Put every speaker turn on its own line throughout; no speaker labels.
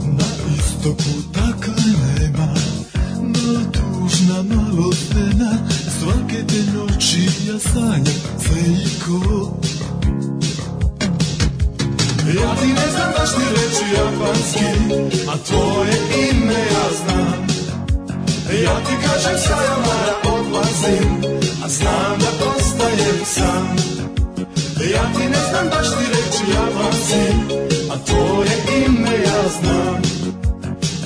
Na istoku takve nema Mala tužna, malo fena Svake te noći ja sanjam Fejko Ja ti ne znam baš ti reći japanski A tvoje ime ja znam Ja ti kažem sayonara odlazim A znam da ostajem sam Da ja ti ne znam baš ti reći ja vam si, a tvoje ime ja znam.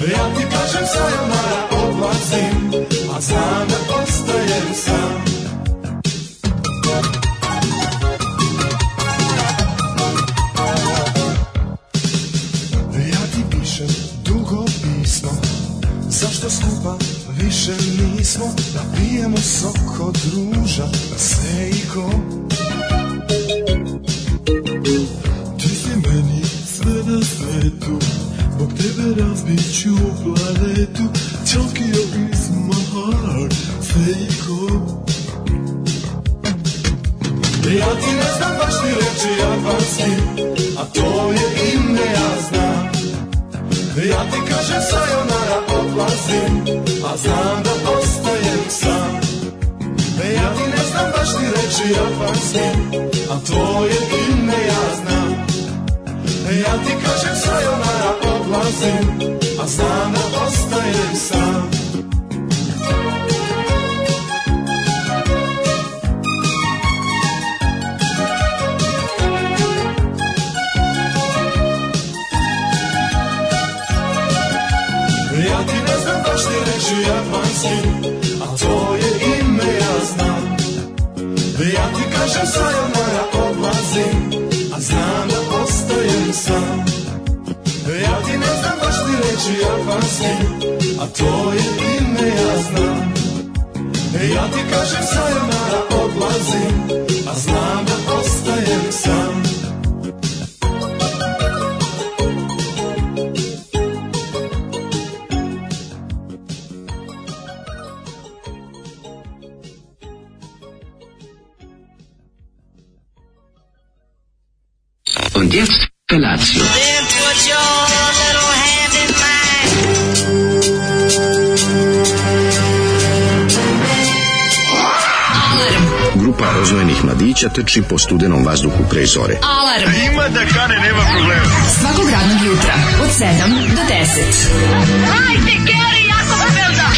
Da Ja ti kažem sayonara odlazim, a znam da ostajem sam. Da Ja ti pišem dugo pismo, zašto skupa više nismo, da pijemo sok od ruža, da se i ti si meni sve na svetu Bog tebe razbit ću planetu Tokyo is my heart Seiko Ja ti ne znam baš ti reći japanski A to je ime ja znam Ja ti kažem sayonara odlazim A znam da ostajem sam ja ti ne znam baš ti reći japanski A tvoje ime ja znam E Ja ti kažem sayonara odlazim A znam da ostajem sam Ja ti ne znam baš ti reći japanski A tvoje ime ja znam Ja ti kažem sayonara odlazim A znam da ostajem sam Ja ti ne znam baš ti reći japanski A tvoje ime ja znam Ja ti kažem sayonara odlazim A znam da ostajem sam
Und jetzt Felatio.
Then put your little hand in mine.
Grupa rozvojenih mladića teči po studenom vazduhu pre zore.
Alarm. Ima da kane, nema problema. Svakog radnog jutra, od 7 do 10.
Hajde, Geri, jako se velda!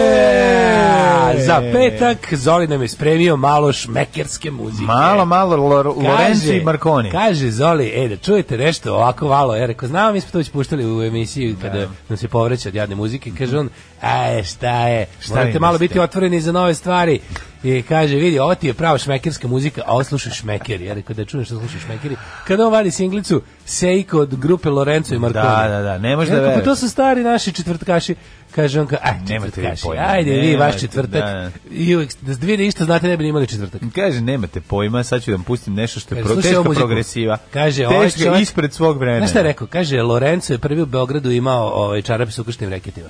A, za petak Zoli nam je spremio malo šmekerske muzike.
Malo, malo, Lor- Lorenzo i Marconi.
Kaže Zoli, e, da čujete nešto ovako malo, ja rekao, znamo, mi smo to već puštali u emisiji kada
Da.
nam se povraća od jadne muzike, kaže on, a šta je, morate
im
malo
ste?
biti otvoreni za nove stvari. I kaže, vidi, ovo ti je prava šmekerska muzika, a ovo slušaš šmekeri. Ja rekao, da čuješ što slušaš šmekeri. Kada on vadi singlicu Seiko od grupe Lorenzo i Marconi.
Da, da, da, ne možeš
Ja
da
rekao, Pa to
veruješ.
su stari naši četvrtkaši. Kaže on, kao, aj,
Nemate vi
četvrtkaši,
pojma,
ajde vi,
nemate,
vaš četvrtak.
da, da.
I uvek, da dvije da išta znate, ne bi ni imali četvrtak.
Kaže, nemate pojma, sad ću da vam pustim nešto što je
Kaže,
pro,
E, slušaj
teška
ovu muziku.
progresiva.
Kaže, ovaj
teška
čovjek-
ispred svog vremena.
Znaš šta je rekao? Kaže, Lorenzo je prvi u Beogradu imao ovaj, čarape s ukušnim reketima.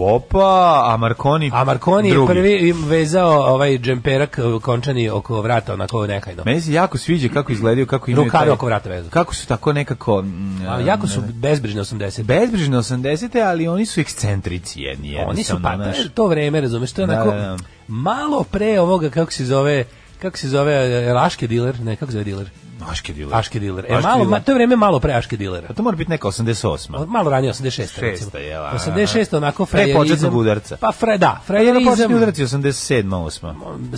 Opa, a Marconi
A Marconi
drugi.
je prvi im vezao ovaj džemperak eh, končani oko vrata, onako nekajno.
Meni se jako sviđa kako izgledaju, kako imaju
Rukave
taj-
oko vrata vezu.
Kako su tako nekako... mm,
A, jako su bezbrižni 80.
bezbrižne 80-te, ali oni su ekscentrici jedni.
Oni su
jednostavno,
pa to,
znaš.
je to vreme, razumeš, to je
Da,
onako
da, da.
malo pre ovoga kako se zove kako se zove eh, Raške diler, ne kako se zove diler?
Aške diler.
Aške diler. E,
Aške
malo,
Da. diler.
ma, Pa, to je vreme malo pre Aške dilera.
Pa to mora biti neka 88.
Malo ranije 86. recimo.
Šesta, jel, a,
86 onako
Pre
frajerizam.
početnog udarca.
Pa fra, da,
Jer
frajerizam.
počinju udarci 87. 8.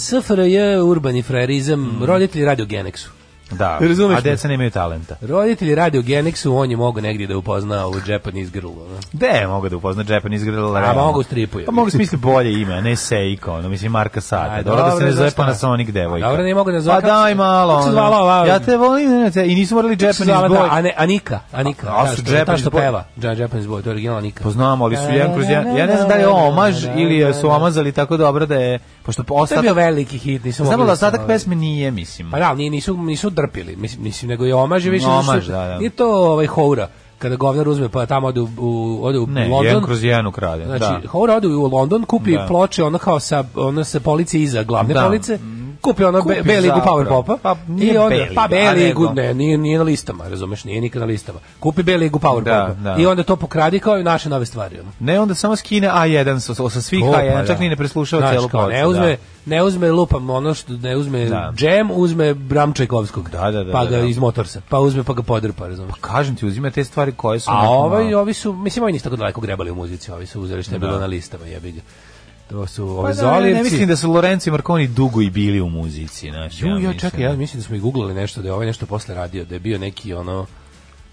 SFRJ, urbani frajerizam,
Mm.
roditelji radi u Genexu.
Da,
Razumeš
a
me?
deca nemaju talenta.
Roditelji radi u Genexu, on je mogu negdje da upozna u Japanese Girl. ono.
Gde je mogu da upozna Japanese Grill? realno?
mogu u stripu, je.
Pa mogu smisli bolje ime, a ne Seiko, ono, mislim Marka
A,
Sata. Dobro da se
dobro,
ne
znaš
zove
šta?
Panasonic devojka.
A, dobro, ne mogu da zove-
zove. Pa daj malo,
Kako se
ono.
zvala ova-
Ja te volim, ne, ne, i nisu morali
Kako se zvala
Japanese
ta?
boy.
Ane- Anika, Anika.
A,
da,
su
što- ta
Japanese
što
boy.
peva. Ja, Japanese boy, to je original Anika.
Pa znam, ali su jedan kroz jedan. Ja ne znam da li je ovo omaž ili su omazali tako dobro da je... Pošto
To je bio
ostatak...
veliki hit, nisam
Znamo
mogao
da
sam,
ostatak
ovaj,
pesme nije, mislim.
Pa da, ali nije- nisu, nisu drpili, mislim, mislim nego je omaž i više. zato što-
Omaž, da, da.
Nije to ovaj, houra. kada govnar uzme pa tamo ode u, u, ode u
Ne,
London.
jedan kroz jedan ukrade.
Znači,
da.
Howard ode u London, kupi
Da.
ploče, ono kao sa, ono sa police iza glavne
Da.
police, kupi ono
Kupi
be, B-ligu
zapravo.
Power Popa,
Pa nije
i onda,
B-liga,
pa
a
B-ligu,
nego-
ne, nije, nije na listama, razumeš, nije nikad na listama. Kupi B-ligu Power
Da,
Popa
da.
i onda to pokradi kao i naše nove stvari. Ono.
Ne, onda samo skine A1 sa, sa svih
O, pa
A1, čak
da.
ni ne preslušao
Znaš,
celu
kao,
ploču.
Ne uzme,
da.
ne uzme lupam ono što ne uzme
Da.
džem, uzme Bram Čajkovskog.
Da, da, da,
pa
da,
ga
da.
iz motorsa. Pa uzme pa ga podrpa, razumeš.
Kažem ti, uzima te stvari koje su...
A
onako
ovaj,
malo-
ovi su, mislim, ovi nisu tako daleko grebali u muzici, ovi su uzeli što je bilo na listama, jebi ga. To su
Pa
ovi
da, ne, ne
Zolirci.
mislim da su Lorenzo i Marconi dugo i bili u muzici. Znači,
Ju, ja, čekaj, ja mislim da smo i googlali nešto, da je ovaj nešto posle radio, da je bio neki ono,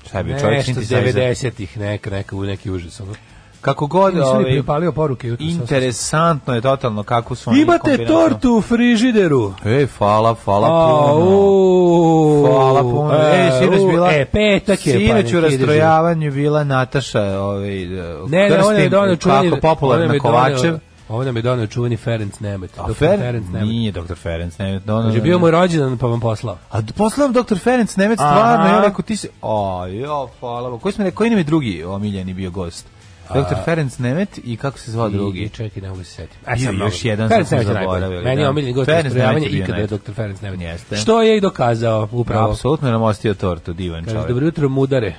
Šta je bio čovjek
nešto
sintetizer?
90-ih, neka, neka, neki užas. Ono.
Kako god,
Nisam ni
ovaj,
pripalio poruke. jutros,
interesantno je totalno kako su
sam-
oni
Imate
kombinacijom.
tortu u frižideru.
Ej, hvala, hvala
A,
puno.
u,
Hvala puno.
E,
Ej, sinoć
u,
bila...
E, petak je. pa
Sinoć
neki
u
ide živjeti.
rastrojavanju bila Nataša, ovaj,
Ne, ne, on je donio čuveni...
kako popularna Kovačev.
Ovo nam je donio čuveni Ferenc Nemet.
A
doktor
Fer,
Ferenc Nemet.
nije doktor Ferenc Nemet. Ono,
Kaže, Znači, bio mu je rođendan pa vam poslao.
A d- poslao nam doktor Ferenc Nemet stvarno, ja rekao ti si... O, jo, hvala. vam. Koji, smo, koji nam je drugi omiljeni bio gost? Doktor Ferenc Nemet i kako se zvao drugi?
I čekaj, ne mogu se setiti. E,
Bio
sad
još
mnogo.
jedan
Ferenc
sam
Nemet je
zaboravio,
najbolji. Meni je
da.
omiljeni gost
Ferenc
rastrojavanja
Nemet je bio
ikada je
najbolji.
doktor Ferenc Nemet.
Jeste.
Što je i dokazao upravo.
Apsolutno nam ostio tortu, divan
Kaže,
čovjek.
dobro jutro, mudare.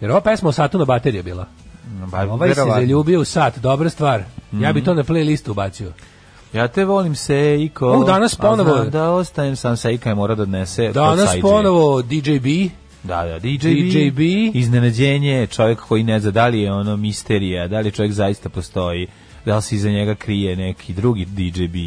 Jer ova pesma o satu na baterije bila.
Ba,
Ovaj se
verovatno. Mhm.
zaljubio u sat, dobra stvar. Ja bi to na playlistu ubacio.
Ja te volim Seiko.
U, danas
a
ponovo.
znam da ostajem sam Seika je mora da odnese.
Danas
kod Sajđe.
ponovo DJ B.
Da, da, DJ,
DJ B.
Iznenađenje, čovjek koji ne zna da li je ono misterija, da li čovjek zaista postoji, da li se iza njega krije neki drugi DJ B.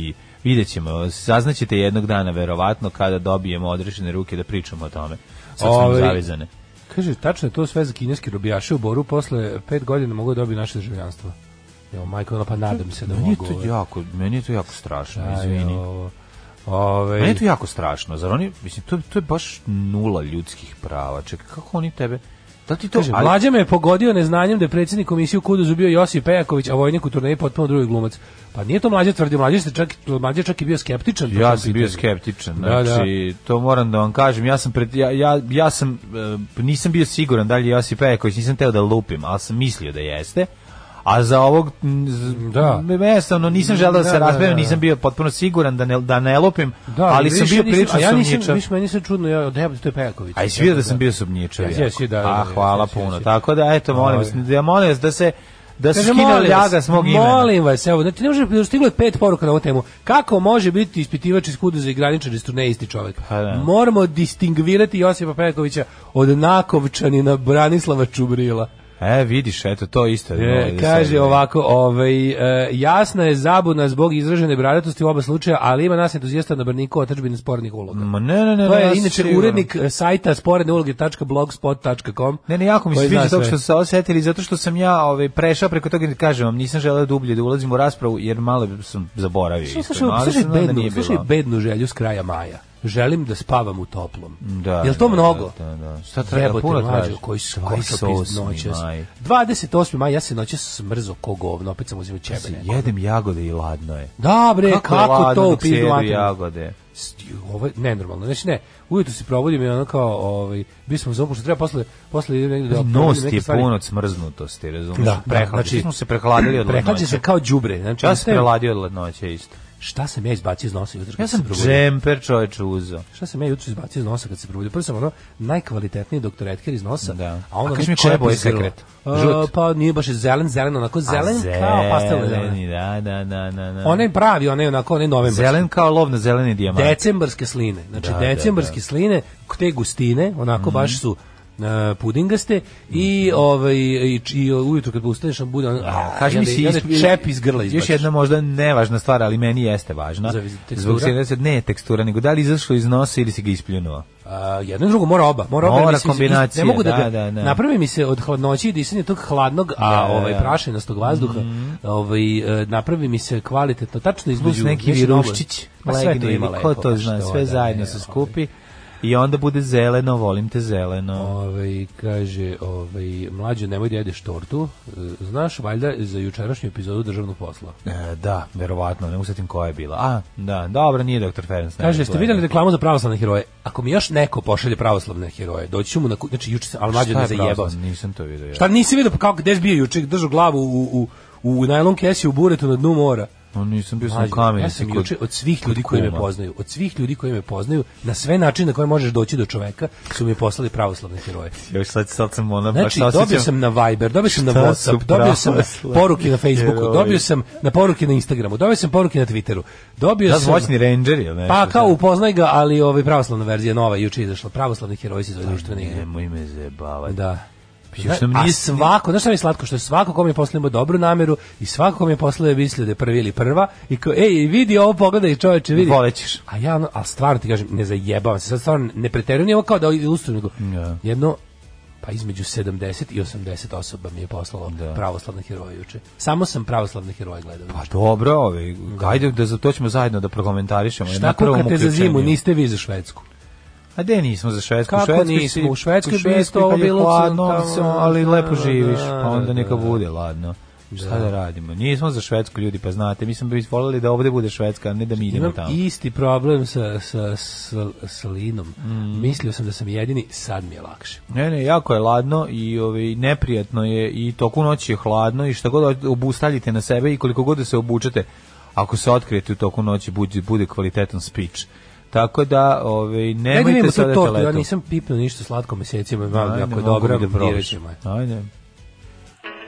Vidjet ćemo, saznaćete jednog dana verovatno kada dobijemo odrešene ruke da pričamo o tome. Sad smo
Ovaj,
zavezane.
Kaže, tačno je to sve za kineski robijaše u Boru, posle pet godina mogu da dobiju naše državljanstvo. Evo, majko, ono, pa nadam se da
Meni je
mogu.
to
ovaj.
jako, meni je to jako strašno,
Aj,
izvini.
ovo, ovaj,
Meni je to jako strašno, zar oni, mislim, to, to je baš nula ljudskih prava. Čekaj, kako oni tebe... Da li ti to,
Kaže,
ali-
Mlađa me je pogodio neznanjem da je predsjednik komisije u Kuduzu bio Josip Pejaković, a vojnik u turneji potpuno drugi glumac. Pa nije to mlađa tvrdio, mlađa, se čak, mlađa je čak i bio skeptičan. po
Ja
tom
sam bio
pitanju.
skeptičan,
Da,
znači to moram da vam kažem. Ja sam pred ja ja, ja sam e, nisam bio siguran da li je Josip Pejaković, nisam teo da lupim, ali sam mislio da jeste. A za ovog m, z-
Da.
m, jednostavno nisam želeo da
Da,
se
da,
raspravim,
da, da.
nisam bio potpuno siguran da ne da ne lupim,
Da,
ali sam
vidiš,
bio
ja nisam-
prilično
a ja nisam,
sumnjičav.
viš, meni se čudno, ja, da, to je Pejaković.
A i svi da sam bio sumnjičav.
Jesi,
jako.
jesi, da, da, da,
A
jesi,
hvala
jesi,
puno.
jesi.
Tako da eto molim vas,
Ovaj.
da molim vas da se da se
Kaže,
skine
molim vas,
ljaga s mog imena.
Molim vas, evo, znači ne može da stiglo je pet poruka na ovu temu. Kako može biti ispitivač iz Kuduza i graničar iz turneje isti čovjek?
Pa da.
Moramo distingvirati Josipa Pejakovića od Nakovčanina Branislava Čubrila.
E, vidiš, eto to isto.
E,
molim da se-
kaže ovako, ovaj, e, jasna je zabuna zbog izražene bradatosti u oba slučaja, ali ima nas entuzijasta na brniku otačbine spornih uloga.
Ma ne, ne, ne,
To
ne, Mm, ja
je
sam
inače
siguran.
urednik e, sajta sporedneuloge.blogspot.com.
Ne, ne, jako mi se
koji
sviđa
zna
to
sve.
što se osetili, zato što sam ja ovaj, prešao preko toga i kažem vam, nisam želeo dublje da ulazim u raspravu, jer malo sam zaboravio.
Slušaj,
isto,
slušaj,
malo
slušaj
sam znao da
bednu,
nije
slušaj
bilo.
bednu želju s kraja maja. Želim da spavam u toplom.
Da,
Jel to
da,
mnogo?
da, da. Šta treba,
Jebote,
puno
mlađo,
traži.
Koji
Koji
skopis
sa osmi
noćas.
maj?
28. maj, ja se noćas smrzo ko govno, opet sam uzimao ćebe.
Se Jedem jagode i ladno je.
Da bre, kako,
je ladno
to u
dok se
pizdu
jedu
materinu?
jagode.
Sti- Ovo je nenormalno. Znači ne, ujutru se probudim i ono kao, ovaj, bi smo zovu, što treba posle, posle idem negdje da...
Znači, Nos
probudim
ti
neke
je
stvari.
puno od smrznutosti, razumiješ?
Da,
prehlad.
znači-
Znači, smo se prehladili od
Prehlađe
ladnoće.
se kao đubre. Znači,
Ja sam
ostajem-
prehladio od ladnoće isto.
šta sam ja izbacio iz nosa jutro? kad
Ja sam
se probudio?
džemper čoveče uzeo.
Šta sam ja jutro izbacio iz nosa kad se probudio? Prvo sam ono najkvalitetniji doktor Edker iz nosa,
Da.
a onda
A kaži mi koja je boja sekret? Žut?
pa nije baš zelen, zelen, onako
A
zelen kao pastelna zelena.
zeleni, Da, da, da, da. da.
Onaj pravi, onaj onako, onaj novembarski.
Zelen kao lov na zeleni dijamant.
Decembarske sline. Znači,
Pa. Da, da,
decembarske
da. Mhm.
sline, te gustine, onako baš su e, pudingaste i ovaj i, č- i ujutro kad ustaneš on bude on,
A, kaži mi
i onda-
si
i onda
isp-
čep iz grla
da Još
izbaciš.
jedna možda nevažna stvar, ali meni jeste važna.
Za tekstura?
Zbog se se ne tekstura, nego da li izašlo iz nosa ili si ga ispljunuo.
A, jedno i drugo mora oba. Mora, oba,
Mora
jer mislim,
kombinacija,
Ne mogu da, ga-
da, da, da.
Napravi mi se od hladnoće i disanja tog hladnog, a
Da, da,
ovaj
da. Mhm.
prašinastog vazduha, ovaj e, napravi mi se kvalitetno tačno
Plus
između
neki
mislim, oba.
viruščić,
Ma Pa sve to
legne ili
ima
ko
lepo,
to
baš
zna,
to,
sve
da,
zajedno
ne,
se
ovaj.
skupi. I onda bude zeleno, volim te zeleno.
Ovaj kaže, ovaj mlađe nemoj da jedeš tortu. E, Znaš valjda za jučerašnju epizodu državnog posla.
E, da, verovatno, ne usetim koja je bila. A, da, dobro, nije doktor Ferenc. ne,
Kaže, jeste da
gledam.
vidjeli reklamu za pravoslavne heroje? Ako mi još neko pošalje pravoslavne heroje, doći ću mu na... ku- Znači, juče sam, ali mlađe
Šta
ne
je
zajebao.
prozvan? Nisam to vidio. ja.
Šta nisi vidio, pa kako, gde si bio juče, držao glavu u, u, u najlon kesi u buretu na dnu mora.
No, nisam bio sam u
Mlađe,
kamenu.
ja sam
kod-
juče od svih ljudi
kod
koji me
kuma.
poznaju, od svih ljudi koji me poznaju, na sve načine na koje možeš doći do čoveka, su mi poslali pravoslavne heroje.
Još sad, sad sam ono... baš
Znači, dobio
osjećam-
sam na Viber, dobio sam na
Šta su
WhatsApp, dobio sam na
pravoslavni
poruke na Facebooku,
heroji?
dobio sam na poruke na Instagramu, dobio sam poruke na Twitteru, dobio
Da,
sam...
zvoćni ranger ili nešto.
Pa kao upoznaj ga, ali ovaj pravoslavna verzija nova juče je izašla, pravoslavni heroji se zove društvene igre.
Nemoj me zajebavati.
Da.
Još sam
a
nije-
svako, znaš šta mi je slatko, što je svako kom je poslao imao dobru nameru i svako kom je poslao je mislio da je prvi ili prva i kao, ej, vidi ovo, pogledaj čoveče, vidi.
Volećeš.
A ja, ono, ali stvarno ti kažem, ne zajebavam se, sad stvarno ne preterujem, nije ovo kao da ilustrujem, nego
Da.
jedno, pa između 70 i 80 osoba mi je poslalo pravoslavne heroje juče. Samo sam pravoslavne heroje gledao.
Da. Pa dobro, ovi, ajde da za to ćemo zajedno da prokomentarišemo.
šta
Na prvom
kukate za
uključenju.
zimu, niste vi za Švedsku.
A gde nismo za Švedsku?
Kako
U Švedskoj
nismo?
si-
U Švedskoj bi
Švedskoj
isto ovo
kad je
bilo
hladno,
tamo,
se- ali
da,
lepo
da,
živiš,
da,
pa onda
da,
neka
da.
bude ladno. Šta da radimo? Nismo za Švedsku ljudi, pa znate, mi smo bi voljeli da ovde bude Švedska, a ne da mi idemo
Imam
tamo.
isti problem sa, sa, sa, sa linom.
Mm.
Mislio sam da sam jedini, sad mi je lakše.
Ne, ne, jako je ladno i ovaj neprijatno je i toku noći je hladno i šta god obustavite na sebe i koliko god da se obučete, ako se otkrijete u toku noći bude, bude kvalitetan speech. Tako da,
Ne
ovaj
da
nemojte
vidimo tu
sada
tortu, ja nisam pipnuo ništa slatko mesecima, imam jako dobro, da
da
diraćemo je.
Ajde.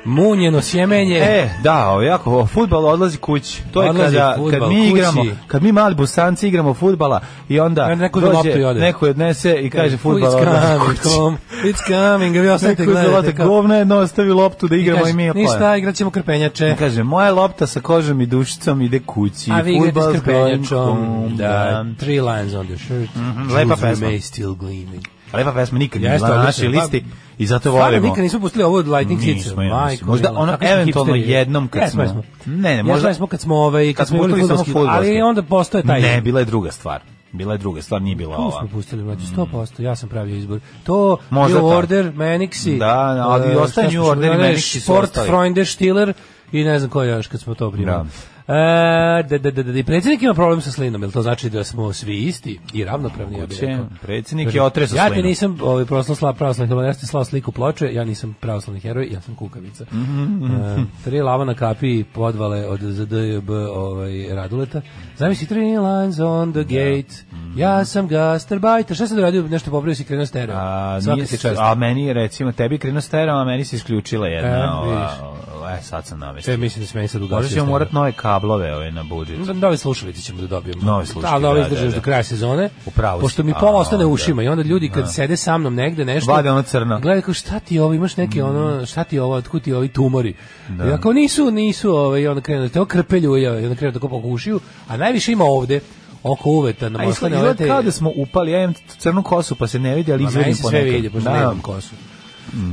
Munjeno sjemenje,
E, da, ovo jako, fudbal odlazi kući. To je
Odlazi
kada kad
fudbal
mi
kući.
igramo, kad mi mali bosanci igramo fudbala i onda
E, neko
dođe,
uzme loptu i ode.
neko je odnese i kaže fudbal
it's
odlazi
coming,
kući.
home, it's coming, vi ostanite
Neko je
gledajte.
zlata
kao-
govna jedno ostavi loptu da
I
igramo
kaže,
i mi je
Ništa, igrat ćemo krpenjače.
Kaže, moja lopta sa kožom i dušicom ide kući.
A vi igrate
Fudbal
s
s
krpenjačom,
Gojkom,
da, three lines on the shirt,
Mhm,
jewels
lepa pesma.
remain still gleaming.
Lepa pesma nikad nije
Jeste,
bila na
odlično,
našoj
pa-
listi i zato
Stvarno
volimo.
nikad nismo pustili ovo od Lightning Kids.
Nismo, ja mislim. Možda ono eventualno jednom kad smo- Ne,
Ne,
ne,
ne,
možda-
možda smo kad smo ovaj kad smo
pustili
bili
samo
fudbalski, ali
fudbalski.
onda postoje taj
Ne, bila je druga stvar. Bila je druga stvar, nije bila
Tu
ova.
smo pustili, znači 100%, ja sam pravio izbor. To,
Možda
New
tako.
Order, Manixi.
Da, ali
e,
ostaje
šta
New
smo
Order i
čuli, ne,
Manixi su
Sport,
ostali.
Freunde, Stiller i ne znam ko još kad smo to primili.
Da.
E, da, da, da, da, i predsjednik ima problem sa slinom, jel to znači da smo svi isti i ravnopravni? Ja bih
Moguće.
rekao.
Predsjednik je otresao
Znači, Ja ti
slinu.
nisam ovaj, proslao slav pravoslavni heroj, ja sam ti slao sliku ploče, ja nisam pravoslavni heroj, ja sam kukavica.
Mhm,
E, tri lava na kapi i podvale od ZDB ovaj, Raduleta. Zamisli three lines on
Da.
the gate,
Mhm.
ja sam gastarbajter. Šta sam doradio, nešto popravio si krenuo stereo.
A,
Svaka
nije
ti
s-
čast.
a meni, recimo, tebi je krenuo stereo, a meni se isključila jedna.
E,
ova,
vidiš.
ova, e, sad sam namestio.
Sve mislim da se meni sad ugasio
Možda ćemo
stereo.
morati nove kablove ove na budžet.
Da, Nove slušalice ćemo da dobijemo.
Nove slušalice,
Ali ove
da,
izdržaš
da, da.
do kraja sezone.
U pravu si.
Pošto mi
A,
pola ostane u
onda.
ušima i onda ljudi kad sede sa mnom negde nešto...
Vade ono crno. Mm.
Gledaj kao šta ti je ovo, imaš neke ono, šta ti je ovo, otkud ti ovi tumori. Da. Ja kao nisu, nisu, ovaj, i onda krenu, te okrpelju i onda krenu tako po ušiju, a najviše ima ovde, oko uveta, na
A izgleda,
moslane ove
izgleda
te...
kao da smo upali, ja imam crnu kosu pa se ne vidi, ali
Ma, meni
izvedim
se sve
ponekad.
vidi, pošto
Da,
nemam kosu.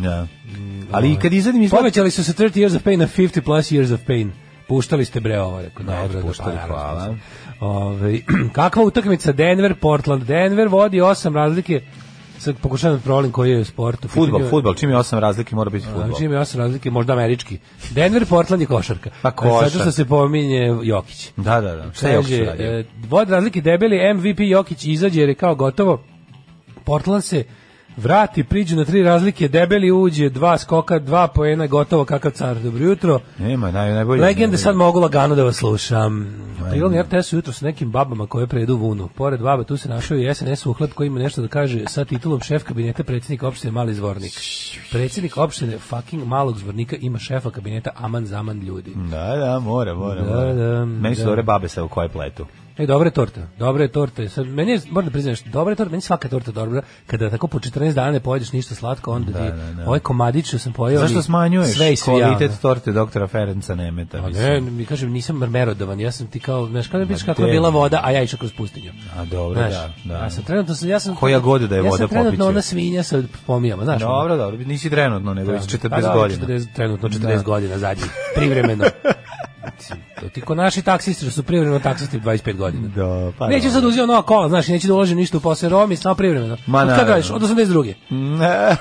da.
Mm,
Ali i kad izvedim izgleda...
Povećali su se 30 years of pain na 50 plus years of pain. Puštali ste bre ovo, rekao,
Da,
dobro,
puštali,
naravno,
hvala.
mislim. Ovaj, kakva utakmica Denver, Portland. Denver vodi osam razlike. Sad pokušavam da provalim koji je sport. u
Futbal,
pitanju.
futbal, čim je osam razlike mora biti futbal.
Znači ima osam razlike, možda američki. Denver, Portland je košarka.
Pa košarka.
Zato što se pominje Jokić.
Da, da, da. Šta je još
Kaže,
radio?
e, Vodi razlike debeli, MVP Jokić izađe jer je kao gotovo. Portland se vrati, priđu na tri razlike, debeli uđe, dva skoka, dva poena, gotovo kakav car. Dobro jutro.
Nema, naj, najbolje.
Legende
najbolje.
sad mogu lagano da vas slušam. Prilog RTS-u jutro s nekim babama koje predu vunu. Pored baba tu se našao i SNS uhleb koji ima nešto da kaže sa titulom šef kabineta predsjednika opštine Mali Zvornik. Predsjednik opštine fucking Malog Zvornika ima šefa kabineta Aman Zaman ljudi.
Da, da, mora, mora,
Da,
mora.
da,
Meni su
da.
dobre babe sa u koje pletu.
E, dobre torte, dobre torte. Sad, meni je, moram da priznaš, dobre torte, meni je svaka torta dobra. Kada tako po 14 dana ne pojedeš ništa slatko, onda ti ovaj komadić što sam pojeo...
Da, Zašto
mi
smanjuješ
sve i svi
kvalitet
javno.
torte doktora Ferenca Nemeta?
A
mislim?
ne, mi kažem, nisam mermerodovan, ja sam ti kao, znaš, kada biš kakva
te-
je bila voda, a ja išao kroz pustinju.
A dobro,
Znaš,
da, da.
Ja sam trenutno, sam, ja sam...
Koja god da je voda
Ja sam
popiću.
trenutno ona svinja sa pomijama, znaš. ono.
Dobro, dobro, nisi trenutno, nego već
Pa
40
da,
godina.
40, trenutno 40 godina zadnjih, privremeno. Mislim, Marko, ti ko naši taksisti što su privremeno taksisti 25 godina.
Da, pa
neće
da.
sad uzimati nova kola, znaš, i neće da uložim ništa u posle Romi, samo privremeno.
Ma,
Od kad
naravno.
radiš? Od 82.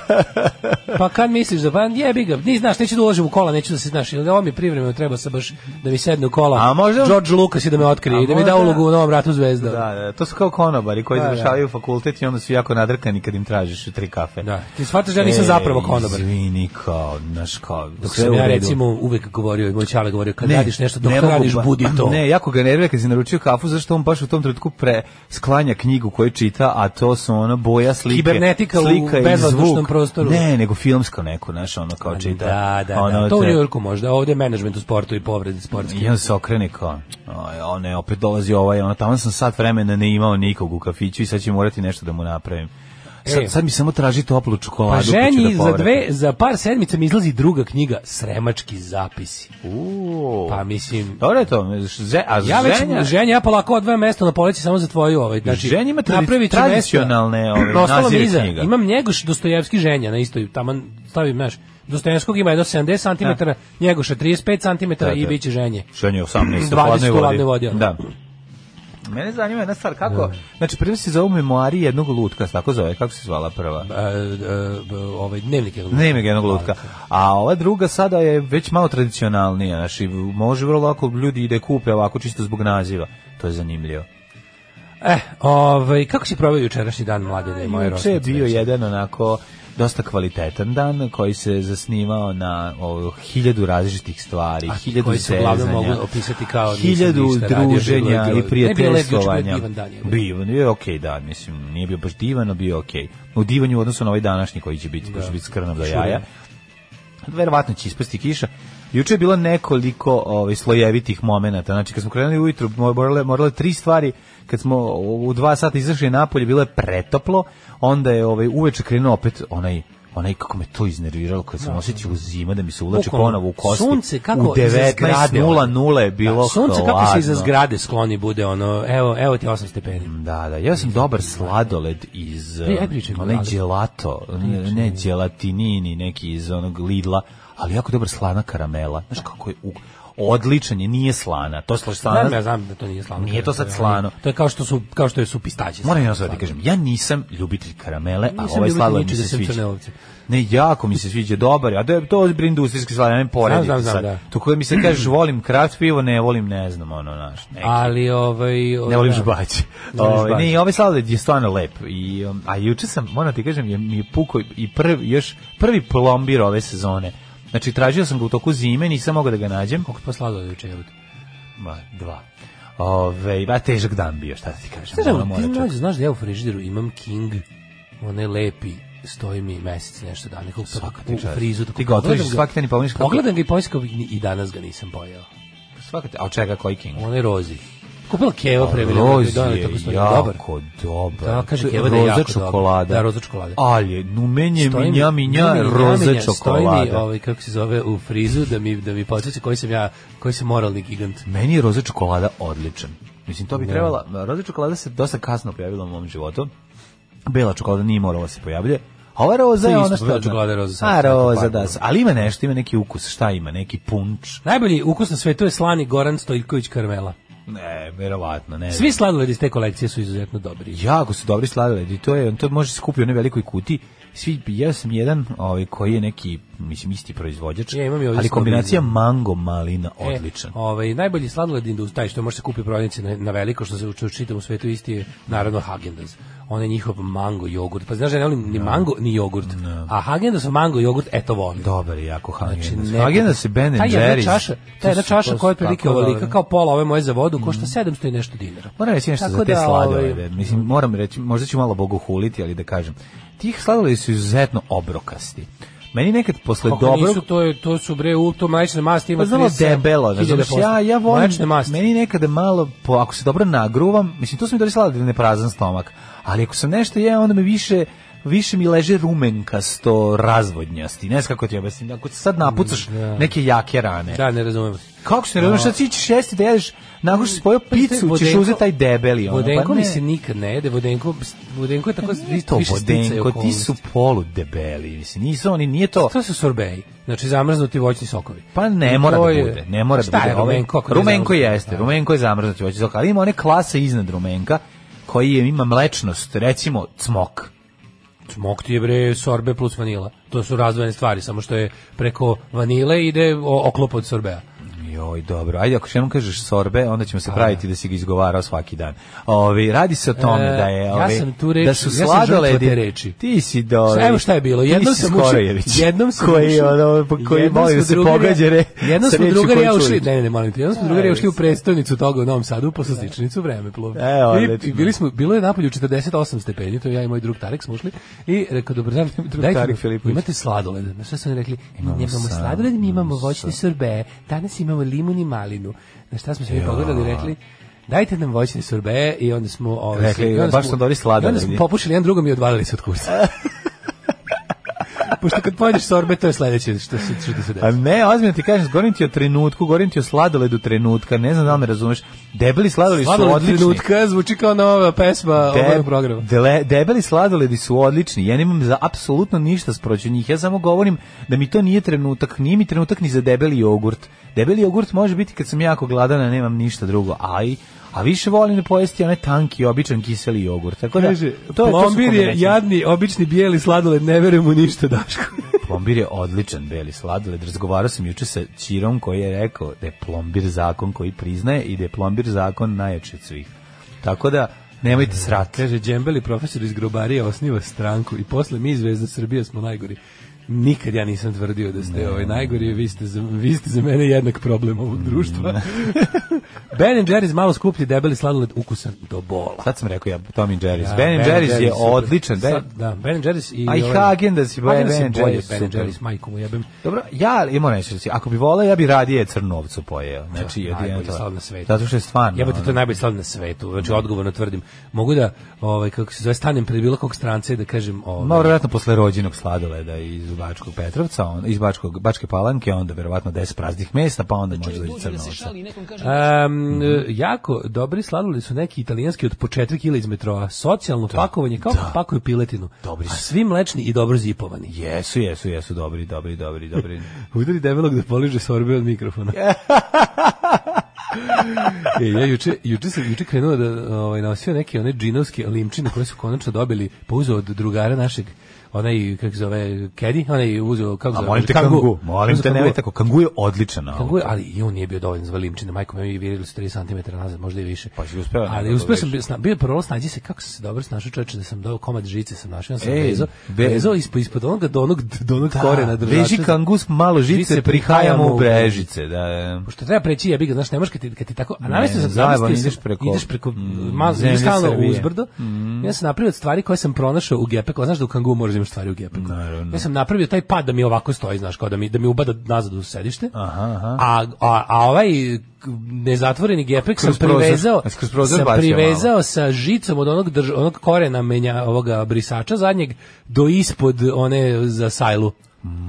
pa kad misliš da, pa jebi ga, ni znaš, neću da uložim u kola, neću da se, znaš, ili ovo mi privremeno treba sa baš da mi sedne u kola.
A možda-
George Lucas i da me otkrije,
A
i da mi da
možda-
ulogu u novom ratu zvezda.
Da, da, to su kao konobari koji
Da, da.
završavaju fakultet i onda su jako nadrkani kad im tražiš tri kafe. E,
Da. Ti shvataš da ja nisam zapravo konobar.
Izvini, kao, znaš, kao,
Dok
sve
sam
u
ja
redu.
recimo uvek govorio, i moj čale govorio, kad
Ne,
radiš nešto, dok
ne mogu
radiš,
ba-
budi to.
Ne, jako ga nervira kad si naručio kafu, zašto on baš u tom trenutku pre sklanja knjigu koju čita, a to su ona boja slike.
Kibernetika u
slika i
bezvazdušnom
zvuk.
prostoru.
Ne, nego filmsko neko, znaš, ono kao čita.
Da, da,
Ono
da. To u
te-
New Yorku možda, ovde je management u sportu i povredi sportske.
I onda se okrene kao, "Aj, o ne, opet dolazi ovaj, ono, tamo sam sat vremena ne imao nikog u kafiću i sad ću morati nešto da mu napravim. Sad,
E.
sad mi samo traži toplu čokoladu.
Pa
koju ću da
ženi za
povratim."
dve, za par sedmica mi izlazi druga knjiga, Sremački zapisi.
Uuu.
Pa mislim,
Dobro je to, že, a
ja već
ženja-
ženja, ja polako odvojam mesto na poleći samo za tvoju ovaj. Znači,
Ženja ima tradi-
napravit ću
tradicionalne,
mesta.
ovaj,
Ostalo mi
nazive
iza.
knjiga.
Imam Njegoš Dostojevski ženja na istoj, taman stavim, znaš, Dostojevskog ima jedno 70 cm, Njegoša 35 cm
Da,
i
da.
bit će ženje.
Ženja 18.
20
hladnoj
u hladnoj vodi, ono.
Da. Mene zanima jedna stvar, kako,
Da.
znači prvo se zove memoari jednog lutka, se tako zove, kako se zvala prva?
E, e, b- ovaj, dnevnik je
Ne ima jednog lutka. A ova druga sada je već malo tradicionalnija, znači može vrlo lako ljudi i da je kupe ovako čisto zbog naziva. To je zanimljivo.
Eh, ovaj, kako si proveo jučerašnji dan mlade da je moje
Juče je
ročnice?
bio jedan onako dosta kvalitetan dan koji se zasnivao na o, hiljadu različitih stvari, hiljadu
koji se uglavnom
zezanja,
mogu opisati kao nisam
hiljadu
ništa radio, bilo je
druženja
bilo-
i prijateljstvovanja.
Ne, bilo je juče divan dan, je li?
Divan, je okej dan, mislim, nije bio baš divan, no bio okej. U divanju u odnosu na ovaj današnji koji će biti, da. će biti skrnav do jaja. Verovatno će ispasti kiša. Juče je bilo nekoliko ovaj, slojevitih momenata. Znači, kad smo krenuli ujutru, mo- morale, morale tri stvari. Kad smo u u dva sata izašli napolje, bilo je pretoplo. Onda je ovaj, uveče krenuo opet onaj onaj kako me to iznerviralo kad sam osjećao zima da mi se ulače
Bukvalno,
ponovo u kosti.
sunce kako
u
iza zgrade, ono.
19.00 je bilo
Da, sunce kako se iza
hladno.
zgrade skloni bude ono, evo, evo ti 8 stepeni.
Da, da, ja sam dobar sladoled iz
Ej, aj
um,
pričaj,
onaj
Vlado.
gelato, ne, ne gelatinini, neki iz onog Lidla, ali jako dobar slana karamela. Znaš kako je u- odličan je, nije slana. To slaš
Znam, ja
slana.
znam da to nije slano.
Nije to sad
je-
slano.
To je kao što su kao što je su pistaći.
Moram jedno sad da ti kažem, ja nisam ljubitelj karamele, a
Nisam
ovaj
ljubitelj
sladoled mi
ničega
se
sem
sviđa.
crnelovca.
Ne, jako mi se sviđa, dobar je. A da je to ozbiljno industrijski sladan, ne poredite
Znam, znam,
sad.
znam, da.
To koje mi se kažeš, volim kraft pivo, ne volim, ne znam, ono, naš, neki.
Ali ovaj
Ne volim
da.
žbaće.
Ne volim žbaće.
Ovaj, Ne, i ovaj sladoled je stvarno lep. I, um, a juče sam, moram ti kažem, je, mi je puko i prvi, još prvi plombir ove sezone. Znači, tražio sam ga u toku zime, nisam mogao da ga nađem.
Koliko pa slado juče jebote.
Ma, dva. Ove, ba, težak dan bio, šta da ti kažem.
Znaš,
Ono,
evo,
mora
ti
čak-
znaš, znaš da ja u frižideru imam King, onaj lepi, stoji mi mesec nešto dana, kako
Svaka ti
u, u
čast.
frizu. tako
Ti ga otvoriš
pogledam
svaki dan i pomeniš kako-
Pogledam ga i pomišljam kako i danas ga nisam pojeo.
Svaka te- a od čega koji king?
Onaj rozi. Kupila Keva pre vremena,
Roz
da je
je
tako stoji, dobar.
jako dobar.
Da, kaže
To je
Keva da je
roza
jako dobar.
čokolada.
Da, roza čokolada.
Ali, je, nu meni je
Stoji mi-
minja, minja,
meni
roza
minja, Stoji mi,
čokolada.
ovaj, kako se zove, u frizu, da mi, da mi podsjeća koji sam ja, koji sam moralni gigant.
Meni je roza čokolada odličan. Mislim,
Da.
to bi trebala... Roza čokolada se dosta kasno pojavila u mom životu. Bela čokolada nije morala da se pojavlja. A ova roza
To je
je
isto,
ona što... da.
bela čokolada je roza, sad
A,
sam rekao
roza,
par
da.
puta.
Ali ima nešto, ima neki ukus. Šta ima? Neki punč?
Najbolji ukus na svetu je slani Goran Stojković Karmela.
Ne, verovatno, ne.
Svi sladoledi iz te kolekcije su izuzetno dobri.
Jako su dobri sladoledi, to je, to može se kupiti u onoj velikoj kuti. Svi, ja sam jedan ovaj, koji je neki, mislim, isti proizvođač,
Ja, imam i ovdje
ali kombinacija
sladoled.
mango malina
E,
odličan.
ovaj najbolji sladoled indus taj što može se kupi u prodavnici na, na veliko što se u u čitavom svetu isti je naravno Häagen-Dazs. On je njihov mango jogurt. Pa znaš da ja ne volim ni mango ni jogurt.
Da.
A Häagen-Dazs mango jogurt eto volim.
Dobar je jako Hagen.
Znači,
Znači,
ne-
se Ben
Ta jedna
Jerry's.
čaša,
to
ta jedna
su-
čaša
to su
koja je otprilike
tako da, Mhm.
ovolika
dobre.
kao pola ove moje za vodu, košta 700 i nešto dinara.
Moram reći nešto
Tako
za te
da,
sladolede.
ovaj,
Mislim, moram reći, možda ću malo bogu huliti, ali da kažem. Tih sladoledi su izuzetno obrokasti. Meni nekad posle
Kako
dobrog...
nisu, to, je, to su bre, u to mlečne masti ima
Pa znamo
37
debelo,
hiljada
znači
posto.
ja ja volim
Mlečne masti.
meni nekada malo po ako se dobro nagruvam, mislim to sam mi došla da ne prazan stomak, ali ako sam nešto je onda me više više mi leže rumenkasto razvodnjasti. Ne znam kako ti objasnim. Ako sad napucaš neke jake rane.
Mm, Da, ne razumem.
Kako se ne razumeš, sad ti ćeš jesti da jedeš, nakon što si pojao picu, ćeš
Pa, Vodenko-
uzeti taj debeli. Ono,
Vodenko
pa
mi
ne. Pa
se nikad ne jede, Vodenko, Vodenko je tako
Nije to
više sticaj
Vodenko, ti
okolnosti.
su polu debeli, mislim, nisu oni, nije to...
To su sorbeji, znači zamrznuti voćni sokovi.
Pa ne
To
mora da
je-
bude, ne mora da
Šta
bude.
je
Ovaj-
rumenko? ako ne
rumenko
zamrznuti?
jeste, rumenko je zamrznuti voće sok, ali ima one klase iznad rumenka koji je, ima mlečnost, recimo cmok.
Smok ti je bre sorbe plus vanila. To su razvojene stvari, samo što je preko vanile ide o- oklop od sorbea.
Joj, dobro. Ajde, ako što jednom kažeš sorbe, onda ćemo se praviti da si ga izgovarao svaki dan. Ovi, radi se o tome
E,
da je...
ja
Ovi,
sam tu reč-
da su
ja sam žrtva
sladoledi-
te reči.
Ti si do...
Šta- evo šta je bilo,
ti
jednom
si
sam ušao-
Skorojević,
jednom sam
koji,
ušao-
Pa ono, po- koji
jednom
molim
smo
da se
drugari-
pogađa re,
Jednom
sa
smo
rečju
drugari
koju
ja ušli,
čuješ.
ne, ne, ne, molim te, jednom smo drugari ja ušli u prestonicu toga u Novom Sadu, posle sličnicu vreme plov.
Evo,
I,
odlično.
I, bili smo, bilo je napolju 48 stepeni, to ja i moj drug Tarek smo ušli, i rekao, dobro, znam, dajte,
Tarek
mi-
Filipović.
imate sladoled, na šta su oni rekli,
Imamo
imamo, imamo
sam-
sladoled, mi imamo voćni sorbe, danas imamo limun i malinu. Na šta smo se mi pogledali, i rekli, dajte nam voćne sorbe i onda smo ovaj
Rekli,
sli- i onda
baš
smo-
smo dobri sladoled.
i Onda smo popušili jedan drugom i odvalili se od kursa. Pošto kad pojedeš sorbet, to je sledeće što se što ti se
A
desi.
ne, ozbiljno ti kažem, govorim ti o trenutku, govorim ti o sladoledu trenutka, ne znam da li me razumeš. Debeli sladoledi su
Sladoled
odlični.
trenutka zvuči kao nova pesma ovog programa.
dele- debeli sladoledi su odlični. Ja nemam za apsolutno ništa sproću njih. Ja samo govorim da mi to nije trenutak, nije mi trenutak ni za debeli jogurt. Debeli jogurt može biti kad sam jako gladan, a nemam ništa drugo. Aj, a više volim da pojesti onaj tanki, običan kiseli jogurt. Tako da,
Kaže,
to je, to su
plombir je
kombinacije.
jadni, obični bijeli sladoled, ne verujem u ništa, Daško.
Plombir je odličan beli sladoled. Razgovarao sam juče sa Čirom koji je rekao da je plombir zakon koji priznaje i da je plombir zakon najjači od svih. Tako da nemojte srati.
Kaže, Džembeli profesor iz Grobarije osniva stranku i posle mi Zvezda Srbija smo najgori. Nikad ja nisam tvrdio da ste ovaj najgori, vi ste, za, vi ste za mene jednak problem ovog društva. ben Jerry's malo skuplji, debeli sladoled, ukusan do bola.
Sad sam rekao ja Tom i Jerry's.
Da,
ben, Jerry's je
super.
odličan. Ben,
Sad, da, Ben Jerry's i...
A i Häagen-Dazs i Ben-
Häagen-Dazs je
Ben
bolje,
Jerry's,
Ben
super.
Jerry's, majku mu jebem.
Dobro, ja imam nešto reći. Ako bi volao, ja bi radije crnovcu pojeo. Znači, jedino
najbolji
to.
sladoled na svetu.
Zato što je stvarno.
Jebote, to je
ono,
najbolji sladoled na svetu. Znači, odgovorno tvrdim. Mogu da, ovaj, kako se zove, stanem pred bilo kog stranca i da kažem... Ovaj,
Ma verovatno posle rođenog sladoleda iz Bačkog Petrovca, on, iz Bačkog, Bačke Palanke, onda verovatno 10 praznih mesta, pa onda može da ide crnovca. Mhm.
Um, jako dobri sladoledi su neki italijanski od po 4 kg iz metroa. Socijalno pakovanje kao da. pakuju piletinu.
Dobri
A
su.
svi mlečni i dobro zipovani.
Jesu, jesu, jesu, dobri, dobri, dobri, dobri.
Udari debelog da poliže sorbe od mikrofona. e, ja juče, juče sam juče krenuo da ovaj, nosio neke one džinovske limčine koje su konačno dobili po uzu od drugara našeg onaj, kako se zove, Kedi, onaj uzo, kako se
A
zove,
molim te
Kangu.
kangu, molim
Uzo
te,
Kangua.
nemoj tako, kangu je odličan. no. auto.
Kangu je- ali i on nije bio dovoljno za limčine, majko me i virili su 3 cm nazad, možda i više.
Pa si uspeo, ne,
Ali
da
uspeo sam,
dobiješ.
bio, sna- bio je prvo snađi se, kako sam se dobro snašao čoveče, da sam dao komad žice, sam našao, ja sam
Ej,
vezao,
be-
vezao ispod, ispod onoga, do onog, do onog
Da,
korena držača.
Veži kangus malo žice,
Žice
prihajamo
prihajamo
u
u-
brežice. Da, da.
Pošto treba preći, jebi ga, znaš, ne možeš kad ti, kad ti tako... A
Ne,
namislio sam,
zajebano,
zamislio
ideš
sam-
preko-
Ideš preko
mm,
ma,
zemlje
ideš stalno
Srbije. Mm.
uzbrdo. Ja sam napravio od stvari koje sam pronašao u gepeku. A znaš da u kangu moraš da imaš stvari u gepeku.
Naravno.
Ja sam napravio taj pad da mi ovako stoji, znaš, kao da mi, da mi ubada nazad u sedište.
Aha, aha.
A, a, a ovaj k- nezatvoreni gepek sam
Kroz prozor-
privezao,
a kroz prozor
sam
bacio
privezao sa žicom od onog, drž, onog korena menja ovoga brisača zadnjeg do ispod one za sajlu.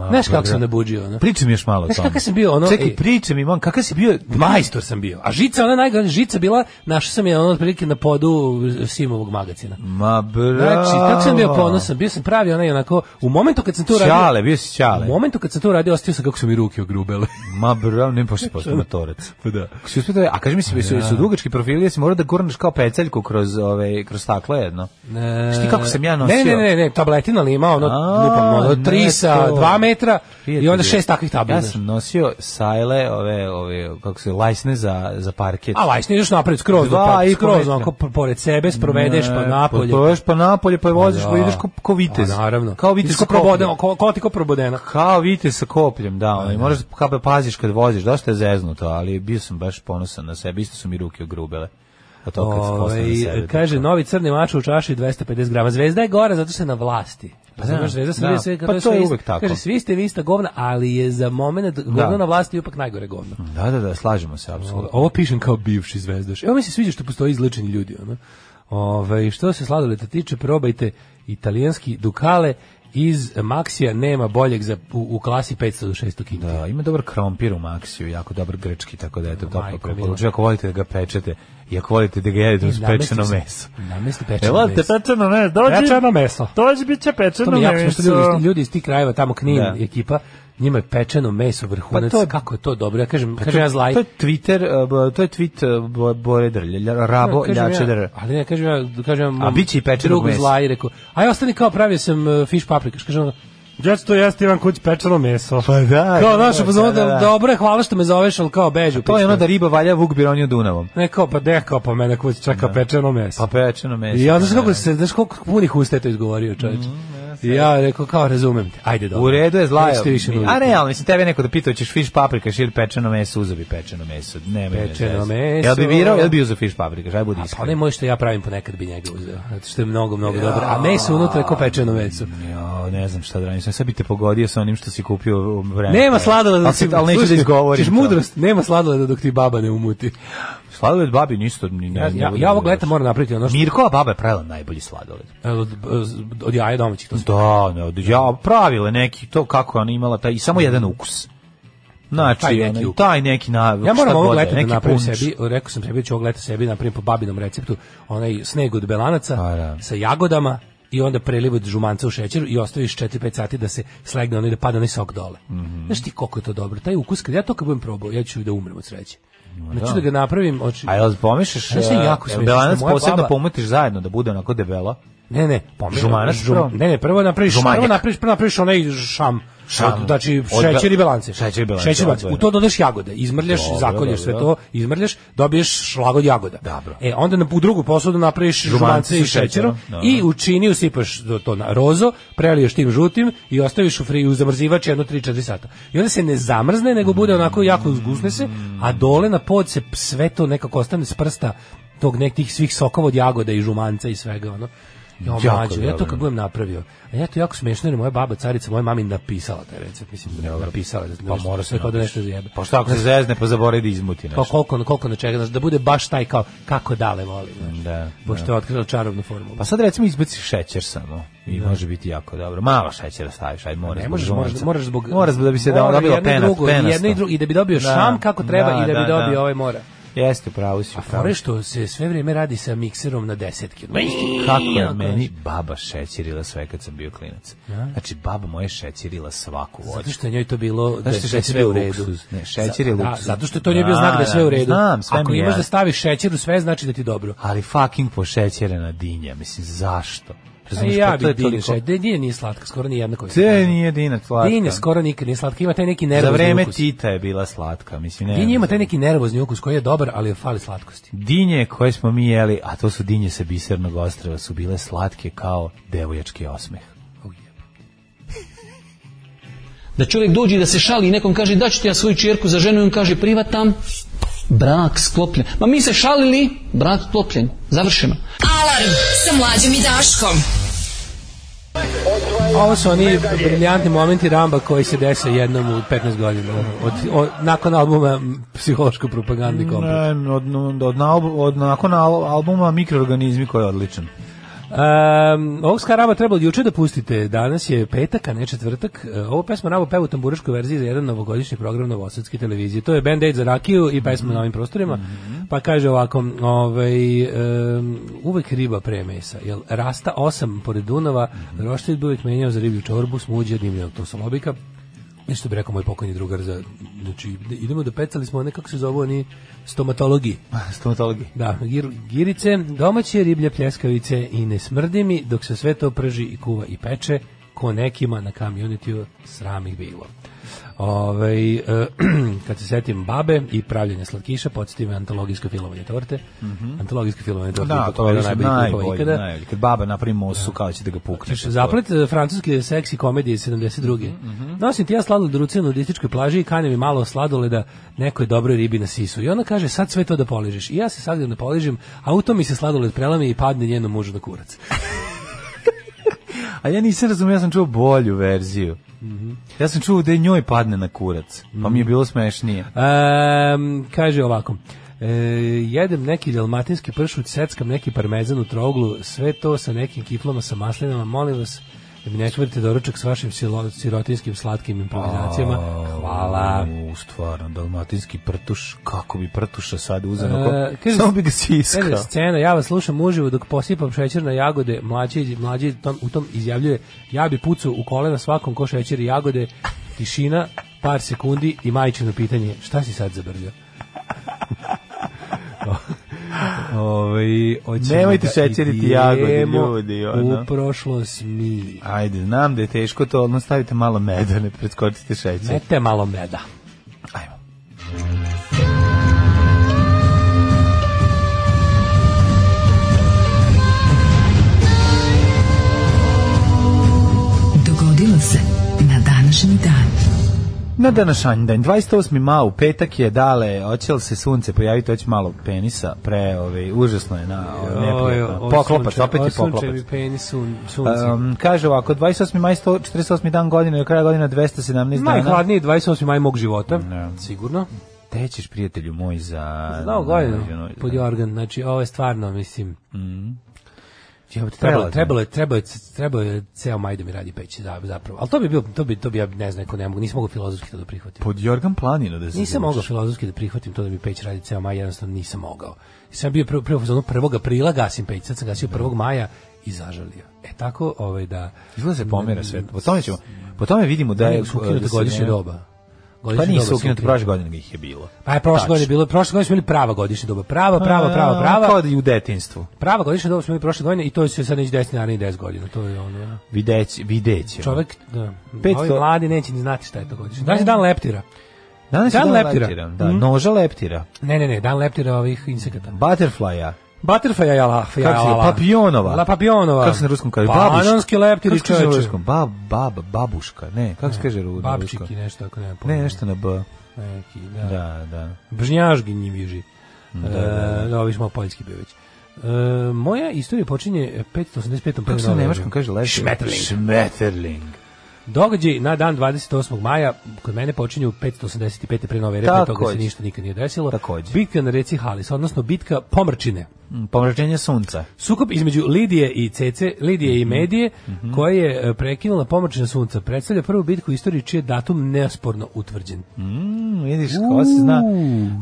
Znaš kako
bre.
sam nabuđio, ono?
Priča mi još malo o
Znaš
tome.
kakav sam bio, ono,
Čekaj,
ej.
priča mi, man, kakav si bio...
Majstor sam bio. A žica, ona najgore, žica bila, našao sam je ono otprilike na podu Simovog magazina.
Ma, bravo.
Znači, tako sam bio ponosan, bio sam pravi onaj onako, u momentu kad sam to uradio,
Da. Ćale, bio si ćale.
u momentu kad sam to uradio, ostio sam kako su mi ruke ogrubele.
Ma, bravo, ne pošto pošto motorac.
Pa da.
Ako si uspio da- Ja. a kaži mi, si, su, su dugački profili, jesi morao da gurneš kao peceljku kroz, ove, kroz staklo jedno?
E,
Šti kako sam ja nosio?
Ne, ne, ne, ne, tabletina ali ima ono,
A,
lupam, ono,
ne,
tri sa
to.
dva metra
Prijatelj
i onda
je.
šest takvih tabli.
Ja
znaš.
sam nosio sajle, ove, ove, kako se, lajsne za, za parket.
A lajsni ideš napred, skroz, do
Dva
pa,
i po
skroz,
metra.
onako, po- pored sebe, sprovedeš pa napolje.
Provedeš pa napolje, pa je voziš, pa
Da.
ideš ko, ko vitez.
A, naravno.
Kao vitez
Ideš ko
sa kopljem.
probodeno, ko, ko ti ko probodena.
Kao vitez sa kopljem, da. Ono, i moraš kako da paziš kad voziš, dosta je zeznuto, ali bio sam baš ponosan na sebe, isto su mi ruke ogrubele. A to kad se postavim na
Ovaj
sebe.
kaže
tako.
novi crni mač u čaši 250 grama. Zvezda je gora zato što je na vlasti. Pa
da,
zvezda
da.
Srbije sve
Pa
kao
to
sve
je
isto.
uvek tako.
Kaže svi ste vi ista govna, ali je za momenat govno
Da.
na vlasti ipak najgore govno. Pa,
Da, da, da, slažemo se, apsolutno.
Ovo pišem kao bivši zvezdaš. Evo mi se sviđa što postoji izličeni ljudi, ono. Ove, što se sladoleta tiče, probajte italijanski Dukale iz Maxija nema boljeg za, u, u klasi 500 do 600 kinti.
Da, ima dobar krompir u Maxiju, jako dobar grčki, tako da eto toplo
Majko
preporučujem. Ako volite da ga pečete i ako volite da ga jedete uz pečeno meso.
Namesti
E,
pečeno
volite
meso.
pečeno meso, dođi.
Pečeno meso.
Dođi, bit će
To
pečeno
mi je jako
meso.
smešno, da ljudi, ljudi iz tih krajeva, tamo Knin,
Da.
ekipa, njima je pečeno meso vrhunac,
Pa to je- Pa
kako je to dobro, ja kažem, kažem ja zlaj.
To je Twitter, uh, bo- to je tweet uh, bo- Bore Drlje, lja- Rabo
Kažem ja, da-
Ljače Drlje.
ali ne, kažem ja, kažem ja, mom
bit će i pečenog
drugu
mesa.
zlaj, rekao, aj ostani kao pravio sam
e,
uh, fiš paprikaš, kažem ono, Ja ću to jesti, imam kuć pečeno meso.
Pa da,
Kao,
da,
znaš, pa
da, da.
dobro je, hvala što me zoveš, ali kao bežu.
To je ono da riba valja Vuk Bironio Dunavom.
Ne, kao, pa de, kao, pa mene kuć čeka pečeno meso.
Pa pečeno meso.
I onda
da,
znaš kako
da. Mm,
se, znaš koliko punih usta je to izgovorio, čovječe. I ja rekao, kao, razumem te, ajde dobro.
U redu je zlaja.
da. Nećete više nuditi.
A realno, mislim, tebe je neko da pitao, ćeš fiš paprikaš ili pečeno meso, uzabi pečeno meso. Ne,
Pečeno meso.
Jel bi birao, jel bi uzao fiš paprikaš, aj budi
Pa onaj
iskren.
moj što ja pravim ponekad bi njega uzeo, zato što je mnogo, mnogo dobro. A meso unutra je kao pečeno meso.
Jo, ne znam šta da radim, sad bi te pogodio sa onim što si kupio u vreme.
Nema sladoleda
Ali, si- ali neću da
slušaj,
izgovorim.
Ćeš
to.
mudrost, nema sladoleda dok ti baba ne umuti.
Sladoled babi nisto ni ne.
Ja,
ne
ja,
volim
ja ovog
da
leta moram napraviti ono što
Mirkova baba je pravila najbolji sladoled.
od, od jaja domaćih. To su
Da, ne, od- ja pravila neki to kako je ona imala taj i samo jedan ukus. Znači,
Taj
taj
neki
neki,
ukus.
taj neki na,
Ja
šta
moram
god
ovog
je,
leta da
neki
napravim
punč.
sebi, rekao sam sebi da ću ovog leta sebi da napravim po babinom receptu, onaj sneg od belanaca
Pa, da.
sa jagodama i onda preliv od žumanca u šećeru i ostaviš 4-5 sati da se slegne ono i da pada onaj sok dole.
Mhm.
Znaš ti koliko je to dobro? Taj ukus, kad ja to kad budem probao, ja ću da umrem od sreće. Znači da ga napravim, oči...
A jel pomešaš?
Znaš šta je jako
e,
smiješno?
Belanac
Što moja
posebno
baba-
pometiš zajedno da bude onako debela.
Ne, ne, pomešaj.
Žumanac prvo?
ne, ne, prvo napraviš,
Žumanjak.
prvo napraviš, prvo napraviš onaj šam.
Šam.
Od- Znači,
Od be-
šećer i belance.
šećer i belance,
Šećer belance. U
odvojeno.
to dodaš jagode. Izmrljaš,
da, Dobro,
zakolješ sve
dobro.
to, izmrljaš, dobiješ šlagod jagoda.
Dobro.
E, onda na, u drugu posudu napraviš žumance i
sa šećerom,
šećerom i u čini usipaš to, to na rozo, preliješ tim žutim i ostaviš u, fri, u zamrzivač jedno 3-4 sata. I onda se ne zamrzne, nego bude onako jako uzgusne se, a dole na pod se sve to nekako ostane s prsta tog nekih svih sokova od jagoda i žumanca i svega, ono. Jo,
Jako
mlađo, ja to
dobro.
kako budem napravio. A ja to jako smešno, jer je moja baba carica, moja mami napisala taj recept, mislim, da napisala, da, pa mora se kao da nešto zajebe.
Pa šta ako se zezne pa zaboravi da izmuti
Pa
nešto?
koliko, koliko na čega, znaš, da bude baš taj kao kako dale voli, znaš.
Da,
Pošto je otkrila čarobnu formulu.
Pa sad recimo izbaci šećer samo i može biti jako dobro. Malo šećera staviš, aj mora.
Da. Ne
zbog
možeš, moraš,
žumanca.
moraš zbog...
Mora zbog da bi se da
mora
ona bila
jedno i
penast,
drugo, i
penasto.
jedno i drugo, i da bi dobio
Da,
šam kako treba i da bi dobio ovaj mora.
Jeste, pravo si. u
A
pravu.
fore što se sve vrijeme radi sa mikserom na desetke.
Kako je meni baba šećerila sve kad sam bio klinac. Znači, baba moja je šećerila svaku voću.
Da. Zato što je njoj to bilo da
Zato
je
što je
šećer
sve
bio u redu.
luksuz. Ne, šećer je
Za- da,
luksuz.
zato što je to njoj bio znak da je sve u redu.
Da, znam, sve
Ako
mi je
imaš da
jasno.
staviš šećer u sve, znači da ti je dobro.
ali fucking pošećerena dinja, mislim, zašto?
A i
Razumiješ,
ja
pa to
bih
je
dinje
toliko...
šećer. Dinje nije slatka, skoro ni jedna koja
Te nije dinja slatka.
Dinje skoro nikad nije slatka, ima taj neki
Za
nervozni
vreme
ukus.
Tita je bila slatka, mislim, ne.
Dinje ima taj neki nervozni ukus koji je dobar, ali joj fali slatkosti.
Dinje koje smo mi jeli, a to su dinje sa bisernog ostrava, su bile slatke kao devojački osmeh.
Da čovjek dođe i da se šali i nekom kaže da ću ti ja svoju čerku za ženu i on kaže privatam, brak sklopljen. Ma mi se šalili, brak sklopljen, završeno.
Alarm sa mlađom i Daškom.
Ovo su oni briljantni momenti Ramba koji se dese jednom u 15 godina. Od, od- nakon albuma m, Psihološko propagandni
Da,
komplet.
od, od, od, nakon albuma Mikroorganizmi koji je odličan.
Um, ovog ska Raba trebalo juče da pustite. Danas je petak, a ne četvrtak. E, Ovo pesma Rabo peva u tamburaškoj verziji za jedan novogodišnji program Novosadske televizije. To je Band Aid za rakiju i pesma na ovim prostorima. Pa kaže ovako, ovaj, um, uvek riba pre mesa. Jel, rasta osam pored Dunava, mm bi uvek menjao za riblju čorbu, smuđe, dimljenog tosolobika. Nešto bi rekao moj pokojni drugar za... Znači, idemo da pecali smo one, kako se zovu oni stomatologi.
Stomatologi.
Da, gir- girice, domaće riblje pljeskavice i ne smrdi mi dok se sve to prži i kuva i peče, ko nekima na community sramih bilo. Ovaj, eh, kad se setim babe i pravljenja slatkiša, podsjetim antologijsko filovanje torte. Antologijsko filovanje torte
Mhm. Da,
ipak
to je
jedan od
najbolji,
najboljih likova
najbolji,
ikada.
najbolji. Kad baba napravi mosu, kao će da ga pukneš.
Zaplet eh, francuske seksi komedije iz 72. Nosim ti ja sladoled u ruci na nudističkoj plaži i kane mi malo sladoleda nekoj dobroj ribi na sisu. I ona kaže, sad sve to da poližeš. I ja se sad da poližem, a u to mi se sladoled prelami i padne njenom mužu na kurac.
A ja nisam razumio, ja sam čuo bolju verziju. Ja Mhm. sam čuo da je njoj padne na kurac, pa mi je bilo smešnije.
Ehm, kaže ovako, E, jedem neki dalmatinski pršut, seckam neki parmezan u troglu, sve to sa nekim kiflama, sa maslinama, molim vas da mi ne kvrte doručak s vašim silo- sirotinskim slatkim improvizacijama. Hvala.
U, stvarno, dalmatinski prtuš, kako bi prtuša sad uzeo,
E,
e,
kaže-
samo bi ga siskao.
Kaže, scena, ja vas slušam uživo dok posipam šećer na jagode, mlađi, mlađi tom, u tom izjavljuje, ja bi pucao u kolena svakom ko šećer i jagode, tišina, par sekundi i majčino pitanje, šta si sad zabrljao? ovaj, Ove,
Nemojte šećeriti jagode, ljudi, ono.
da U prošlost mi.
Ajde, znam da je teško to, odmah stavite malo meda, ne preskočite šećer.
Mete malo meda.
Ajmo.
Dogodilo se na današnji dan.
Na današnji dan, 28. maj, u petak je dale, hoće li se sunce pojaviti, hoće malo penisa, pre, ove, užasno je na, ove, neprijatno.
Oj,
Poklopac,
osunče-
opet je
osunče
poklopac.
mi penis sun, sunce.
Um, kaže ovako, 28. maj, 148. dan godine, do kraja godina 217 dana.
Najhladniji 28. maj mog života, sigurno.
Te ćeš, prijatelju moj, za...
Znao godinu,
za-
pod jorgan, znači ovo je stvarno, mislim,
Mm-hmm. Jebote,
trebalo,
prelazno.
trebalo, je- trebalo, je- trebalo je ceo maj da mi radi peći za- zapravo, ali to bi bio, to bi, to bi ja ne znam, ko ne mogu, nisam mogao filozofski to da prihvatim.
Pod Jorgan Planino da se
Nisam
zavučeš.
mogao filozofski da prihvatim to da mi peć radi ceo maj, jednostavno nisam mogao. Sam bio prvo, prvo, prvo, 1. aprila gasim peć, sad sam
Da.
gasio 1. maja i zažalio. E tako, ovaj, da...
Izgleda se pomera sve. Po tome ćemo, po tome vidimo da je...
Da, su ukinute
da se
godišnje
ne-
doba.
Pa
Godišnje doba
nisu
su
ukinute,
ukinute.
prošle godine ih je bilo.
Pa je prošle godine bilo, prošle godine smo imali prava godišnja doba. Prava, prava, prava, prava.
Kao da i u detinstvu.
Prava godišnja doba smo imali prošle godine i to će sad neći desiti narednih 10 godina. To je ono, ja.
Videći, videći.
Čovek, da,
500
ovi mladi neće ni znati šta je to godišnje. Danas je dan leptira.
Danas je
Dan
dan
leptira. Mhm.
leptira. Da, noža leptira.
Ne, ne, ne, dan leptira ovih insekata.
Butterflya.
Butterfly jala,
Kako se, papionova.
Pa La Da, papionova.
Kako se na ruskom kaže?
Bananski leptiri
Kako se kaže na
čoveče.
ruskom? Bab, bab, babuška. Ne, kako se kaže ru- na ruskom?
Babčiki, nešto ako nema pojma.
Ne, nešto na B.
Neki, da.
Da, da.
Bžnjažgi njiviži. Da, da, da. ovi smo malo poljski bio već. E, moja istorija počinje 585.
Kako
prve
se na
nove
nemačkom
godine.
kaže leptira?
Schmetterling.
Schmetterling.
Događaj na dan 28. maja kod mene počinju 585. pre nove ere, pre toga se
Takođe.
ništa nikad nije desilo.
Takođe.
Bitka na reci Halis, odnosno bitka Pomrčine.
Mm, Pomračenje sunca.
Sukob između Lidije i Cece, Lidije i
Mhm.
Medije, koja je e, prekinula Pomrčina sunca, predstavlja prvu bitku u istoriji čiji je datum neosporno utvrđen.
Mm, vidiš ko se zna.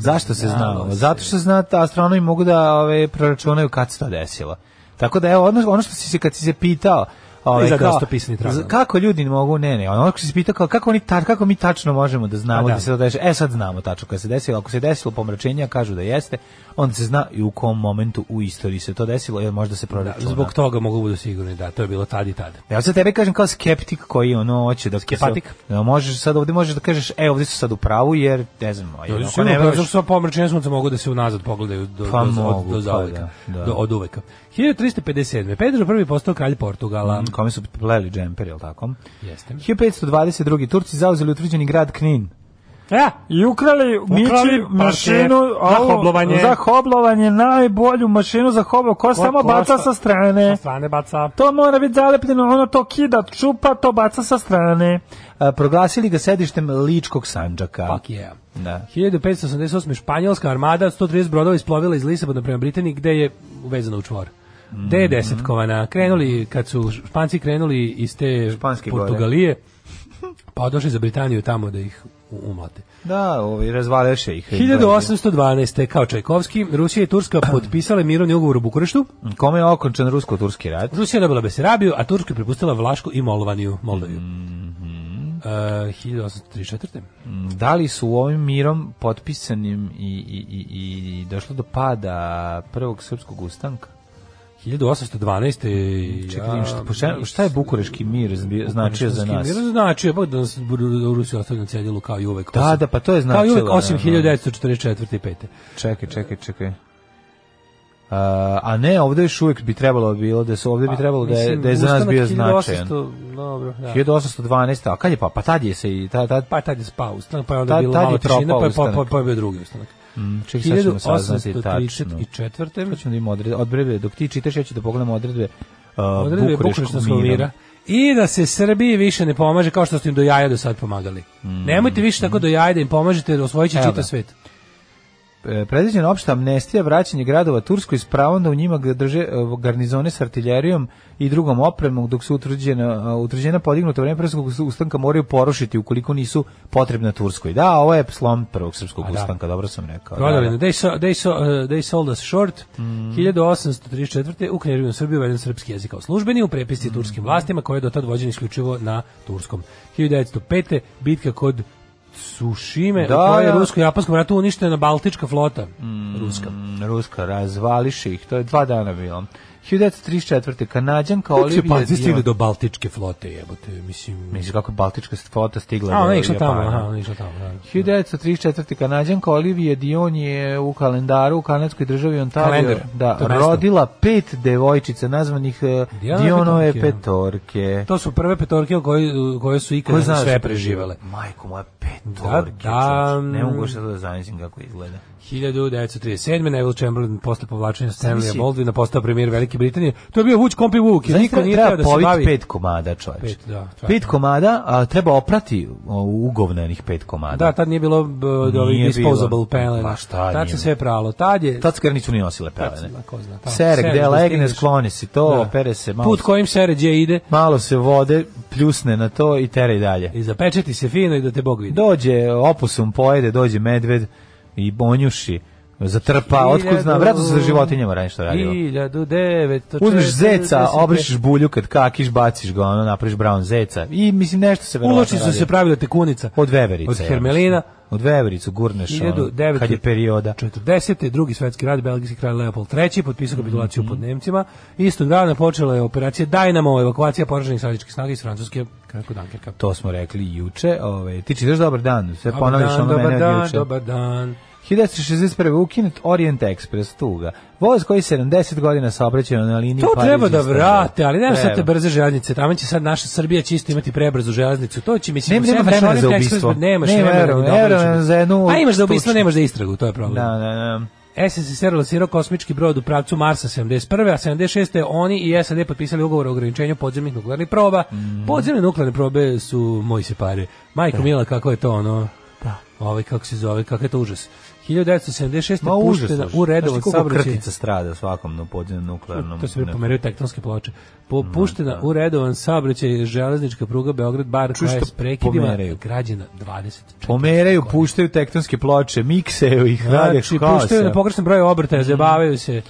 Zašto
da,
se znalo? Zato što zna da astronomi mogu da ove proračunaju kad se to desilo. Tako da evo ono, ono što si se kad si se pitao
Ne
Ove,
znam da li
kao,
su to pisani tragovi.
za- kako ljudi mogu, ne, ne, ono što si pitao, kao, kako, oni ta, kako mi tačno možemo da znamo
Pa da.
da. se to dešava, e sad znamo tačno kada se desilo, ako se desilo pomračenja, kažu da jeste, onda se zna i u kom momentu u istoriji se to desilo, jer možda se
Da,
proračuna.
zbog toga mogu budu sigurni da to je bilo tad i tad.
Ja sad tebe kažem kao skeptik koji ono hoće da
Skepatik.
Da možeš sad ovde možeš da kažeš e ovde su sad u pravu jer ne znam,
Ljudi
ako
Da, su
pa ne
imali
veruješ-
pravo, Pa zato što pomrčenje sunca mogu da se unazad pogledaju do,
Pa
do, do,
mogu,
do
pa
zauveka,
da, da.
do- od uveka. 1357. Pedro I postao kralj Portugala.
Pa, kome su pleli džemper, jel tako?
Jeste.
1522. Turci zauzeli utvrđeni grad Knin.
Ja,
I ukrali
Ukrali
Mići
parket
mašinu
za
au,
hoblovanje.
za hoblovanje, najbolju mašinu za hoblo, ko samo
koja
baca
šta-
sa strane.
strane baca.
To mora biti zalepljeno, ono to kida, čupa, to baca sa strane. A, proglasili ga sedištem Ličkog Sanđaka.
Fuck yeah.
Da.
1588. Španjolska armada 130 brodova isplovila iz Lisabona prema Britaniji gde je uvezana u čvor. Gde
Mhm.
je desetkovana. Krenuli, kad su Španci krenuli iz te
Španske gore.
Portugalije, pa došli za Britaniju tamo da ih u- umlate.
Da, ovi, razvaljaše ih.
1812. kao Čajkovski, Rusija i Turska potpisale mirovni ugovor u Bukureštu.
Kome je okončan rusko-turski rat?
Rusija je dobila Besarabiju, a Turska je prepustila Vlašku i Molvaniju, Moldaviju.
Mhm.
E, 1834.
Da li su ovim mirom potpisanim i, i, i, i došlo do pada prvog srpskog ustanka?
1812. je-
Čekaj, vidim šta, po šta- šta je bukureški mir zbi- značio za nas?
Mir znači, bog da nas Bur- Rusija ostavlja na cedilu kao i uvek.
Da,
osim-
da, pa to je
Kao i uvek,
značilo,
osim
da, da.
1944. i 5.
Čekaj, čekaj, čekaj. A, a ne, ovde još uvijek bi trebalo bilo da su
Pa,
ovde bi trebalo da je, da je za nas bio značajan.
Dobro, da.
1812. A kad je pa? Pa tad je se i tad, tad
Pa je tad je spao ustanak, pa je onda
Tad-
bilo
tad je
malo tišina,
propao
pa je, pa, pa,
ustanak.
pa je bio drugi ustanak. Mm,
čekaj, sad ćemo saznati tačno.
1834.
Sad ćemo da imamo odredbe, odredbe. Dok ti čitaš, ja ću da pogledam odredbe, uh,
odredbe
bukureškog
Bukureštanskog mira. I da se Srbiji više ne pomaže kao što ste im do jaja do sad pomagali. Nemojte više tako do jaja da im pomažete jer osvojit će
Mm. Evo
čitav
ga.
svet.
e, predviđena opšta amnestija vraćanje gradova Turskoj s pravom da u njima ga drže e, garnizone s artiljerijom i drugom opremom dok su utvrđena, a, utvrđena podignuta vreme prvog ustanka moraju porušiti ukoliko nisu potrebna Turskoj. Da, ovo je slom prvog srpskog
A da.
ustanka, dobro sam rekao. Da, da. Mm.
Vladavina. They, so, they, so, uh, they sold us short. 1834. u Kneževinu Srbiju uveden srpski jezik kao službeni u
Mm.
prepisci turskim vlastima koje je do tad vođen isključivo na turskom. 1905. bitka kod Sušime,
Da,
u kojoj je
da. Mm.
rusko-japanskom ratu uništena baltička flota ruska.
Ruska, razvališe ih, to je dva dana bilo. 1934. Kanadjanka
Kako su
Olivia
Japanci
Dion-
stigli do baltičke flote, jebote, mislim...
Misliš kako je baltička flota stigla
A,
do
ona je išla tamo,
Japana?
aha, ona je išla tamo, da.
1934. kanadjanka Olivia Dion je u kalendaru u kanadskoj državi Ontario
Kalendar,
da,
to je mesto.
rodila pet devojčica nazvanih eh,
Dionove
Dionove
petorke.
petorke.
To su prve petorke koje, koje su
Ko
ikada
zna što
sve
je
preživale.
Majko moja petorke.
Da, da.
čovječe, Ne mogu što da zamislim kako izgleda.
1937. Neville Chamberlain posle povlačenja Stanleya
Zamisli.
Baldwina postao premijer Velike Britanije. To je bio Vuč Kompi Vuk, jer
Znaš
niko
treba-
nije
treba
teo da se
poviti
bavi.
pet komada, čovječ.
Pet, da, stvarno.
pet komada, a treba oprati o, ugovnenih pet komada.
Da, tad nije bilo b, od ovih
Nije
disposable
bilo.
pelena.
Ma šta
tad
nije.
se sve pralo. Tad je...
Tad skar nisu ni nosile
tad se-
pelene.
ma ko zna, tamo.
Sere,
Sere,
gde
da
legne,
stigneš. Da.
skloni se to, opere se malo.
Put kojim se ređe ide
malo se vode, pljusne na to i tere i dalje.
i zapečeti se fino i da te Bog vidi.
Dođe opusum pojede, dođe medved i bonjuši, zatrpa,
Hiljadu-
otkud zna, vratno se za životinjama radi što radilo.
1900...
Uzmeš
da
zeca, obrišiš bulju kad kakiš, baciš ga, ono, napraviš brown zeca. I mislim nešto se verovatno
Uloči su se
radilo.
pravile tekunica.
od veverice.
Od hermelina.
Od vevericu gurneš, ono,
1900
kad je perioda.
40. drugi svetski rat, belgijski kralj Leopold III potpisao kapitulaciju
Mhm.
pod Nemcima. Istog dana počela je operacija Dynamo, evakuacija poraženih savezničkih snaga iz Francuske kako Dunkerka.
To smo rekli juče. Ove, ti čitaš dobar dan, sve
Dobar
ponavljaš
dan,
Da ono mene
dobar
od
dan,
juče.
dobar dan.
1961. ukinut Orient Express tuga. Voz koji 70 godina saobraćao na liniji
To
Pariz
treba da
Istanbul.
vrate, ali nema sad te
Treba.
brze željeznice. Tamo će sad naša Srbija čisto imati prebrzu željeznicu. To će mislim
Nema- nema
sjedneš
vremena
Orient
za
Express,
ubistvo.
Nemaš
Nema
vremena
vremena,
ni da
vremena
obračunaš.
za jednu
A imaš za ubistvo,
tučnu.
nemaš za istragu, to je problem.
Da, da, da.
SSSR lansirao kosmički brod u pravcu Marsa 71. a 76. oni i SAD potpisali ugovor o ograničenju podzemnih nuklearnih proba.
Mhm.
Podzemne nuklearne probe su moji se pare.
Da.
Majko Mila, kako je to ono? Da. Ovaj, kako se zove, kakav je to užas. 1976.
Ma da, užasno.
puštena u redovan saobraćaj.
krtica strada svakom na podzemnom nuklearnom.
To se mi
ne- Mm, da.
pomeraju tektonske ploče. Po, puštena u redovan saobraćaj železnička pruga Beograd-Bar koja je
što
s prekidima
pomeraju.
građena 24
Pomeraju, puštaju tektonske ploče, mikseju ih, rade
Znači,
haos.
puštaju na pogrešan broj
Mhm.
obrtaja, zabavaju se.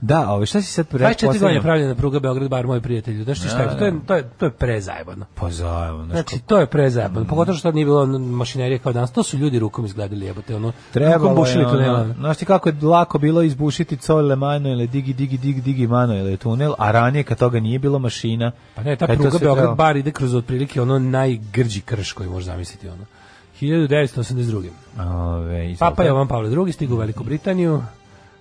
Da, ove, šta si sad pre-
24 godine
posljednja-
pravljena pruga Beograd bar moj prijatelju. Znaš ti šta
Da,
je to? to je to je to je prezajebano.
Pa zajebano, znaš
Znači to je prezajebano. Pogotovo što tad nije bilo ono mašinerije kao danas. To su ljudi rukom izgledali jebote ono. rukom
Trebalo je,
bušili
ono,
tunele.
znaš ti kako je lako bilo izbušiti Cole Mano ili Digi Digi Digi Digi Mano ili tunel, a ranije kad toga nije bilo mašina.
Pa ne, ta
kad je to
pruga
sve trebalo-
Beograd bar ide kroz otprilike ono najgrđi krš koji možeš zamisliti ono. 1982.
Ove, izvolite.
Papa Jovan Pavle II stigao u Veliku Britaniju.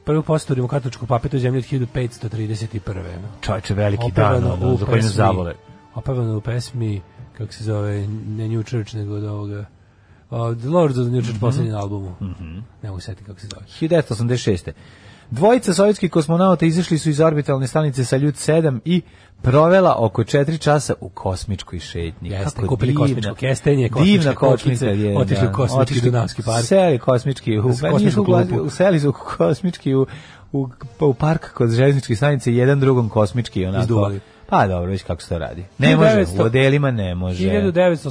Prvi postor katoličkog papetu u zemlji od 1531.
Čovječe, veliki dan, ono, za koji nas zavole.
opevano u pesmi, kako se zove, ne New Church, nego od ovoga, uh, The Lords of the New
Mhm.
Church, mm albumu. Ne mogu setiti kako se zove.
1986. Dvojica sovjetskih kosmonauta izašli su iz orbitalne stanice Saljut 7 i provela oko 4 časa u kosmičkoj šetnji.
Jeste, kupili kosmičko kestenje, kosmičke
divna
kočnice,
kosmička je, da,
otišli u kosmički
otišli-
dunavski park.
Seli kosmički u, pa
S kosmičku
nisu ulazi-
klupu.
u seli su kosmički u, u, pa u park kod železničke stanice, jedan drugom kosmički onako.
Izduvali.
Pa dobro, već kako se to radi. Ne može,
1900
u odelima ne može.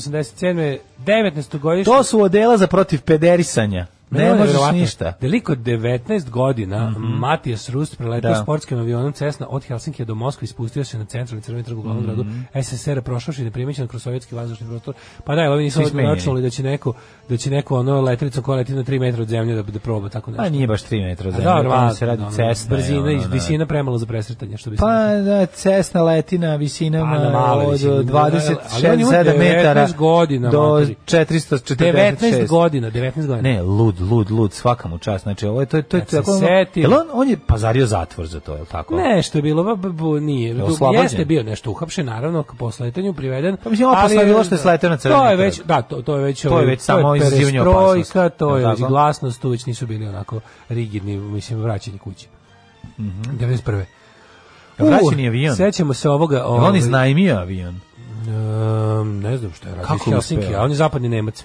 1987. 19. godišnje.
To su odela za protiv pederisanja. Ne možeš ništa. Mhm.
Deliko 19 godina Matijas Rust preletao
Da.
sportskim avionom Cessna od Helsinkija do Moskve i spustio se na centralni crveni trg u glavnom
Mhm.
gradu SSR-a prošavši neprimećeno kroz sovjetski vazdušni prostor. Pa da, ali nisu
Svi smenjeni.
računali da će neko da će neko ono letelica koja leti na 3 metra od zemlje da da proba tako nešto.
Pa nije baš 3 metra
A
zemlje,
dobro,
tamo
a,
se radi
ono,
cesta.
Da, Brzina
je
i
ono,
visina premalo za presretanje, što bi se
da, Pa da, cesna leti na visinama
Pa, na male
od
visine. Ali on
26
ima
7 metara
19 godina,
do
materi. 19
446.
godina, 19 godina.
Ne, lud, lud, lud, svaka mu čast. Znači, ovo je to, je- to, je-
Kad
to, je
se
ono-
setim.
Jel on, on je pazario zatvor za to, je li tako?
Nešto je bilo, ba, ba, bu- nije. Du-
oslobođen?
Jeste bio nešto uhapšen, naravno, k- po sletanju priveden.
Pa mislim, ovo
ali-
posle bilo što je sleteo na crveni
To je
trg.
već, da, to, to je već,
je
ovaj,
već samo izazivanje
perestrojka,
opasnosti.
To je
Jel
već
tako?
glasnost, tu već nisu bili onako rigidni, mislim, vraćeni kući. 91.
Vraćen je Mhm. avion.
Sećamo se ovoga.
Jel on
ovaj,
iznajmio avion?
em, ne znam što je radio.
Kako
Kako Helsinki,
uspeo?
a on je zapadni Nemac.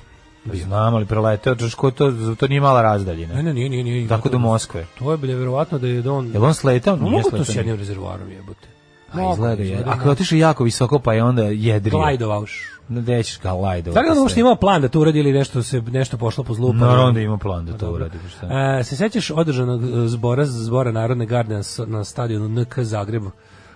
Pa Znam, ali preleteo, to, što je to, to nije mala razdaljina.
Ne, ne, nije, nije, nije.
Tako da do Moskve.
To je bilo verovatno da je da on...
Jel on sletao?
No,
Nije
mogu to
sletao.
s jednim rezervoarom jebote.
A Pa izgleda je. Ako je
Ako ti
otišao jako visoko, pa je onda jedrio.
glajdovauš.
Gde ćeš ga lajdo?
Da li on uopšte imao plan da to uradi ili nešto se nešto pošlo po zlu? pa-
Naravno da ima plan da to
Dobro.
uradi. pa šta?
E, se sećaš održanog e, zbora zbora Narodne garde na, s- na stadionu NK Zagreb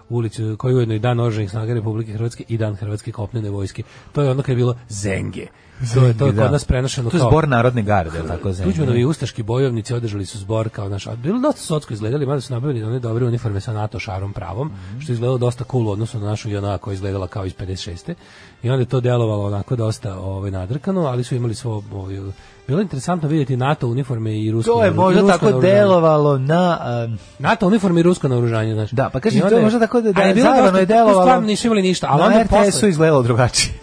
ulicu koji je ujedno i dan oružanih snaga Republike Hrvatske i dan Hrvatske kopnene vojske. To je ono kad je bilo Zenge. To je to je
Da.
kod nas prenošeno
To je
kao-
zbor narodne garde, jel tako zemlje.
Tuđmanovi ustaški bojovnici održali su zbor kao naš. a Bilo dosta socko izgledali, mada su nabavili one dobre uniforme sa NATO šarom pravom,
Mhm.
što je izgledalo dosta cool u odnosu na našu JNA koja je izgledala kao iz 56. I onda je to delovalo onako dosta ovaj, nadrkano, ali su imali svo... Ovaj, bilo je interesantno vidjeti NATO uniforme i rusko
To je
naoru- i
možda
rusko
tako
naoružanje.
delovalo na... um,
NATO uniforme i rusko naoružanje, znaš.
Da, pa kažem,
I onda
to je možda tako da- da
A bilo
zajebano
dosta-
je delovalo.
tu Stvarno nisu imali ništa, ali onda
na
je
RTS-u
posle,
izgledalo drugačije.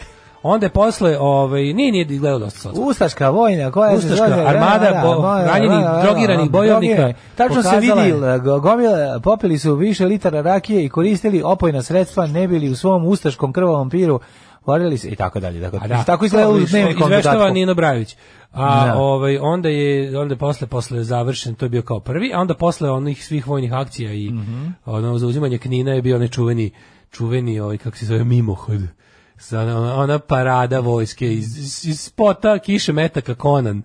onda je posle, ovaj, nije, nije izgledalo dosta socko.
Ustaška vojna, koja da, je...
Ustaška armada bo- ranjenih,
da,
drogiranih bojovnika
Tačno se
pokazala
vidi,
je-
go- gomila, popili su više litara rakije i koristili opojna sredstva, ne bili u svom ustaškom krvavom piru, varili se i tako dalje. Tako,
A
da. tako izgledalo u dnevnikom
Izveštava
dodatku.
Nino Brajović. A
Da.
ovaj onda je onda je posle posle završen to je bio kao prvi, a onda posle onih svih vojnih akcija i
Mhm.
ono zauzimanje Knina je bio onaj čuveni čuveni ovaj kako se zove mimohod. Sa ona, ona parada vojske iz, iz, iz spota kiše metaka Conan.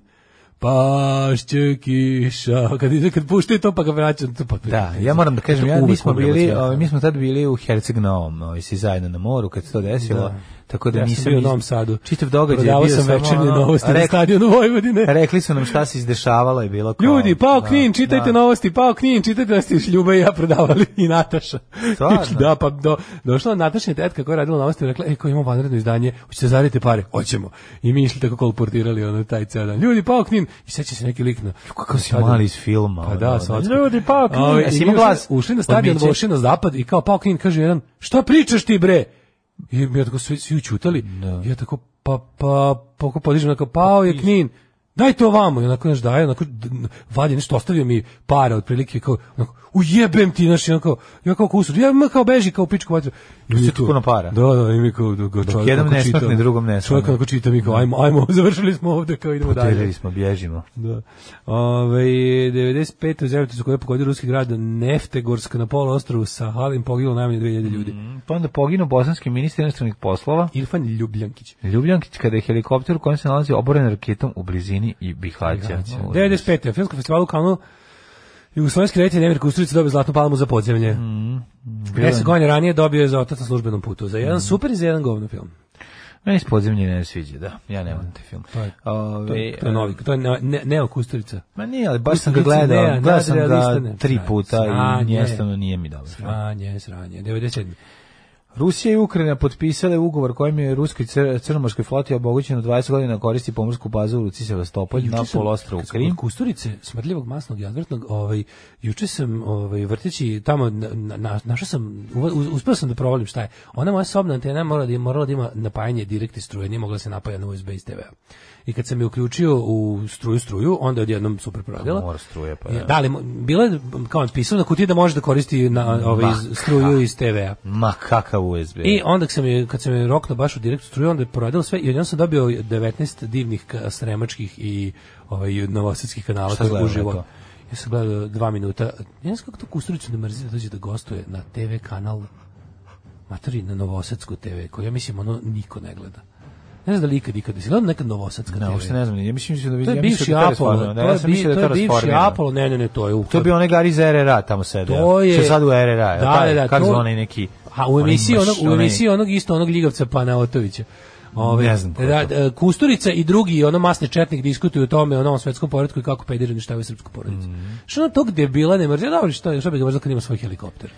Pašće kiša. Kad, ide- kad puštaju to pa ga vraćam. To pa,
Da, ja moram da kažem,
To
ja, mi
uvek
smo
umrem od
bili,
smeha.
ovaj, mi smo tad bili u Herceg Novom, ovaj, svi zajedno na moru kad se to desilo, tako da
Ja sam
nisam
bio u
iz-
Novom Sadu.
Čitav događaj je
Prodavao
bio
sam
samo
večernje
ono,
novosti na
rekli-
stadionu Vojvodine.
Rekli su nam šta se izdešavalo i bilo kao...
Ljudi, pao
da,
Knin, čitajte
da.
novosti, pao Knin, čitajte da ste Ljuba i ja prodavali i Nataša.
Stvarno?
da, pa do, došla Natašina tetka koja je radila novosti i rekla, ej, ko ima vanredno izdanje, hoćete zariti pare? Hoćemo. I mi išli tako kolportirali ono taj ceo dan. Ljudi, pao Knin. I seća se neki lik na...
Kako si mali iz filma.
Pa
ono,
da,
ono,
svatko.
Ljudi, pao Knin.
Ovaj,
Jesi
i mi
imao glas?
Ušli, ušli na stadion,
Odmiće?
ušli na zapad i kao pao Knin, kaže jedan, šta pričaš ti bre? I mi ja tako svi, svi učutali.
Da.
I ja tako, pa, pa, pa, pa podižem, onako, pao je Knin. Daj to vamo, i onako naš daje, onako d- n- vadi nešto, ostavio mi para otprilike, kao, onako, ujebem ti, znaš, i onako, ja kao kusur, ja ma kao beži, kao pičku vatru. I mi
si
je
tu puno para.
Da, da, i mi kao, da, kao čovjek,
jednom
onako
ne
čita,
smakne, drugom ne Pa
Čovjek
smakne.
onako čita mi kao, ajmo, ajmo, završili smo ovde, kao idemo dalje.
Podelili smo, bježimo.
Da. Ove, 95. u zemljotu su koje pogodio ruski grad Neftegorsk na poluostrovu sa Halim poginulo najmanje 2000 ljudi.
Pa onda poginu bosanski ministar inostranih poslova,
Irfan Ljubljankić.
Ljubljankić, kada je helikopter u kojem se nalazi oboren raketom u blizini i Bihaća.
95. u filmskom festivalu Kanu Jugoslovenski reditelj Nemir Kusturica dobio zlatnu palmu za podzemlje. Mm, 10 godina ranije dobio je za otac na službenom putu. Za jedan super i za jedan govno film.
Meni se podzemlje ne sviđa, da. Ja ne volim te film.
To Pa je- To,
Ove,
je- to je novi, to je ne, ne, Neo Kusturica.
Ma nije, ali baš sam ga
Mislim,
gledao,
ne,
gledao sam ga
nadrealista ne.
tri puta i
Sranje.
jednostavno nije mi dobro.
Sranje, sranje. 97.
Rusija i Ukrajina potpisale ugovor kojim je ruskoj cr crnomorskoj floti obogućeno 20 godina koristi pomorsku bazu u Luci Sevastopolj na
Juče sam,
poluostrovu
kad sam
Krim.
kod Kusturice, smrdljivog, masnog i odvrtnog, ovaj, juče sam ovaj, vrteći tamo, na, na, našao sam, uva- uz- uspeo sam da provalim šta je. Ona moja sobna antena mora da, morala da ima napajanje direktne struje, nije mogla da se napaja na USB iz TV-a. I kad sam je uključio u struju struju, onda je odjednom super proradila.
Mora struje, pa
I-
ja.
Da, ali mo- bila je, kao pisao na kutiji da može da koristi na, ovaj, iz- struju iz TV-a.
Ma kakav USB.
I onda sam je, kad sam je rokno baš u direktu struju, onda je poradilo sve i odjednom sam dobio 19 divnih ka- sremačkih i ovaj, novosadskih kanala
Šta
koji
gledao
uživo.
neko?
Ja sam gledao dva minuta. Ja ne znam kako to Kusturicu ne mrzi da dođe da gostuje na TV kanal Matori na Novosadsku TV, koju ja mislim ono niko ne gleda. Ne znam da li ikad ikad jesi gledao nekad Novosadska
Ne,
TV.
uopšte ne znam, ja mislim da
to
vidim,
je
ja
bivši
mislim da je
Apollo, to
rasformirano. Da, ja
je, bi,
sam
to
mislio da
je
je to
bivši
rasformirano.
Apollo, ne, ne, ne, to je u
To bi onaj Gari iz RRA tamo sedeo.
To je-
Što sad u RRA,
Da,
taj,
da, da,
Kako
to-
zvone neki...
A u
onaj
emisiji,
mrš,
onog, u
onaj-
emisiji onog isto onog Ligavca Panaotovića. Ove,
Ne znam ko je
da,
to.
da, Kusturica i drugi, ono masni četnik, diskutuju o tome, o novom svetskom poredku i kako pederi uništavaju srpsku porodicu. Što ono tog debila ne mrzi, A dobro, što, što bi ga mrzio kad ima svoj helikopter.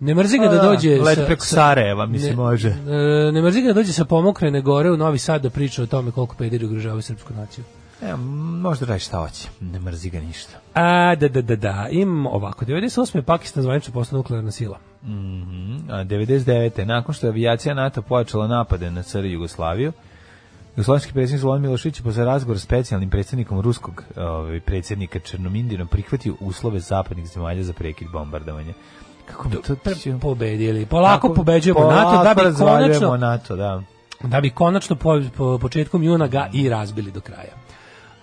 Ne mrzi ga
Pa
da
da,
dođe...
leti
sa-
preko
sa-
Sarajeva, mislim, može.
e, Ne mrzi ga da dođe sa pomokrene gore u Novi Sad da priča o tome koliko pederi ugrožavaju srpsku naciju.
E, možda radi šta hoće, ne mrzi ga ništa.
A, da, da, da, da, imam ovako. 98. je Pakistan zvanično postao nuklearna sila.
A, 99. nakon što je avijacija NATO pojačala napade na CR Jugoslaviju, Jugoslovenski predsjednik Slobodan Milošić je posle razgovor s specijalnim predsjednikom ruskog ovaj, predsjednika Černomindina prihvatio uslove zapadnih zemalja za prekid bombardovanja. Kako mi to...
Pre- Pobedili. Polako
Kako-
pobeđujemo NATO da
Polako
bi
razvaljujemo
konačno
NATO, da.
da bi konačno po, po početkom juna ga i razbili do kraja.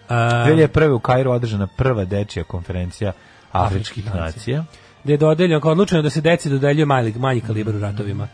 A,
2001. u Kairu održana prva dečija konferencija afričkih
Afričkih nacija.
nacija.
gde je dodeljeno, kao odlučeno da se deci dodeljuje mali, manji kalibar u
Mm-hmm.
ratovima.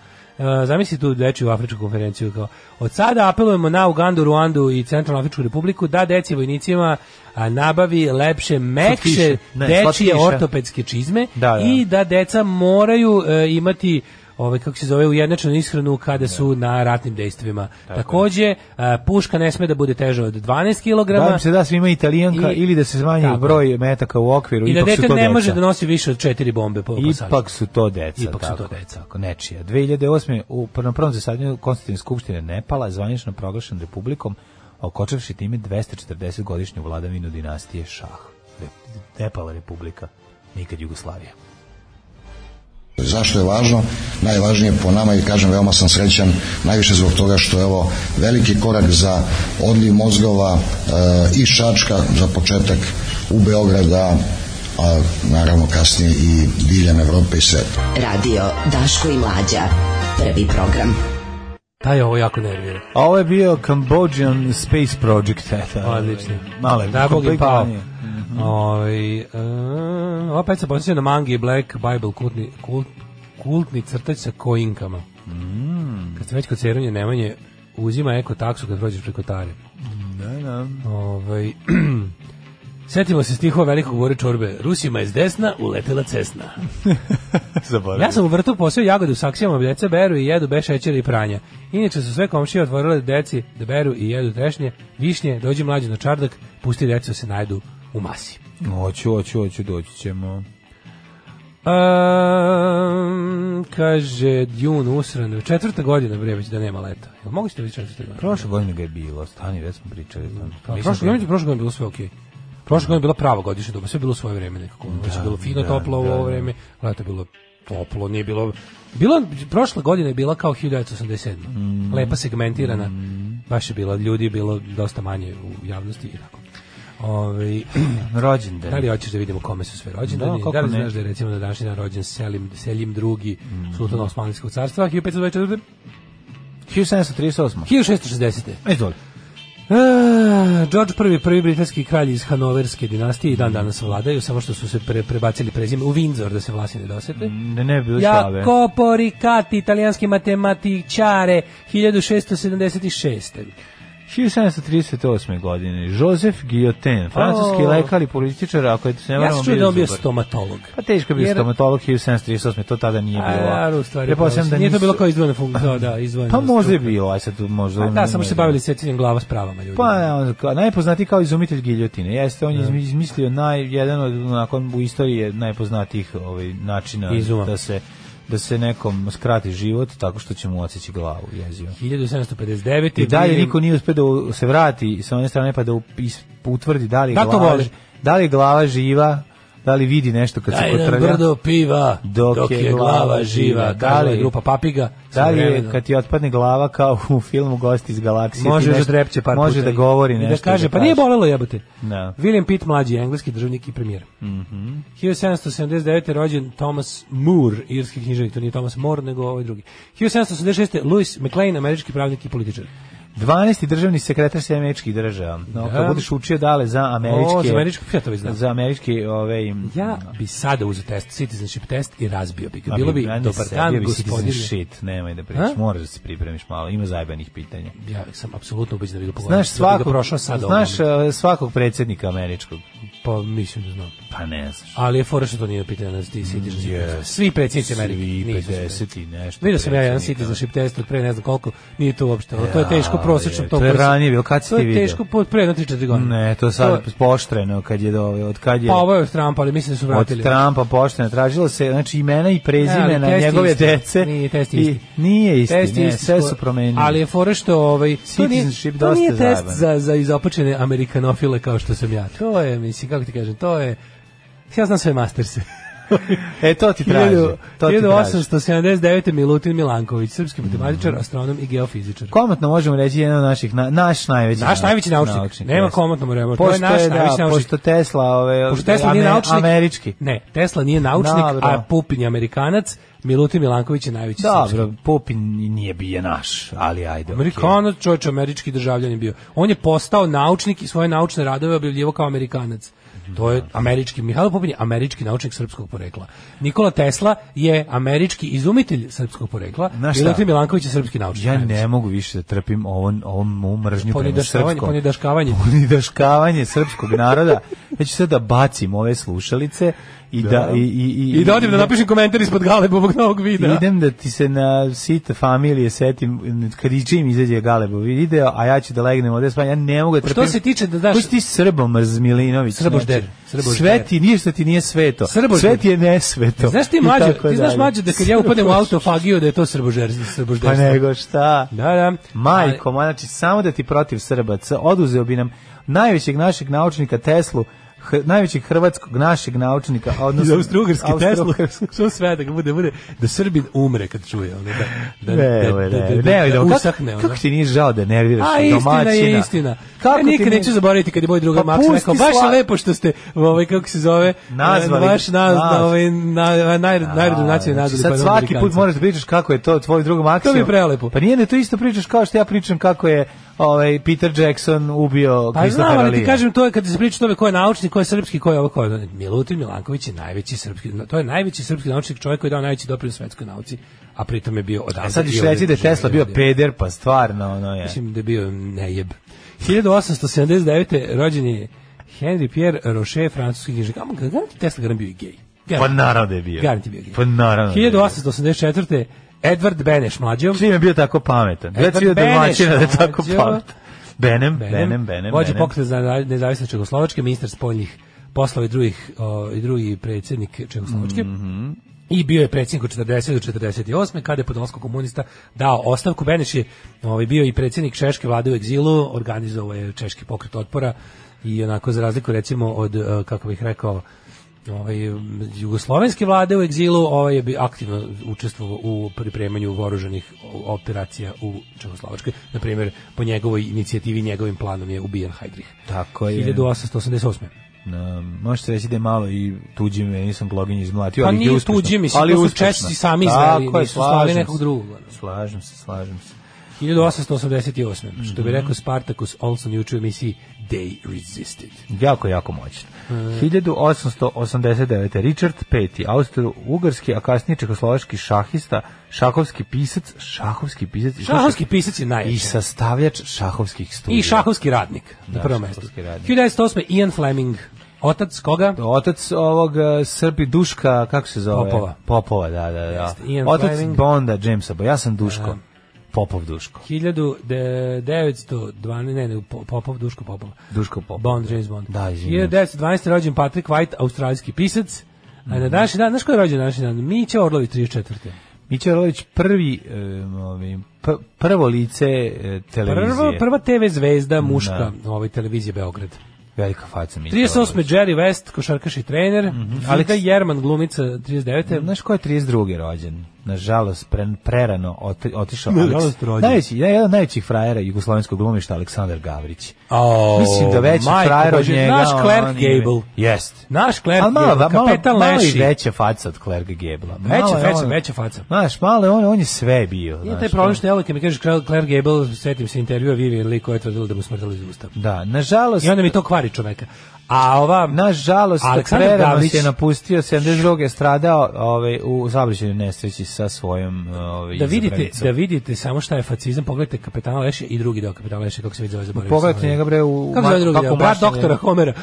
E, zamisli tu dečiju afričku konferenciju kao od sada apelujemo na Ugandu, Ruandu i Centralnu Afričku republiku da deci vojnicima a, nabavi lepše, mekše
Slatkiše. Ne,
dečije
slatkiše.
ortopedske čizme
Da, da.
i da deca moraju e, imati ovaj kako se zove ujednačenu ishranu
Da.
kada su na ratnim dejstvima. Takođe, e, puška ne sme da bude teža od 12 kg.
Da im se da svima italijanka
I-
ili da se smanji
Tako.
broj metaka u okviru.
I da
ipak su
dete
to
ne
deca.
može da nosi više od četiri bombe po po
pa Ipak
sažetku.
su to deca.
Ipak su
tako,
to deca.
Tako, nečija. 2008. u na prvom zasadanju Konstitutivne skupštine Nepala je zvanično proglašen republikom, okočevši time 240-godišnju vladavinu dinastije Šah. Re- Nepal republika, nikad Jugoslavija.
Zašto je važno? Najvažnije po nama i kažem veoma sam srećan, najviše zbog toga što je evo veliki korak za odliv mozgova e, iz Čačka za početak u Beograda, a naravno kasnije i diljem Evrope i sveta.
Radio Daško i Mlađa. Prvi program.
Taj ovo jako nervira.
A ovo je bio Cambodian Space Project. e, da. Eto,
Odlično.
Male,
da, Bog im pao.
komplikovanje.
Ovaj, e, opet se podsjeća na Mangi i Black Bible kultni, kult, kultni crtač sa kojinkama. Kad se već kod Cerunje Nemanje uzima eko taksu kad prođeš preko Tare. Da, Ovaj, Sjetimo se stihova velikog Bore Čorbe. Rusima je s desna uletela cesna.
Zaboravio.
Ja sam u vrtu posio jagode u saksijama, deca beru i jedu bez šećera i pranja. Inače su sve komšije otvorile deci da beru i jedu trešnje, višnje, dođi mlađi na čardak, pusti decu da se najdu u masi.
Hoću, hoću, hoću, doći ćemo.
Um, Ehm, kaže Djun Usran, četvrta godina bre već da nema leta. Jel mogu ste vi četvrta godina?
Prošle godine ga je bilo, stani, već smo pričali. o tome.
Pa,
Mislim
prošle
da-
godine, prošle godine je bilo sve okej. Prošle godine je bila prava godišnja doba, sve je bilo u svoje vreme nekako. Da, Već je bilo fino
da,
toplo u
da,
ovo
da.
vreme, leto je bilo toplo, nije bilo... Bilo, prošla godina je bila kao 1987.
Mm.
Lepa segmentirana. Baš je bila, ljudi je bilo dosta manje u javnosti i tako. Ove,
Rođendan.
da li hoćeš da vidimo kome su sve
Da,
rođendani? Da,
kako
li
ne. Mm.
znaš da je recimo na današnji dan rođen Selim, Selim II, sultan Osmanskog carstva, 1524.
1738.
1660.
Izvoli.
E, George prvi, prvi britanski kralj iz Hanoverske dinastije i dan danas vladaju, samo što su se pre, prebacili prezime u Windsor da se vlasi ne dosete.
Ne, ne bi bilo slave.
Jacopo Ricati, italijanski matematičare, 1676.
1738. godine Joseph Guillotin, francuski
O.
lekar i političar, ako je se ne
Ja
moramo
sam čuo da on bio
dobar.
stomatolog.
Pa teško je bio
Jer-
stomatolog 1738. to tada nije
A,
bilo.
da, u stvari,
Pretpostavljam
da nije to
nisu-
bilo kao izdvojena funkcija, da, izdvojena
Pa možda je
struka.
bilo, aj sad tu možda.
A da, samo
ne
što se
znam.
bavili sećanjem glava s pravama ljudi.
Pa, ne, on, kao- najpoznatiji kao izumitelj giljotine. Jeste,
Da.
on je izmi- izmislio naj, jedan od, nakon, u istoriji je najpoznatijih ovaj, načina
Izuma.
da se da se nekom skrati život tako što će mu odsjeći glavu jezivo.
1759.
I dalje
William-
niko nije uspio da u- se vrati sa one strane pa da u- is- utvrdi da li je
Da to
glava,
voli.
da li je glava živa, da li vidi nešto kad se
Daj nam
potrlja.
brdo piva, dok, je glava živa. Da li je grupa papiga?
Da li je
svojevremeno.
kad ti otpadne glava kao u filmu Gosti iz galaksije?
može
ti
da
nešto-
drepće par
Može
puta
da
i-
govori
i
nešto.
Da kaže, pa nije bolelo jebote.
Da. Mhm.
William Pitt, mlađi engleski državnik i premijer. 1779. je rođen Thomas Moore, irski književnik, to nije Thomas More, nego ovaj drugi. 1786. Louis McLean, američki pravnik i političar.
12. državni sekretar sa američkih država. No,
Da.
kad budeš učio dale za američke...
O, za američku, ja to već znam.
Za Da. američki, ove...
Ja bi sada uzeo test, citizenship test i razbio bi ga. Bilo bi, dobar dan,
gospodine.
gospodine.
Shit, nemoj da pričaš,
A?
moraš da se pripremiš malo, ima zajbanih pitanja.
Ja sam apsolutno ubeđen da bi ga pogodio.
Znaš
Da bi ga
svakog,
prošao sada
znaš
ovom.
eh, svakog predsjednika američkog.
Pa mislim da znam.
Pa ne znaš.
Ali je fora što to nije pitanje na citizenship
Yes.
test. Svi predsjednici Amerike.
Svi
nisu se-
50 i nešto.
Vidio sam ja jedan
predsjednika.
citizenship test od pre ne znam koliko, nije to uopšte, ono, to je teško prosječno.
je, to je
brzo.
ranije bilo, kad si
To
ti
je
video?
teško po- pre jedno 3-4 godine.
Ne, to je sad poštreno kad je do, od kad je
Pa ovo je od Trumpa, ali mislim da su
od
vratili.
Trumpa pošteno tražilo se znači imena i prezime
ali
na
test je
njegove
isti.
dece.
Nije, test je
I-
isti.
Nije isti,
Test je
ne,
isti
sve
skoro.
su promenili.
Ali je fora što ovaj to nije, to
Citizenship dosta
nije test
zajeban.
za za izopačene amerikanofile kao što sam ja. To je mislim kako ti kažem, to je ja znam sve masterse.
e, to ti traži. To ti traži.
1879. Milutin Milanković, srpski matematičar, astronom i geofizičar.
Komotno možemo reći jedan od naših, na, naš najveći
Naš najveći naučnik. Nema
jeste.
komotno mu reći, to je
Pošto
naš
da,
najveći naučnik.
Pošto Tesla, ove,
Pošto Tesla nije
ame-
naučnik,
američki.
Ne, Tesla nije naučnik,
Dobro.
a Pupin je Amerikanac, Milutin Milanković je najveći srpski.
Dobro, Popin nije bio naš, ali ajde.
Amerikanac, čovječ, američki državljan je bio. On je postao naučnik i svoje naučne radove objavljivo kao Amerikanac. To je američki, Mihajlo Pupin je američki naučnik srpskog porekla. Nikola Tesla je američki izumitelj srpskog porekla,
Znaš šta?
Milutin Milanković je srpski naučnik.
Ja
Najveći.
ne mogu više da trpim ovom, ovom mu mržnju prema
Ponidaškavanje,
srpskom.
ponidaškavanje.
Ponidaškavanje srpskog naroda. Ja ću sad da bacim ove slušalice i da... i, i,
I da odim da napišem komentar ispod Galebovog novog videa.
Idem da ti se na sita familije setim, kad i čim izađe Galebov video, a ja ću da legnem ovde spavati, ja ne mogu da trpim.
Što se tiče da daš
Koji si ti Srbomrz Milinović?
Srbožder,
znači?
Srbožder.
Sve ti, ništa ti nije sveto.
Srbožder.
Sve ti je nesveto.
Znaš ti
I
mlađe,
tako
ti znaš
dalje.
mlađe da kad ja upadem u autofagiju da je to srbožerstvo,
Pa
srbožderstvo.
nego šta?
Da, da.
Majko, ma, znači, samo da ti protiv Srbaca, oduzeo bi nam najvećeg našeg naučnika Teslu, h- najvećeg hrvatskog našeg naučnika, a
iz
odnosno...
Austrougarske Teslu,
Austrougarske.
što sve da ga bude, bude, da Srbin umre kad čuje, ono, da, da,
Ne,
da, da,
ne,
da,
ne,
da, da,
ne, ne, kako-
usahne, ono.
Kako ti nije žao da nerviraš
A
domaćina?
istina je istina. Kako ja
ti
nikad
nije-
neću zaboraviti kad je moj drugar
Pa
Maks
pusti
rekao, baš je
sla-
lepo što ste, ovaj, kako se zove,
Nazvali
vaš
ga,
naz,
nazvali.
da, ovaj, na, naj, najrodom nacije
znači,
nazvali.
sad
pa je
svaki
Amerikanca.
put moraš da pričaš kako je to tvoj drug Maksimo.
To mi je prelepo.
Pa nije ne to isto pričaš kao što ja pričam kako je ovaj Peter Jackson
Pa
ubio
znam,
Christophera
ali
Lee.
ti kažem, to je kad se priča o tome ko je naučnik, ko je srpski, ko je ovo, ko je ono. Milutin Milanković je najveći srpski, to je najveći srpski naučnik čovjek koji je dao najveći doprinos svetskoj nauci, a pritom je bio odavde.
A sad
i
ćeš
ovdje
reći da je
državljan
Tesla bio
ovdje.
peder, pa stvarno ono je.
Mislim da je bio nejeb. 1879. rođen je Henry Pierre Rocher, francuski knjižnik. Amo, kada je Tesla garant bio i gej?
Pa naravno da je bio.
Garant je bio gej.
Pa naravno. da je bio.
1884. Edward Beneš, mlađom.
Čim je bio tako pametan. Ja
Edward
ću da domaćina da je
Beneš,
tako
mlađo.
pametan. Benem, Benem, Benem.
Vođa
Benem.
pokreta za nezavisne Čegoslovačke, ministar spoljnih poslova i, drugih, o, i drugi predsjednik
Mhm.
Čegoslovačke. I bio je predsjednik od 40. do 48. kada je podolsko komunista dao ostavku. Beneš je ovaj, bio i predsjednik Češke vlade u egzilu, organizovao je Češki pokret otpora i onako za razliku recimo od, e, kako bih rekao, ovaj, m, jugoslovenske vlade u egzilu, ovaj je bi aktivno učestvovao u pripremanju oružanih operacija u Čehoslovačkoj. Na primjer, po njegovoj inicijativi i njegovim planom je ubijen Heydrich.
Tako je.
1888.
Na, može se reći da je malo i tuđi, ja nisam bloginje izmlatio,
Pa
ali
nije
je uspešno.
tuđi, mislim,
ali
to su
uspešno.
Česi sami
Tako
izveli,
je,
nisu slali
slažem
nekog
se.
drugog, ono.
Slažem se, slažem se.
1888.
Mhm.
Što bi rekao Spartacus Olson juče u emisiji They Resisted.
Jako, jako moćno.
Mm.
1889. Richard V. Austro-ugarski, a kasnije čehoslovački šahista, šahovski pisac, šahovski pisac i
Šahovski pisac je najjači.
i sastavljač šahovskih studija.
I šahovski radnik, na prvom mestu.
Da, šahovski radnik.
1908. Ian Fleming, otac koga?
Otac ovog e, Srbi Duška, kako se zove?
Popova.
Popova, da, da, da.
Jeste, Ian
Otac
Fleming. Da.
Bonda, Jamesa, bo ja sam Duško. Popov Duško.
1912, ne, ne, Po- Popov, Duško Popov.
Duško Popov.
Bond, James Bond.
Da, izvinjam se.
1912. rođen Patrick White, australijski pisac. A
Mhm.
na današnji dan, znaš ko je rođen na današnji dan? Miće Orlović, 34.
Miće Orlović prvi, e, ovi, pr- prvo lice e, televizije.
Prvo, prva TV zvezda muška
Da.
na ovoj televiziji Beograd.
Velika faca Miće
38. Jerry
znači.
West, košarkaš i trener.
Mhm,
Alika Jerman, glumica, 39.
Znaš ko je 32. rođen? Nažalost, pre, prerano oti- otišao Aleks,
Nažalost, rođen.
najveći, jedan od najvećih frajera jugoslovenskog glumišta Aleksandar Gavrić.
Oh,
Mislim da veći frajer od njega.
Naš
ono,
Clark
on je-
Gable.
Jest.
Naš Clark
Ali malo,
Gable,
malo,
kapetan
malo i
Leši.
veća faca od Clark Gable.
Veća, veća, veća faca.
Znaš, malo je on, on je sve bio.
Nije
znaš,
taj problem što ja uvijek kad mi kažeš Claire Claire Gable, setim se intervjua Vivian Lee koja je tvrdila da mu smrdali iz usta.
Da, nažalost,
I onda mi to kvari čoveka. A ova...
nažalost,
Aleksandar
prerano
Gavrić-
se je napustio, 72. je stradao ovaj, u saobraćajnoj nesreći sa svojom ovaj,
da vidite,
izabranicom.
da vidite samo šta je facizam, pogledajte kapetana Lešija i drugi deo kapetana Lešija, kako se vidi zove, zaboravio. sam,
Pogledajte
ovaj.
njega bre u...
Kako se zove drugi deo? Brat
mašna
doktora
njega-
Homera.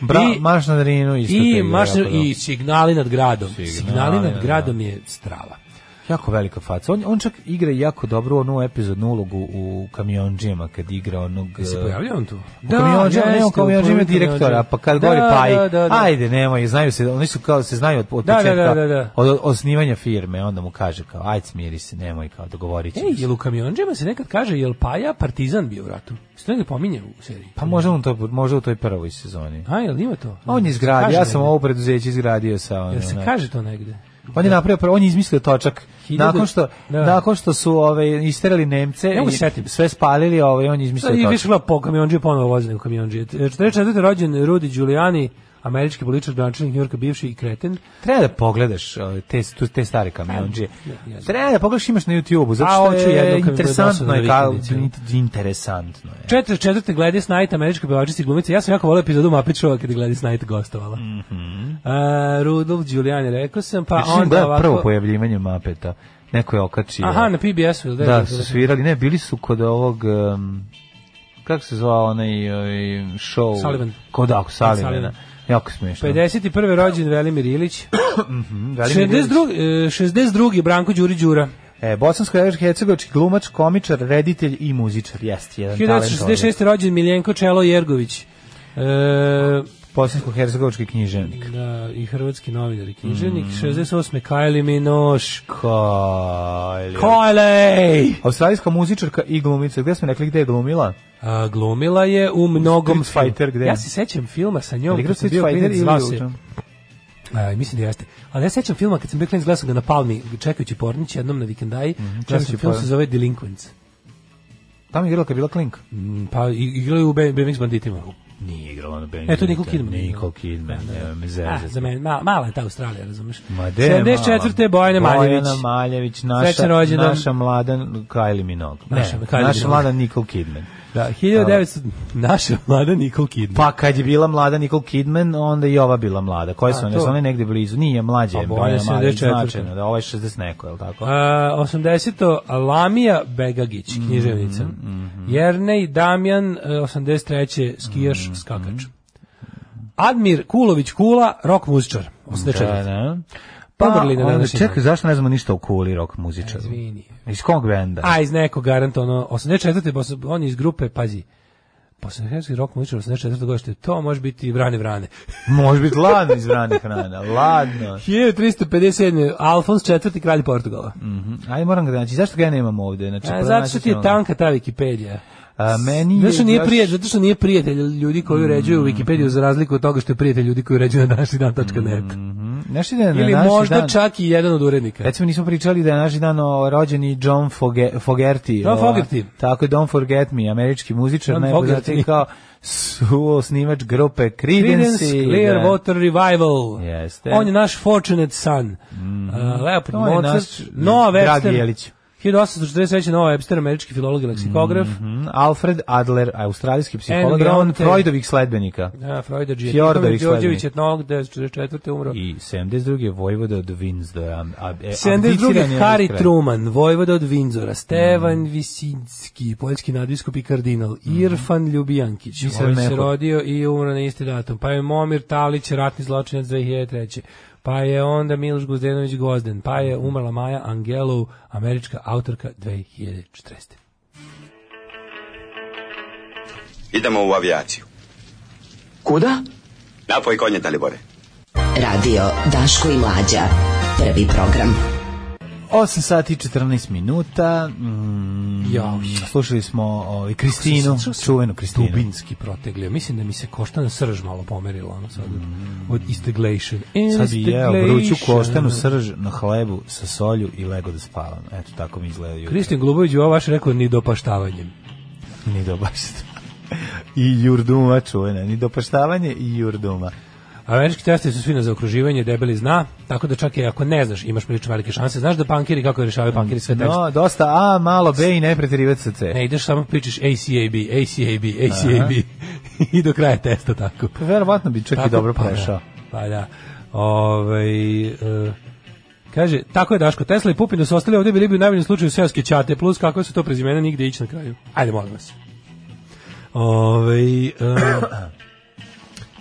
Bra,
I-
Marš na Drinu isto.
I,
te igra
mašna,
jako dobro. da,
I signali nad gradom. Signali,
Signali
nad
nad
gradom je strava.
Jako velika faca. On, on čak igra jako dobro onu epizodnu ulogu u kamionđijama kad igra onog...
Se Da,
eh,
pojavljao on tu?
U kamionđima, ne, u kamionđima direktora, pa kad govori Paj,
da, da, da.
ajde, nemoj, znaju se, oni su kao, se znaju od, od
Da, da, da,
početka,
da, da.
od osnivanja firme, onda mu kaže kao, ajde, smiri se, nemoj, kao, dogovorit ćemo
Ej,
se.
jel u kamionđima se nekad kaže, jel Paja partizan bio u ratu? Što negdje pominje u seriji?
Pa možda, on to, možda u toj prvoj sezoni.
A, jel ima to?
On je
Kaže
izgradio, ja sam
negde.
ovo preduzeće izgradio sa... ono,
Jel se
ne.
kaže to negde?
On je napravio, prvo- on je izmislio točak.
Hiljadu-
Nakon što,
da.
nakon što su ove, isterali Nemce,
Ne mogu se
i
setim.
sve spalili, ove, on
Sad
je izmislio
i
točak.
više gleda po kamionđije ponovo vozi nego kamionđije. 44. rođen Rudi Giuliani, američki političar, gradonačelnik Njurka, bivši i kreten.
Treba da pogledaš ove, te, tu- te stare kamionđije. Treba da pogledaš imaš na YouTube-u, zato
A,
što
hoću jednom kad
je
mi bude
interesantno
dosadno
je
na
kao,
vikendici.
interesantno je.
44. Gladys Knight, američka pevačica i glumica. Ja sam jako volio epizodu Muppet Showa kada je Gladys Knight gostovala. Mm
Mhm.
-hmm. Rudolf Giuliani, rekao sam, pa
Mislim,
onda
gleda
ovako...
prvo pojavljivanje Mapeta. Neko je okačio.
Aha, na PBS-u, ili gde je
da,
bilo?
su svirali. Ne, bili su kod ovog... Um, kako se zvao onaj ovaj, show?
Sullivan.
Kod ako, Salivana.
Sullivan.
Jako smiješno.
51. da. rođen Velimir Ilić.
Velimir Ilić.
62. e, 62. Branko Đuri Đura.
E, Bosansko-Hercegovački glumač, komičar, reditelj i muzičar. Jeste, jedan talentovan.
1966. rođen Miljenko Čelo Jergović. E,
Bosansko-Hercegovački književnik.
da, i hrvatski novinar i književnik. 68. Kylie Minogue.
Kolje.
Kylie!
Australijska muzičarka i glumica. Gde smo rekli gde je glumila?
A, glumila je u mnogom
Street Fighter,
filmu.
gde?
Ja se sećam filma sa njom.
Jel igra
kad sam
Street
bio
Fighter
klinac,
ili
zvao se-
Ultra?
A, mislim da jeste. Ali ja se sećam filma kad sam bio klinac gledao sam ga na Palmi čekajući pornić jednom na vikendaji. gledao sam
čekajući
film
pornić.
se zove Delinquents.
Tamo je igrala kad je bila klinka.
Mm, Pa i- igrao je u B- BMX banditima.
Nije igrala na Benjamin.
E, to je Nicole Kidman.
Nicole Kidman,
Da, da.
nema me
Ah,
zezati.
za mene, ma, mala je ta Australija, razumeš?
Ma de, mala.
74. Bojana Maljević.
Bojana Maljević, naša,
Srećan rođendan.
naša mlada Kylie Minogue. Ne,
Naša
naša,
Kylie Minogue.
mlada Nicole Kidman.
Da, 1900... Naša mlada Nicole Kidman.
Pa kad je bila mlada Nicole Kidman, onda i ova bila mlada. Koje su
A,
one?
to.
Su one negde blizu? Nije, mlađe
A,
je
Bojana
Bojana Maljević
74.
značajno. Da, ovo je 60 neko, je li tako?
A, 80. Pa, Lamija Begagić,
Mhm,
književnica. Jernej Damjan, e, 83.
Mhm,
skijaš, skakač. Admir Kulović Kula, rock muzičar. 84.
Da, da.
Pa, Umrli na
onda,
današnji
Čekaj,
dan.
zašto ne znamo ništa o kuli rock muzičaru?
Izvini.
Iz kog benda?
A, iz nekog garanta, ono, 84. posle- On je iz grupe, pazi, Bosnoherski rock muzičar 84. godište, to može biti Vrane Vrane.
Može biti ladno iz vranih rana, ladno.
1357. Alfons IV. kralj Portugala.
Mm, Ajde moram ga znači, zašto ga ja nemam ovde? Znači,
A,
prvo
E, zato što ti je
nacionalno.
tanka ta Wikipedia.
A, meni
Zato što,
je
nije
još-
prijatelj, zato što nije prijatelj ljudi
Mm.
koji uređuju Wikipediju za razliku od toga što je prijatelj ljudi koji uređuju na današnji dan.net.
Znaš li da je Mm, na
Ili
naši
možda
dan,
čak i jedan od urednika.
Recimo nismo pričali da je naš dan o, rođeni John Foge, Fogerty.
John
ova-
Fogerty.
Tako je, Don't Forget Me, američki muzičar,
John
najpoznatiji
Fogerty.
kao suosnivač grupe
Creedence
Creedence. i da-
Clearwater Revival.
Jeste. Mm-hmm.
On je naš Fortunate Son. Mm. Uh, Leopold
To da je
Mozart.
naš
Noah
dragi
Webster.
Jelić.
1843. Noah Webster, američki filolog i leksikograf.
Mhm, Alfred Adler, australijski psiholog,
N.
on
Bronte.
Freudovih sledbenika.
Da, Freuda
Fjordović
Đijetić. Đorđević
sledbenik.
etnolog, 1944. umro.
I 72. je vojvoda od Windsora. a- e, abdiciran
72.
je
Harry
kralj.
Truman, vojvoda od
Mm.
Vinzora, Stevan Visinski, poljski nadbiskup i kardinal, Irfan Ljubijankić,
Nisam
ovaj se
Mhm. neko.
rodio i umro na isti datum, pa je Momir Talić, ratni zločinac 2003. Pa je onda Miloš Guzdenović Gozden, pa
Mhm.
je umrla Maja Angelou, američka autorka 2040.
Idemo u avijaciju.
Kuda?
Napoj konje, Talibore.
Radio Daško i Mlađa. Prvi program.
8 sati i 14 minuta. Mm,
Jao.
Slušali smo ovaj, Kristinu, čuvenu Kristinu.
Dubinski proteglio. Mislim da mi se koštana srž malo pomerila. Ono sad, od isteglation.
Mhm. Sad bi jeo vruću
Isteglation.
koštanu srž na hlebu sa solju i lego da spavam. Eto, tako mi izgleda jutro.
Kristijan Golubović je ovo vaš rekao ni dopaštavanjem.
Ni dobašta. I jurduma čuvena. Ni dopaštavanje i jurduma.
Američki testovi su svi na zaokruživanje, debeli zna, tako da čak i ako ne znaš, imaš prilično velike šanse. Znaš da pankiri kako rješavaju pankiri sve tekste?
No, dosta A, malo B i ne preterivati sa C.
E, Ne ideš samo pričaš ACAB, ACAB, ACAB i do kraja testa tako.
Pa Verovatno bi čak
Tako,
i dobro
pa da,
prošao.
Pa da. Ovaj, e, kaže, tako je Daško, Tesla i Pupin da su ostali ovdje bili bi u najboljem slučaju seoske ćate, plus kakve su to prezimena, nigde ići na kraju. Ajde, molim vas. Ovaj, e,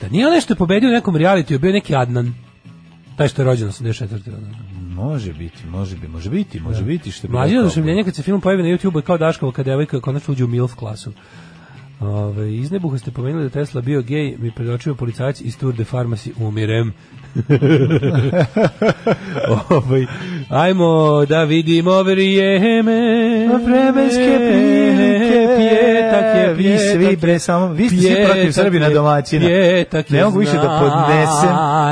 da nije on nešto pobedio u nekom realitiju, bio neki Adnan. Taj što je rođen 84. ono.
Može biti, može biti, može biti, može biti što bi
Mlađe
rekao.
Da. oduševljenje kad se film pojavi na YouTube je kao Daškova kad devojka konačno uđe u MILF klasu. Ove, iz nebuha ste pomenuli da Tesla bio gej, mi predočio policajac iz Tour de Pharmacy, umirem. Ovaj, ajmo da vidimo vrijeme.
Vremenske prilike, E, pjetak je, vi
Pa pjetak
svi
je,
bre samo, vi ste svi
pjetak
protiv Srbina
je,
domaćina.
pjetak je
Ne mogu više da podnesem,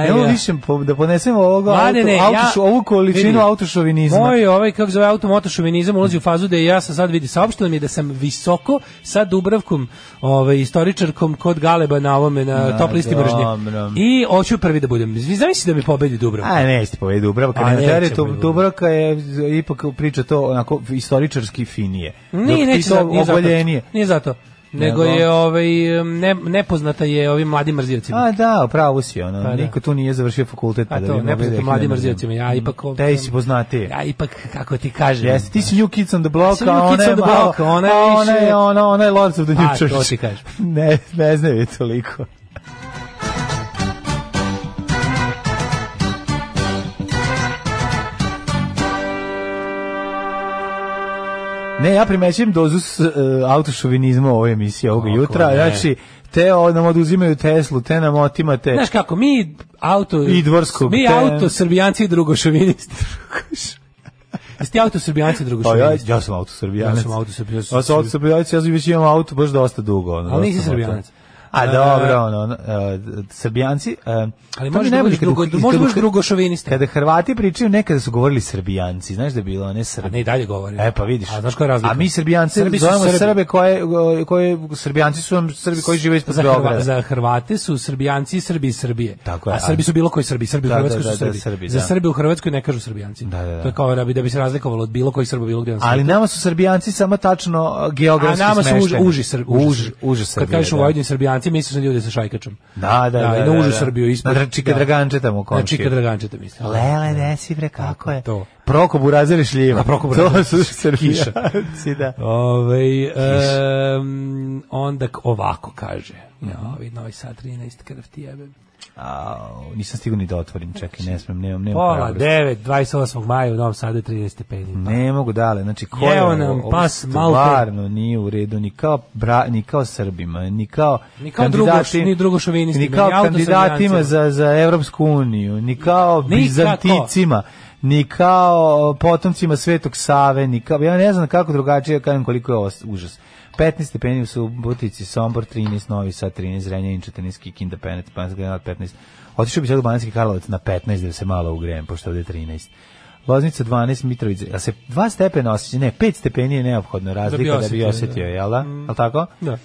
ne mogu
znaja.
više po- da podnesem ovoga auto,
Mladene,
autošu,
ja-
ovu količinu
vidi,
autošovinizma.
Moj ovaj kako zove automotošovinizam ulazi u fazu da i ja sam sad vidi saopšteno mi je da sam visoko sa Dubravkom, ovaj istoričarkom kod Galeba na ovome na
Da,
top listi
dobro.
mržnje. I hoću prvi da budem. Vi zamisli da mi pobedi Dubravka.
A ne, ste povedi Dubravka,
A,
ne,
neće
ne,
pobedi
Dubravka je z- ipak priča to onako istoričarski finije. Dok ti
Nije, neće
to
za, nije zato.
oboljenije.
Nije zato. Nego
Nego?
je ovaj ne, nepoznata je ovim mladim mrzijocima.
A da, pravo si, ono,
Pa da.
niko tu nije završio fakultet. pa
A
da
to,
bi
ne
mogli da
poznate
ih
mladim
ne-
mrzijocima. Ja ipak...
Te si poznatiji.
Ja ipak, kako ti kažem.
Jeste, ti si New Kids on the Block,
Sam New
a ona
Kids
je
on the
malo-
Block, ona je
a ona
više-
je, ona, ona je Lords of the New
A, to
Church.
ti kažem.
ne, ne znaju je toliko. Ne, ja primećujem dozu s, e, autošovinizma u ovoj emisiji ovog
Kako
jutra.
ne.
Znači, te o- nam oduzimaju Teslu, te nam otimate.
Znaš kako, mi auto...
I dvorskog,
Mi
te-
auto srbijanci i drugošovinisti. Jeste ti auto srbijanci i
Pa ja,
drugošovinisti?
ja sam autosrbijanac.
Ja sam autosrbijanac.
Ja sam autosrbijanac, ja sam već imam auto baš dosta dugo. Ono,
Ali nisi
dosta sam
srbijanac.
auto. A
E,
dobro, ono, ono, e, srbijanci... e,
Ali
to mi
možeš
je
da
najbolje
budeš
kada
drugo,
u- kada-
možeš da budeš
kada-
drugošovinista.
Kada Hrvati pričaju, nekada su govorili srbijanci, znaš da je bilo, ne
A
srbi.
ne i dalje govori.
E pa vidiš.
A znaš koja je razlika?
A mi srbijanci
Srbi su
zovemo
Srbi.
Srbe koje, koje, srbijanci su vam Srbi koji žive ispod
za, Hrva,
Beograda.
za Hrvate su Srbijanci i Srbi iz Srbije.
Tako je,
a Srbi
a-
su bilo koji Srbi, Srbi u
Da,
Hrvatskoj
da,
su
da, da,
Srbi.
Srbi,
za
da.
Srbe u Hrvatskoj ne kažu Srbijanci.
Da, da, da.
To je kao da bi, da bi se razlikovalo od bilo koji Srba bilo gdje na svijetu.
Ali nama su srbijanci samo tačno e, geografski
A nama su uži,
smešteni.
uži, Srbi,
Uži, uži Srbije.
Kad kažeš u
da.
Vojvodini Srbijanci, misliš na ljude sa šajkačom.
Da, da, da.
i
da,
na užu
da.
Srbiju ispod.
Na Čika
da.
Draganje tamo
Na
končki.
Čika Dragančeta, mislim.
Lele, desi bre, kako je.
Da, To.
Prokop u razredu šljiva.
A, Prokop u
To
razredu
su
kiša.
srbijanci, da.
Ove, um, onda k- ovako kaže. Ja, ovi novi sad 13 krv ti jebem.
Au, nisam stigao ni da otvorim, čekaj, ne smem, nemam, nemam
Pola,
hrabrosti.
9, 28. maja u Novom Sadu je 13 stepeni.
Ne mogu dale, znači ko je
Jeo
ovo?
nam
Ovo
pas
stvarno nije u redu, ni kao, bra, ni kao Srbima, ni kao,
Ni kao
kandidati-
drugo- ni drugošovinistima,
ni kao
ni autosrbijancima.
kandidatima za, za Evropsku uniju, ni kao
Nikako.
Bizanticima, ni kao potomcima Svetog Save, ni kao, ja ne znam kako drugačije, ja kažem koliko je ovo užas. 15 stepeni u Subotici, Sombor 13, Novi Sad 13, Renjanin 14, Kikinda 15, Banjski Granat 15. Otišao bi sad u Banjski Karlovac na 15 da se malo ugrejem, pošto ovde je 13. Loznica 12, Mitrovica, a se dva stepena osjeća, ne, 5 stepeni je neophodno razlika da bi,
osjetio,
osetio,
da.
jel da? Jel tako?
Da.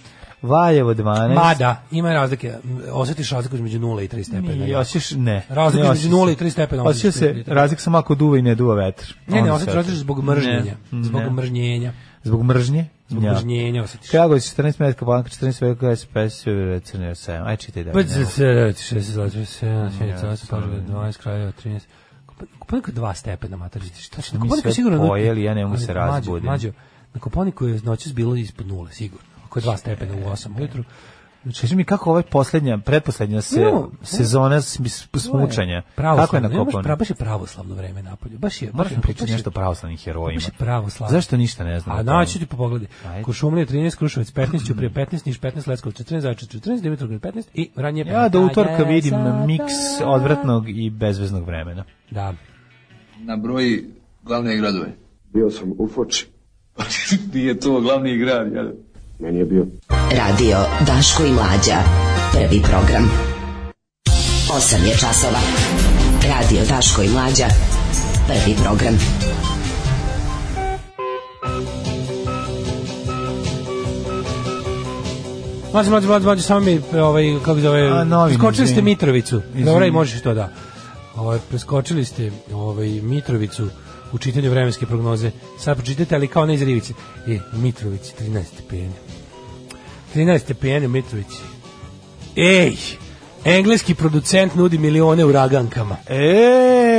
Valjevo 12.
Mada, ima razlike. Osjetiš razliku između 0 i 3 stepena.
I
ja.
osjećaš, ne.
Razlika
Ne
između
osjeća
nula i
se.
tri stepena
Osjeća
osjećaš
se,
prilike.
razlika samo ako duva i ne duva vetar.
Ne, ne,
Onda
osjetiš
se
različit zbog mržnjenja.
Ne,
Zbog
ne.
mržnjenja.
Zbog mržnje?
Zbog
Ja.
mržnjenja osjetiš.
Kragovic 14 metka banka, 14 veliko, 25 sve crne 7. Aj čitaj da.
Pa
mi
za
ne-
6, 7, 7, 8, 12 krajeva, 13. Kopanik je dva stepena, mater, vidiš, šta će?
mi
Kopanik je
sve
sigurno...
pojeli, ja ne mogu
Ali, da,
se
mlađo,
razbudim.
Mlađo, na Koponiku je noćas bilo ispod nule, sigurno. Ako je dva stepena u 8 ujutru.
Kaži mi kako ova poslednja, pretposlednja se,
Imamo-
sezona sm- sm- smučanja.
Pravoslavno,
Kako je na
nemaš pra-
kopanu?
baš je pravoslavno vreme napolju. Baš je,
Moraš mi
baš je-
pričati
baš je-
nešto o pravoslavnih herojima.
Baš je pravoslavno.
Zašto ništa ne znam?
A
o tome?
naći ti po pogledi.
Ajde.
Kuršumlija 13, Kruševac 15, Ćuprije 15, Niš 15, Leskovac 14, Zaječar 14, Dimitrovgrad 15 i ranije 15.
Ja do utorka vidim miks odvratnog i bezveznog vremena.
Da.
Nabroji glavne gradove.
Bio sam u Foči.
Nije to glavni grad, jel?
Meni je bio
Radio Daško i Mlađa. Prvi program. 8 je časova. Radio Daško i Mlađa. Prvi program.
Mlađe, mlađe, mlađe, mlađe, samo mi, e, ovaj, kako se zove,
A, novine,
preskočili ste
izvini.
Mitrovicu.
Izvini.
Dobro, i možeš to da. Ovaj, preskočili ste ovaj, Mitrovicu u čitanju vremenske prognoze. Sad pročitajte, ali kao ne iz Rivice. E, Mitrovici, 13 stepeni. 13 stepeni u Mitrovici. Ej, engleski producent nudi milione uragankama.
E,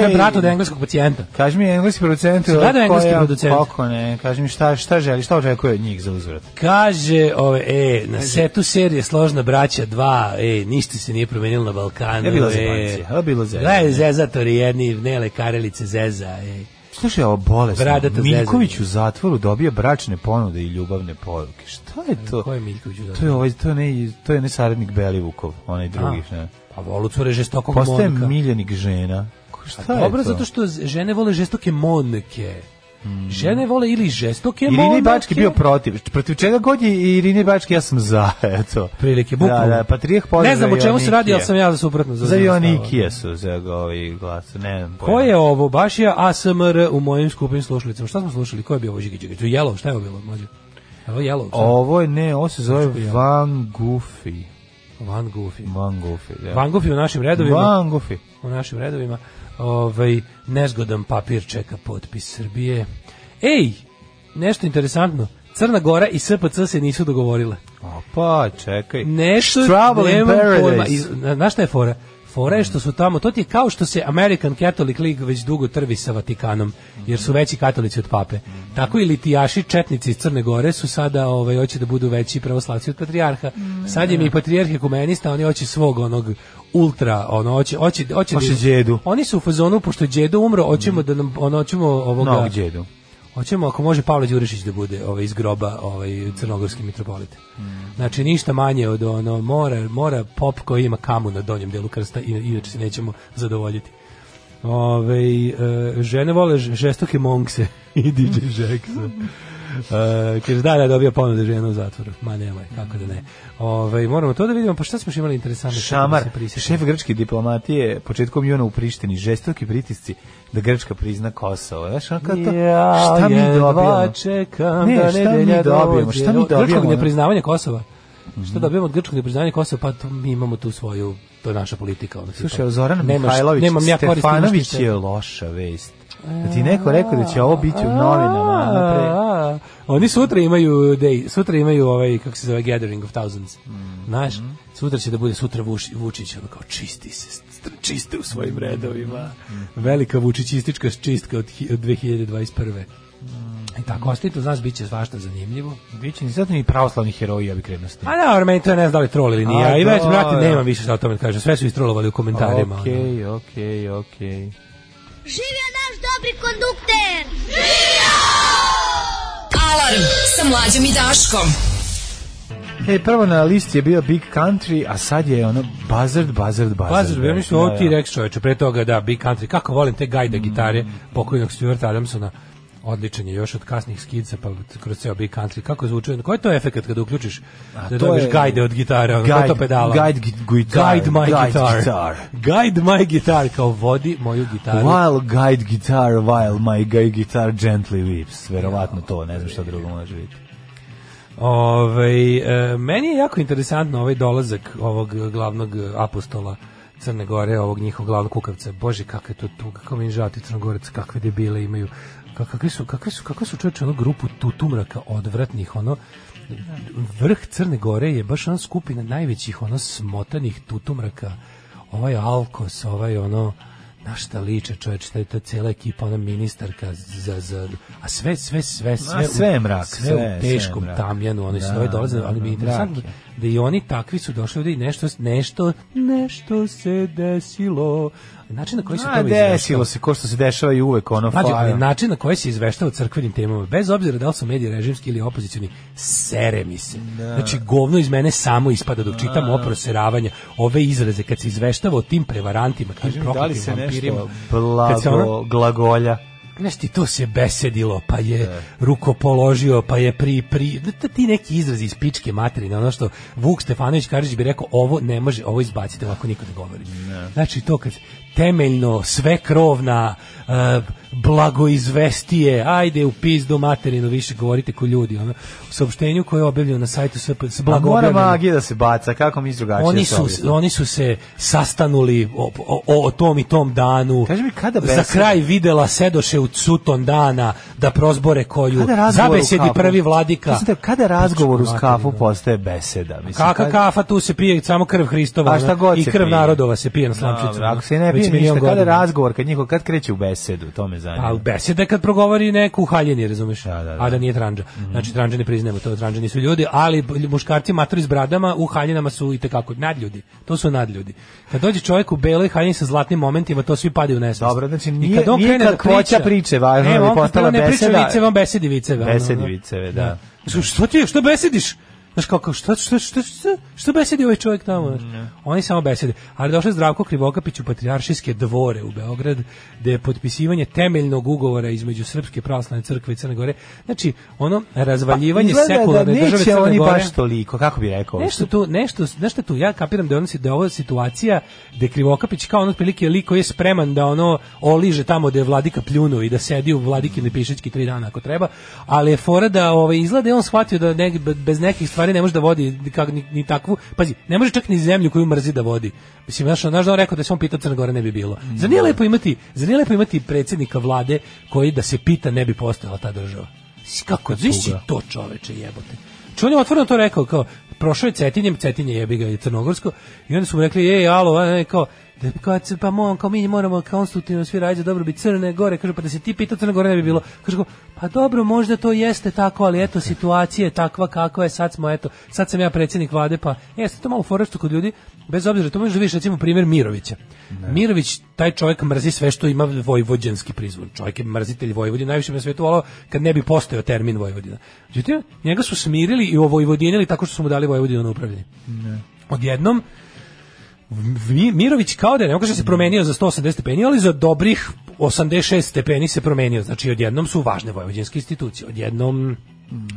To je brat od engleskog pacijenta.
Kaži mi engleski producent,
Si gledao
koja-
engleski producent?
Kako ne, kaži mi šta, šta želi, šta očekuje od njih za uzvrat.
Kaže, ove, e, na setu serije Složna braća 2, e, ništa se nije promenilo na Balkanu.
Je bilo
e,
zebancija, je bilo zezanje.
Gledaj, zezatori jedni, nele karelice zeza, e.
Slušaj, ovo bolest.
Bradata
Miljković
zezanje.
u zatvoru dobija bračne ponude i ljubavne poruke. Šta je to?
Ko je Miljković u zatvoru?
To je, ovaj, to je, ne, to je ne saradnik Belivukov, onaj drugi.
A.
Ne.
Pa volu cure žestokog
Postaje
monka. Pa
miljenik žena. Ko- Šta je
Dobro,
to?
zato što z- žene vole žestoke monke. Žene vole ili žestoke
Irini
monake.
Hmm. Bački bio protiv. Protiv čega god je Irini Bački, ja sam za, eto.
Prilike,
Da,
bukvalno.
da, Patrijeh
Ne znam o čemu se radi, ali sam ja za suprotno.
Za
znam stavove.
Jonikije su za ovi glas, ne znam.
Ko je ovo? Baš je ASMR u mojim skupim slušalicama. Šta smo slušali? Ko je bio ovo Žigić? To je Jelov, šta je ovo bilo? Mlađe? Evo Jelov.
Ovo je, ne, ovo se zove Van Goofy.
Van Goofy.
Van Goofy, da.
Van Goofy u našim redovima.
Van Goofy.
u našim redovima. Ovaj nezgodan papir čeka potpis Srbije. Ej, nešto interesantno. Crna Gora i SPC se nisu dogovorile.
Opa, pa, čekaj.
Nešto
Trouble in
nemam
Paradise.
pojma. I, na- znaš šta je fora? Fora je što su tamo, to ti je kao što se American Catholic League već dugo trvi sa Vatikanom, jer su veći katolici od pape. Tako i litijaši, četnici iz Crne Gore su sada, ovaj, hoće da budu veći pravoslavci od patrijarha. Sad je mi
Da.
patrijarh ekumenista, oni hoće svog onog ultra, ono, hoće, hoće, hoće,
Hoće Mhm.
da-
djedu.
Oni su u fazonu, pošto je djedo umro, hoćemo da nam, ono, hoćemo ovoga...
Novog djedu.
Hoćemo ako može Pavle Đurišić da bude ovaj iz groba ovaj crnogorski mitropolit. Znači ništa manje od ono mora mora pop koji ima kamu na donjem delu krsta i inače se nećemo zadovoljiti. Ove, žene vole ž- žestoke monkse i DJ Jacksa. E, kaže, da, da, dobija ponude žena u zatvoru. Ma nemoj, kako da ne. Ove, moramo to da vidimo, pa šta smo još imali interesantno?
Šamar,
Kako da se prisjetim?
šef grčke diplomatije, početkom juna u Prištini, žestoki pritisci da Grčka prizna Kosovo. Znaš, ono kao to,
Ja,
šta mi
jedva
dobijamo?
Čekam
Ne,
da
šta
nedelja
mi dobijemo,
dođe.
šta mi Mhm.
Od
dobijemo,
Grčkog
ono?
nepriznavanja Kosova. Šta dobijemo od grčkog nepriznavanja Kosova? Pa to, mi imamo tu svoju, to je naša politika. Ono, tipa,
Slušaj, evo, Zoran
nemaš-
Mihajlović,
nemam ja koristi
Stefanović
ništa.
je loša vest. Da ti je neko rekao da će ovo biti u novinama.
A,
ono pre-
a, Oni sutra imaju day, sutra imaju ovaj kako se zove Gathering of Thousands.
Mm,
Znaš, sutra će da bude sutra Vuš- Vučić ono kao čisti se st- čiste u
Mm,
svojim redovima. Velika Vučićistička čistka od, hi- od 2021.
Mm.
I E, tako ostaje to, znaš, bit će svašta zanimljivo.
Biće ni zato ni pravoslavni heroji, ja bih krenuo s tim.
A da, ali meni to ne znam da li trol ili nije.
A,
A, I već,
da,
brate,
da.
nemam više šta o tome da kažem. Sve su istrolovali u
Pa
komentarima. ono.
Okej, okej, okej.
Živio naš dobri kondukter!
Alarm sa Mlađom i Daškom.
E, prvo na listi je bio Big Country, a sad je ono Buzzard, Buzzard, Buzzard.
Pazar, ja mislim, ovo
Da, Mm.
ti
da.
Rex čoveče, pre toga da, Big Country, kako volim te gajda gitare pokojnog Stuart Adamsona, odličan je još od kasnih skica, pa kroz ceo Big Country, kako zvuče, koji je to efekt kada uključiš, da
to
dobiješ
je-
gajde od gitare, ono,
Guide-
guide, to pedala?
guide git- guitar,
Guide my
guide
guitar. Da,
guitar.
Guide my guitar, kao vodi moju gitaru.
While guide guitar, while my guy guitar gently weeps. Verovatno to, ne znam šta drugo može biti.
Ovaj e, meni je jako interesantno ovaj dolazak ovog glavnog apostola Crne Gore, ovog njihovog glavnog kukavca. Bože, kakva je to tuga, kako mi je žao ti Crnogorec, kakve debile imaju. Ka- Kakve su, kakve su, kakve su čovječe, ono grupu tutumraka odvratnih, ono, vrh Crne Gore je baš ona skupina najvećih, ono, smotanih tutumraka. Ovaj Alkos, ovaj, ono, na šta liče čovječ, ta, ta cela ekipa, ona ministarka, za, za, a sve, sve, sve, sve,
Ma,
u-
sve je mrak, sve,
sve,
sve je
u teškom
mrak.
tamjanu, oni
Da,
su ovaj dolaze,
da,
ali mi
da,
je interesantno
mrak
da i oni takvi su došli ovde i nešto, nešto, nešto se desilo. Način na koji se
A,
to izveštava.
desilo se, ko što se dešava i uvek ono
Mlađo, ali
fajno.
način na koji se izveštava o crkvenim temama, bez obzira da li su mediji režimski ili opozicioni, sere mi se.
Da.
Znači, govno iz mene samo ispada dok čitam o proseravanja, ove izraze, kad se izveštava o tim prevarantima, tim
Da li
prokletim
se
vampirima.
nešto
Kad se ono-
blago, glagolja?
Znaš ti, to se besedilo, pa je rukopoložio, pa je pri... pri da, da ti neki izrazi iz pičke materine, ono što Vuk Stefanović Karadžić bi rekao, ovo ne može, ovo izbacite, ovako niko ne govori. Znači to kad temeljno, sve krovna, e, blagoizvestije, ajde u pizdu materinu, više govorite ko ljudi. Ono, u saopštenju koje je objavljeno na sajtu SPS,
Pa
blago
mora
objavljeno,
magija da se baca, kako mi drugačije
Oni
da se
su,
objasni?
oni su se sastanuli o, o, o tom i tom danu.
Kaži mi, kada
Za
beseda?
kraj videla sedoše u cuton dana, da prozbore koju
Kada razgovor u
zabesedi
kafu?
prvi vladika.
Mislim da kada razgovor uz
Pičku
kafu
materinu.
postaje beseda. Mislim,
Kaka
kad-
kafa, tu se pije samo krv Hristova
A šta god
i
se
krv
pije.
narodova se pije na slamčicu.
Dobro, ako se
ono,
ne
već
pije
milion
ništa, kada
godina.
razgovor, kad njihov, kad kreće u besedu, to me zanima.
A Pa, beseda je kad progovori neku uhaljeni, razumeš?
Da, da, da.
A da nije tranđa. Znači, tranđa ne priznajemo, to tranđa nisu ljudi, ali muškarci matori s bradama u haljinama su i tekako nadljudi. To su nadljudi. Kad dođe čovjek u beloj haljini sa zlatnim momentima, to svi padaju u nesvest.
Dobro, znači
I
nije-
kad on
nije
krene da
kakvoća
priča-
priče važno,
Ne,
ali
on kad
postala
prvo ne priča
beseda-
viceve, on besedi viceve. ono,
Besedi
ono.
viceve, da.
Što, što ti, je, što besediš? Znaš kao, kao šta, šta, šta, šta, šta besedi ovaj čovjek tamo? Znaš? Oni samo besede. Ali došao je Zdravko Krivokapić u Patriaršijske dvore u Beograd, gde je potpisivanje temeljnog ugovora između Srpske pravoslavne crkve i Crne Gore. Znači, ono razvaljivanje
Izgleda
sekularne
da
države
neće
Crne
oni
Gore.
baš toliko, kako bi rekao?
Nešto tu, nešto, nešto tu, ja kapiram da je ono, da je ovo situacija da je Krivokapić kao ono otprilike lik koji je spreman da ono oliže tamo da je vladika pljunuo i da sedi u vladikine pišički tri dana ako treba, ali je fora da ovaj, izgleda je on shvatio da ne, bez nekih stvari ne može da vodi kak, ni, ni takvu, pazi, ne može čak ni zemlju koju mrzi da vodi. Mislim, znaš, znaš da on rekao da se on pitao Crna Gora ne bi bilo. Zar nije lepo imati, zar nije lepo imati predsjednika vlade koji da se pita ne bi postojala ta država? Mislim, Kako, znaš ti to čoveče jebote? Znači on je otvoreno to rekao, kao, prošao je Cetinjem, Cetinje jebi ga i Crnogorsko, i onda su mu rekli, ej, alo, a, e, kao, da bi kao, c- pa mo, kao mi moramo konstruktivno svi raditi za dobrobit Crne Gore, kaže, pa da se ti pita Crne Gore ne bi bilo, kaže, kao, pa dobro, možda to jeste tako, ali eto, situacija je takva kakva je, sad smo, eto, sad sam ja predsjednik vlade, pa, jeste to malo forešto kod ljudi, bez obzira, to možeš da vidiš, recimo, primjer Mirovića. Mirović, taj čovjek mrzi sve što ima vojvođanski prizvon. Čovjek je mrzitelj Vojvodine, najviše bi na svijetu volao kad ne bi postojao termin Vojvodina. Međutim, njega su smirili i ovojvodinili tako što su mu dali Vojvodinu na upravljanje. Odjednom, Mi- Mirović kao da je, ne mogu da se promenio za 180 stepeni, ali za dobrih 86 stepeni se promenio. Znači, odjednom su važne vojvođanske institucije. Odjednom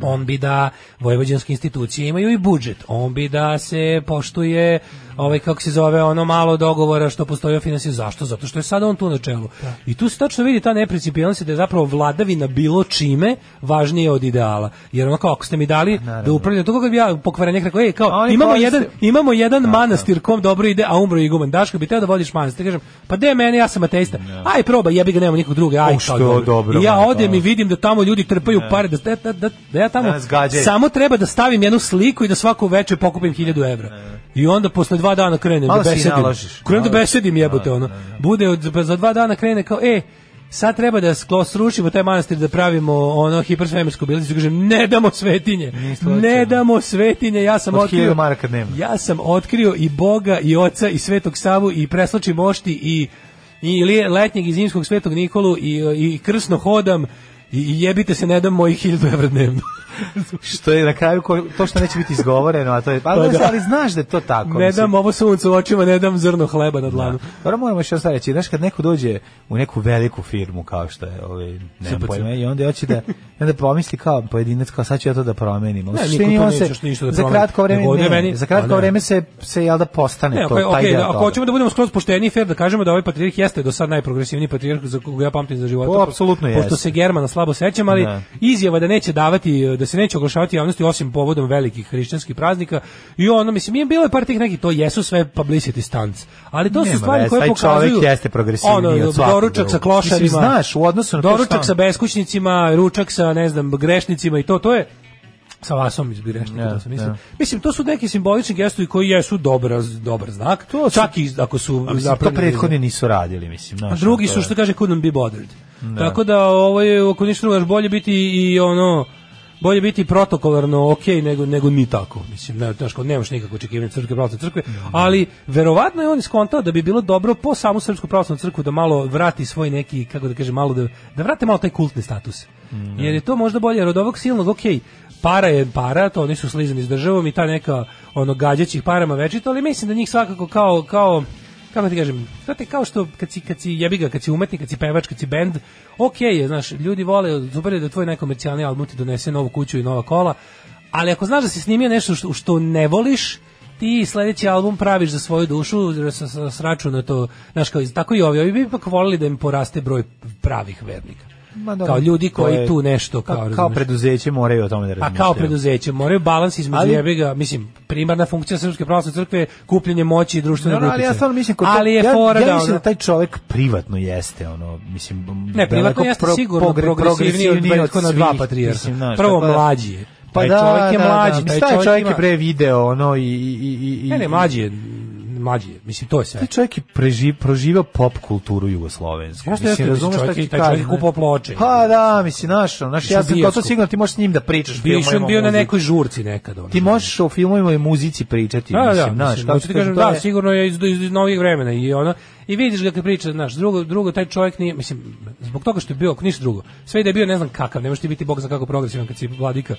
on bi da vojvođanske institucije imaju i budžet. On bi da se poštuje ovaj kako se zove ono malo dogovora što postoji o finansiju. Zašto? Zato što je sada on tu na čelu. I tu se tačno vidi ta neprincipijalnost da je zapravo vladavina bilo čime važnije od ideala. Jer ono kao ako ste mi dali da upravljam, to kako bi ja pokvarenjak rekao, ej, kao,
A oni
imamo
koriste-
jedan, imamo jedan manastir kom dobro ide, a umro je iguman. Daško bi teo da vodiš manastir. Kažem, pa de mene, ja sam ateista. Aj proba, jebi ga, nema nikog druga. Aj,
U, što
kao dobro.
dobro,
I ja
majko.
odem i vidim da tamo ljudi trpaju pare. Da, da, da, da ja tamo
Da nas gađaju.
samo treba da stavim jednu sliku i da svako veče pokupim 1000 evra. I onda posle dva dana krenem
Malo
da
se i
besedim.
naložiš.
Krenem da
Malo-
besedim jebote ono.
da,
Bude od, pa za dva dana krene kao, e, sad treba da sklo srušimo taj manastir da pravimo ono hipersvemirsku biliznicu kažem ne damo svetinje
slučajno.
ne damo svetinje ja sam
Od
otkrio
1000 maraka dnevno.
ja sam otkrio i Boga i Oca i Svetog Savu i preslači mošti i i li- letnjeg i zimskog Svetog Nikolu i, i krsno hodam i, i jebite se ne dam mojih hiljadu evra dnevno.
Što je na kraju, ko- to što neće biti izgovoreno, a to je, pa,
Pa da.
ali znaš da je to tako.
ne
mislim.
dam ovo sunce u očima, ne dam zrno hleba na dlanu.
Dobro, moramo još sad reći, znaš kad neko dođe u neku veliku firmu kao što je, ovaj, nemam
CPC.
pojma, i onda hoće da, i onda pomisli kao pojedinac, kao sad ću ja to da promenim. Ali
Ne, niko
u suštini
to
on
neće
se-
što ništa da
za
promeni.
kratko vreme,
Nego
ne,
ovde meni-
za kratko
A, ne.
vreme se, se jel da postane
Ne,
to,
ako, je-
taj
okej,
deo
ako
toga.
hoćemo da budemo skroz pošteni i fair, da kažemo da ovaj patrijarh jeste do sad najprogresivniji patrijarh za koga ja pamtim za života.
To apsolutno
Pošto
jeste.
se Germana slabo sećam, ali
Da.
izjava da neće davati, da se neće oglašavati javnosti osim povodom velikih hrišćanskih praznika i ono, mislim, je bilo je par tih nekih, to jesu sve publicity stunts, ali to
Nema
su stvari
veze,
koje
taj
pokazuju...
čovjek jeste progresivniji
ono,
od svakog
Doručak sa
drugog.
klošarima,
Mislim, znaš, u odnosu na to šta-
doručak sa beskućnicima, ručak sa, ne znam, grešnicima i to, to je sa vasom iz Birešnika,
Ne,
to sam mislio.
ne.
Mislim, to su neki simbolični gestovi koji jesu dobar, dobar znak, to čak i ako su
A mislim, to
napravljeni-
prethodni nisu radili, mislim.
A
Znaš,
drugi
to
su,
je-
što kaže, couldn't be bothered. Tako da, ovo je, ako ništa drugo, još bolje biti i ono, bolje biti protokolarno ok nego nego ni tako mislim ne znaš kao nemaš nikakvo očekivanje od srpske pravoslavne crkve
Da.
ali verovatno je on skontao da bi bilo dobro po samu srpsku pravoslavnu crkvu da malo vrati svoj neki kako da kažem malo da da vrate malo taj kultni status
Da.
jer je to možda bolje jer od ovog silnog ok para je para, to oni su slizani s državom i ta neka ono gađaćih parama večito, ali mislim da njih svakako kao kao kako ti kažem, znate kao što kad si, kad si jebi ga, kad si umetnik, kad si pevač, kad si bend, okej je, znaš, ljudi vole, super je da tvoj nekomercijalni album ti donese novu kuću i nova kola, ali ako znaš da si snimio nešto što, što ne voliš, ti sledeći album praviš za svoju dušu, jer sa, sa, sračunato, znaš, kao, i- tako i ovi, ovi bi ipak volili da im poraste broj pravih vernika.
Ma dobro,
kao ljudi
to
koji
je-
tu nešto
Pa,
kao
kao
razumeš.
preduzeće moraju o tome da
A
razmišljaju.
Pa kao preduzeće moraju balans između
Ali-
jebiga, mislim, primarna funkcija Srpske pravoslavne crkve je kupljenje moći i društvene
Dobro, ali ja stvarno mislim kod
ali je
ja,
fora
ja
da
mislim da
ono-
taj čovjek privatno jeste ono mislim
Ne, privatno
daleko
jeste
pro-
sigurno
pogre-
progresivniji od prethodna
svih,
dva patrijarha.
mislim, znaš,
Prvo
tako da-
mlađi je.
Pa
Taj
da,
čovjek je
da, da,
mlađi,
mislim,
taj
taj
čovjek
čovjek je
ima-
pre video ono i i i i
Ne, ne,
i-
mlađi je, mlađi je. Mislim, to je sve.
Taj čovjek je preži, proživao pop kulturu jugoslovensku.
Ja što ja kažem,
razumeš
čovjek
šta
je-
ti
taj čovjek je
kažem, ne?
kupovao ploče.
Pa da, mislim, znaš, ono, znaš,
Išao
ja sam
bioskop.
gotovo sigurno ti možeš s njim da pričaš.
Bio
filmovima,
on bio na
muzici.
nekoj žurci nekad. Ono.
Ti možeš o filmovima i muzici pričati,
Da, da,
mislim, znaš,
mislim,
kako
hoću ti kažem,
to
da,
je-
sigurno je iz, iz, iz novih vremena i ono, i vidiš ga kad priča, znaš, drugo, drugo, taj čovjek nije, mislim, zbog toga što je bio, ako ništa drugo, sve i da je bio ne znam kakav, ne možeš ti biti bog za kako progresivan kad si vladika,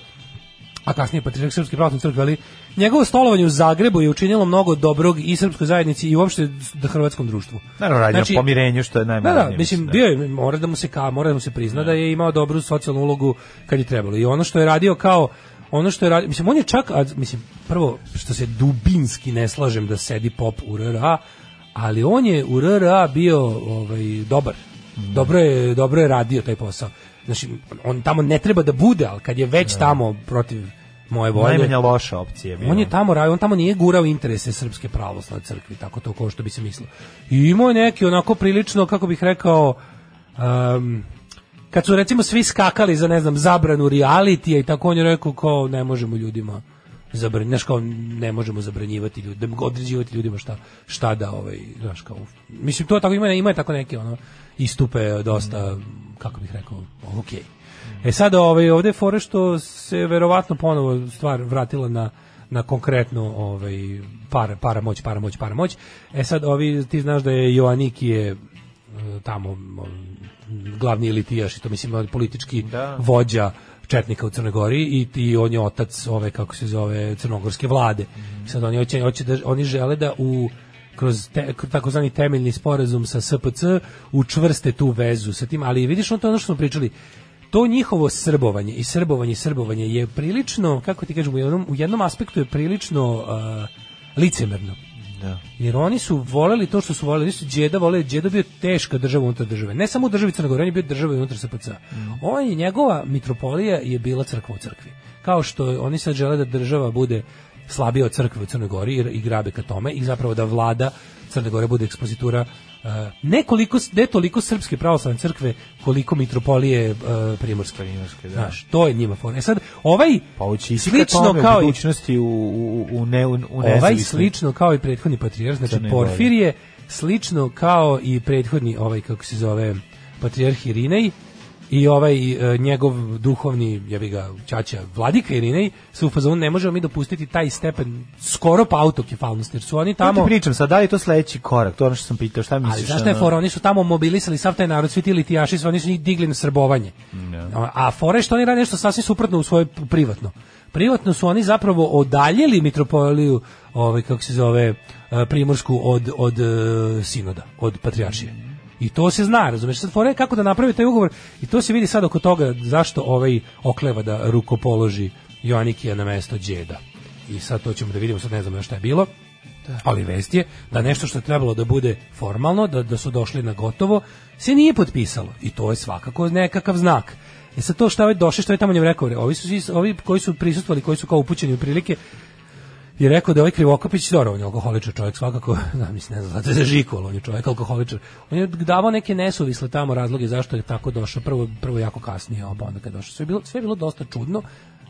a kasnije patrijarh Srpske pravoslavne crkve, ali njegovo stolovanje u Zagrebu je učinilo mnogo dobrog i srpskoj zajednici i uopšte da hrvatskom društvu.
Naravno, radi
Znači,
na pomirenju, što je
Da,
najmanje.
da, mislim, bio je, mora da mu se ka, mora da mu se prizna da je imao dobru socijalnu ulogu kad je trebalo. I ono što je radio kao ono što je radio, mislim, on je čak, a, mislim, prvo, što se dubinski ne slažem da sedi pop u RRA, ali on je u RRA bio ovaj, dobar. Dobro, je, dobro je radio taj posao. Znači, on tamo ne treba da bude, ali kad je već tamo protiv moje volje...
Najmanja loša opcija je bila.
On je tamo radio, on tamo nije gurao interese Srpske pravoslavne crkve, tako to kao što bi se mislilo. I imao je neki onako prilično, kako bih rekao, um, kad su recimo svi skakali za, ne znam, zabranu realitija i tako, on je rekao kao ne možemo ljudima zabranjivati, znaš kao ne možemo zabranjivati ljudima, određivati ljudima šta, šta da, ovaj, znaš kao, mislim to tako ima, ima je tako neke ono, istupe dosta, kako bih rekao, okej. E sad ovaj ovde je fora što se verovatno ponovo stvar vratila na na konkretno ovaj para para moć para moć para moć. E sad ovi ti znaš da je Joaniki je e, tamo m, glavni elitijaš i to mislim politički vođa četnika u Crnoj Gori i, i on je otac ove kako se zove crnogorske vlade. Sad oni hoće, hoće da, oni žele da u kroz te, kroz takozvani temeljni sporazum sa SPC učvrste tu vezu sa tim, ali vidiš on to je ono što smo pričali to njihovo srbovanje i srbovanje i srbovanje je prilično, kako ti kažem, u jednom, u jednom aspektu je prilično uh, licemerno. Da. Jer oni su voleli to što su voleli, nisu Đeda voleli, Đeda bio teška država unutar države. Ne samo u državi Crne Gore, on je bio država i unutar SPC. On je, njegova mitropolija je bila crkva u crkvi. Kao što oni sad žele da država bude slabija od crkve u Crnoj Gori i, i grabe ka tome i zapravo da vlada Crne Gore bude ekspozitura uh, ne, koliko, ne toliko srpske pravoslavne crkve koliko mitropolije uh, primorske. primorske da. Znaš, to je njima fora. E sad, ovaj
Pa ući i
slično
slično
kao
kao
i
budućnosti u, u, u, ne, u, u
ovaj
nezavisnoj-
slično kao i prethodni patrijarh, znači
Crnoj Gori.
Porfir je slično kao i prethodni ovaj kako se zove patrijarh Irinej i ovaj e, njegov duhovni jebi ga ćaća vladika Irinej su u fazonu ne možemo mi dopustiti taj stepen skoro pa autokefalnosti jer su oni
To ti
tamo
pričam sad, da li je to sledeći korak? To je ono što sam pitao, šta misliš?
ali znaš šta je
ono?
fora, oni su tamo mobilisali sav taj narod, svi ti litijaši, su- oni su njih digli na srbovanje.
Da.
A- A fora je što oni rade nešto sasvim suprotno u svoje p- privatno. Privatno su oni zapravo odaljili mitropoliju, ovaj, kako se zove, e, primorsku od, od e, sinoda, od patrijaršije. I to se zna, razumeš? Sad fora je kako da napravi taj ugovor i to se vidi sad oko toga zašto ovaj okleva da rukopoloži Joannikija na mesto Đeda. I sad to ćemo da vidimo, sad ne znamo još šta je bilo. Ali vest je da nešto što je trebalo da bude formalno, da, da su došli na gotovo, se nije potpisalo. I to je svakako nekakav znak. E sad to što je ovaj došao, što je tamo njemu rekao, re, ovi, su, svi- ovi koji su prisustvali, koji su kao upućeni u prilike, je rekao da je ovaj Krivokapić, dobro, on je alkoholičar čovjek svakako, da, mislim, ne znam, zato je žikol, on je čovjek alkoholičar. On je davao neke nesuvisle tamo razloge zašto je tako došao, prvo, prvo jako kasnije, a onda kad je došao. Sve je, bilo, sve je bilo dosta čudno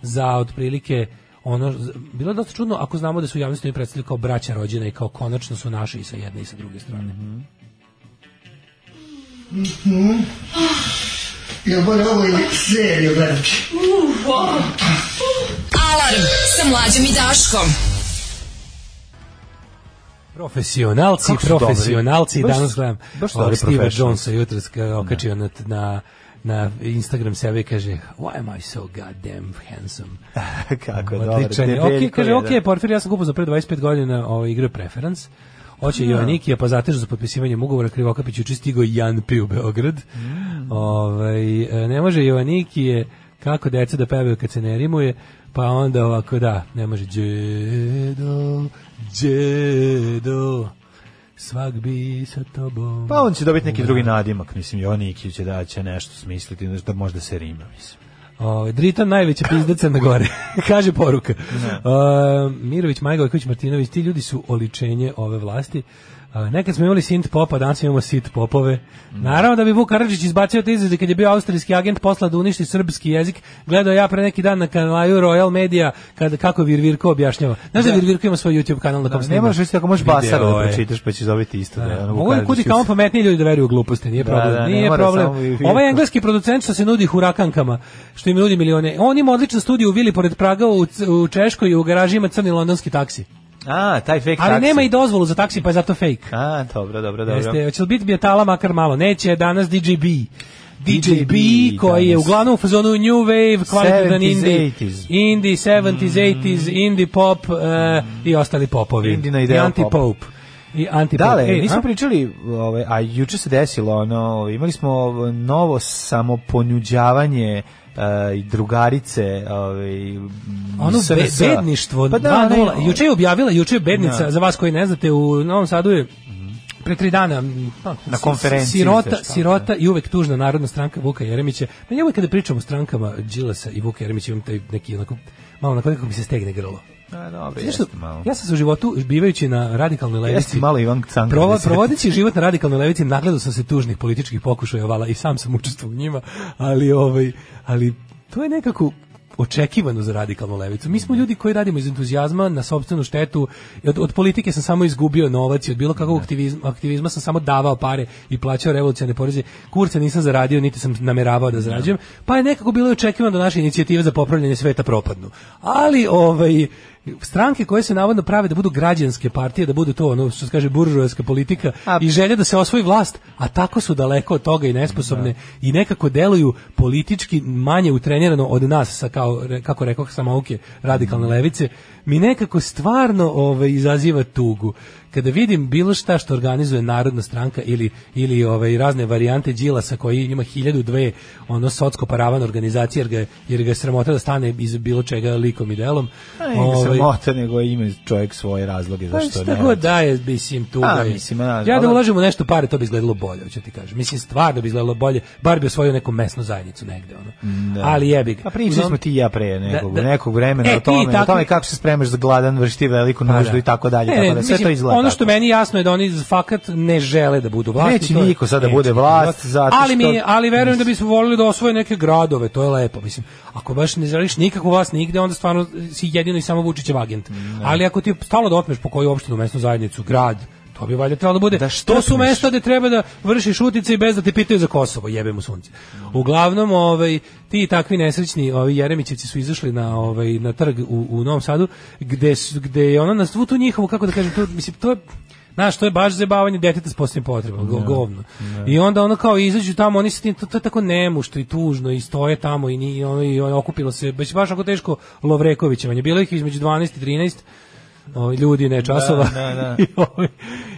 za otprilike ono, z- bilo je dosta čudno ako znamo da su u javnosti oni predstavljali kao braća rođena i kao konačno su naši i sa jedne i sa druge strane.
Mhm.
Ja moram ovo seriju gledati.
Alarm sa mlađom i Daškom.
Profesionalci,
Kako su dobri.
profesionalci,
Baš-
danas gledam.
baš su
ovog
dobri Da.
Steve
professionals.
Jonesa jutros kad je okačio na, na, na Instagram sebe i kaže Why am I so goddamn handsome?
Kako je dobro.
Odličan je.
debeljko
Ok, kaže,
je,
ok,
da.
Porfir, ja sam kupio za pre 25 godina ovaj, igre Preference. Oće
Da.
i Joannikija, pa zatežu za potpisivanjem ugovora Krivokapić juče stigao i Jan Pi u Beograd.
Mm.
Ovaj, e, ne može Joannikije, kako deca da pevaju kad se ne rimuje, pa onda ovako da, ne može džedo, džedo. Svak bi sa tobom.
Pa on će dobiti neki drugi nadimak, mislim, Jovan Nikić će da će nešto smisliti, znaš, da možda se rima, mislim.
Ovaj Drita najveća pizdeca na gore. Kaže poruka.
Da.
Uh, Mirović Majgojković Martinović, ti ljudi su oličenje ove vlasti. Uh, nekad smo imali synth popa, danas imamo sit popove. Naravno da bi Vuk Karadžić izbacio te izraze kad je bio austrijski agent posla da uništi srpski jezik. Gledao ja pre neki dan na kanalu Royal Media kad, kako Virvirko objašnjava. Znaš da, Virvirko ima svoj YouTube kanal na kom
Da, Ne
snima?
možeš ako možeš
Video
basara da
je.
pročitaš, pa ćeš dobiti isto. Da, ono,
Mogu
Vukaradžić
kudi
uz-
kao pametniji ljudi da veruju u gluposti, nije
Da,
problem.
da, ne
nije
mora
problem.
samo i-
Ovaj engleski producent što se nudi hurakankama, što im nudi milione. On ima odličan studij u vili pored Praga u, C- u Češkoj i u garaži ima crni londonski taksi.
A, taj fake
Ali
taksi.
nema i dozvolu za taksi, pa je zato fake.
A, dobro, dobro, dobro.
Jeste, hoće li biti bijatala makar malo? Neće, danas DJB. DJB
DJB,
koji je
danas.
uglavnom u fazonu New Wave, kvalitetan
70s,
indie,
80s.
indie
Mm.
70s, 80s, indie pop eh, i ostali popovi.
Indina
I
ideal pop.
anti-pop. I E, anti-pop.
Dale,
Ej,
nismo
a?
Da, pričali, ovaj, a juče se desilo, ono, imali smo ovo novo samoponjuđavanje eh, i drugarice ovaj, m,
ono be,
SRS.
bedništvo
Pa da,
2:0.
ne,
juče je objavila juče je bednica
Da.
za vas koji ne znate u Novom Sadu je pre tri dana m, pa,
Na
si-
konferenciji da.
sirota,
za štampu,
sirota i uvek tužna narodna stranka Vuka Jeremića. Meni uvek kada pričam o strankama Đilasa i Vuka Jeremića imam taj neki onako malo na kako mi se stegne grlo.
A, dobro,
Znaš što,
jeste malo.
ja sam se u životu bivajući na radikalnoj levici
Jeste malo Ivan Cankar.
Prova,
da se-
provodeći život na radikalnoj levici, nagledao sam se tužnih političkih pokušaja ovala i sam sam učestvovao u njima, ali ovaj, ali to je nekako očekivano za radikalnu levicu. Mi smo ljudi koji radimo iz entuzijazma na sopstvenu štetu. i Od, od politike sam samo izgubio novac i od bilo kakvog aktivizma, aktivizma sam samo davao pare i plaćao revolucionarne poreze. Kurca nisam zaradio, niti sam nameravao da zarađujem. Pa je nekako bilo i očekivano da naše inicijative za popravljanje sveta propadnu. Ali ovaj stranke koje se navodno prave da budu građanske partije, da budu to ono što se kaže buržoaska politika
A-
i želja da se osvoji vlast, a tako su daleko od toga i nesposobne i nekako deluju politički manje utrenirano od nas sa kao re- kako rekoh samouke radikalne levice, mi nekako stvarno ovaj izaziva tugu kada vidim bilo šta što organizuje narodna stranka ili ili ovaj razne varijante Đilasa koji ima hiljadu dve ono socsko paravan organizacije jer ga jer ga je sramota da stane iz bilo čega likom i delom.
A, nego se mota, nego ima čovjek svoje razloge
Ovaj- Pa
zašto
šta
ne.
god daje, mislim, tu
A,
je.
mislim, a,
ja da
ali-
uložim u nešto pare, to bi izgledalo bolje, hoću da ti kažem. Mislim, stvarno bi izgledalo bolje, bar bi osvojio neku mesnu zajednicu negde, ono. Ali jebi ga.
Pa pričali smo ti i ja pre nekog,
da-
nekog vremena
E,
o tome,
ti tako-
o tome kako se spremaš za gladan, vrši ti veliku
Pa
nuždu
da.
i tako dalje,
Ne,
tako
ne,
da sve
mislim,
to izgleda.
Ono što
tako.
meni jasno je da oni fakat ne žele da budu vlast.
Neće niko sad da bude vlast, zato
ali
što-
Mi, ali verujem da bismo volili da osvoje neke gradove, to je lepo. Mislim, ako baš ne želiš nikakvu vlast nigde, onda stvarno si jedino i samo Vučićev agent. Ali ako ti je stalo da otmeš po koju opštinu, mesnu zajednicu, grad, to bi valjda trebalo da bude.
Da
to su
štopneš.
mesta mesta gde treba da vršiš utice i bez da te pitaju za Kosovo, jebe mu sunce. Uglavnom, ovaj ti i takvi nesrećni, ovi Jeremićevci su izašli na ovaj na trg u, u Novom Sadu, gde su- gde je ona na svu tu njihovu kako da kažem, to mislim to je Znaš, to je baš zabavanje deteta s posebnim potrebama, go-
Da,
govno. I onda ono kao izađu tamo, oni se tim, to, to je tako nemušto i tužno i stoje tamo i, ni, i ono, i ono, okupilo se, baš, baš ako teško Lovrekovićevanje. Bilo ih između 12 i 13, ovaj, ljudi ne časova.
da, da.
I, ovaj,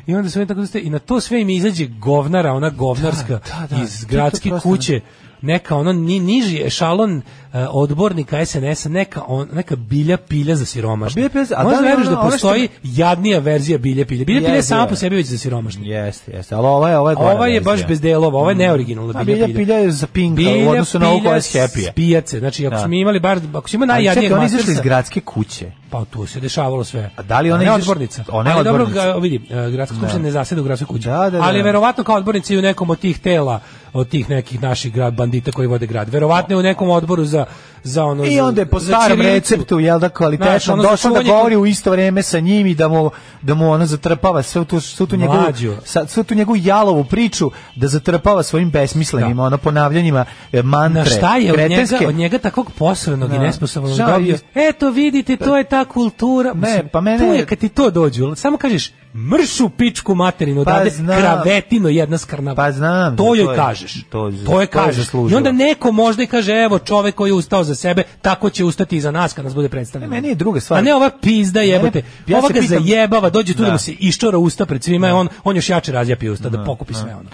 I onda sve tako da ste, i na to sve im izađe govnara, ona govnarska
Da, da, da, to
iz
je to
gradske
prosto
kuće, neka ono ni, niži ešalon eh, odbornika SNS-a, neka, on, neka bilja pilja za siromašne.
A bilja pilja za- a
Možda
da li
veruješ
ono-
da
ono što-
postoji jadnija verzija bilja pilja. Bilja pilja je sama
Jeziva.
po sebi već za siromašne.
Jeste, jeste, ali ova je, ova je
Ova
gora
je baš
verzija.
bez delova, ova je neoriginalna
Mm. A
bilja pilja.
bilja pilja je za pinka u odnosu na ovu koja je
pilja
skepija.
s pijace. Znači, ako
Da.
smo imali bar, ako smo imali
Ali čekaj,
najjadnijeg
oni izašli iz
mastersa-
gradske kuće.
pa tu se dešavalo sve.
A da li ona
je
izaš-
odbornica?
Ona je
Ali dobro,
odbornica.
ga- vidi, e, gradska skupština ne zaseda u gradskoj kući.
Da, da, da.
Ali verovatno kao odbornica i u nekom od tih tela, od tih nekih naših grad bandita koji vode grad. Verovatno je u nekom odboru za za ono
I
za-
onda je po
za
starom
ćirilicu.
receptu, jel da,
Znaš, ono
kvalitetnom,
za
došao da
čuvanje-
govori u isto vreme sa njim i da mu, da mu ono zatrpava sve tu, sve tu, njegovu,
Mlađo.
sa, sve tu njegovu jalovu priču, da zatrpava svojim besmislenim,
Da.
ono ponavljanjima e, mantre.
Na šta je od njega,
kretenske.
od njega takvog posrednog i
Da.
nesposobnog
Šta
dobio?
je-
Eto vidite, to je ta kultura.
Ne,
Mislim,
pa mene-
Tu je kad ti to dođu, samo kažeš mršu pičku materinu,
Pa
pa
znam.
kravetino jedna skrna.
Pa znam,
To
to
joj
je-
kažeš.
to
To,
je- to je
je kažeš. I
zaslužila.
onda neko možda i kaže, evo čovek koji je ustao za sebe, tako će ustati i za nas kad nas bude predstavljen.
Ne, meni je druga stvar.
A ne ova pizda jebote.
Mene- ja se
ova ga
pitam-
zajebava, dođe tu da,
Da.
mu se iščora usta pred svima, i on, on još jače razjapi usta da pokupi sve ono.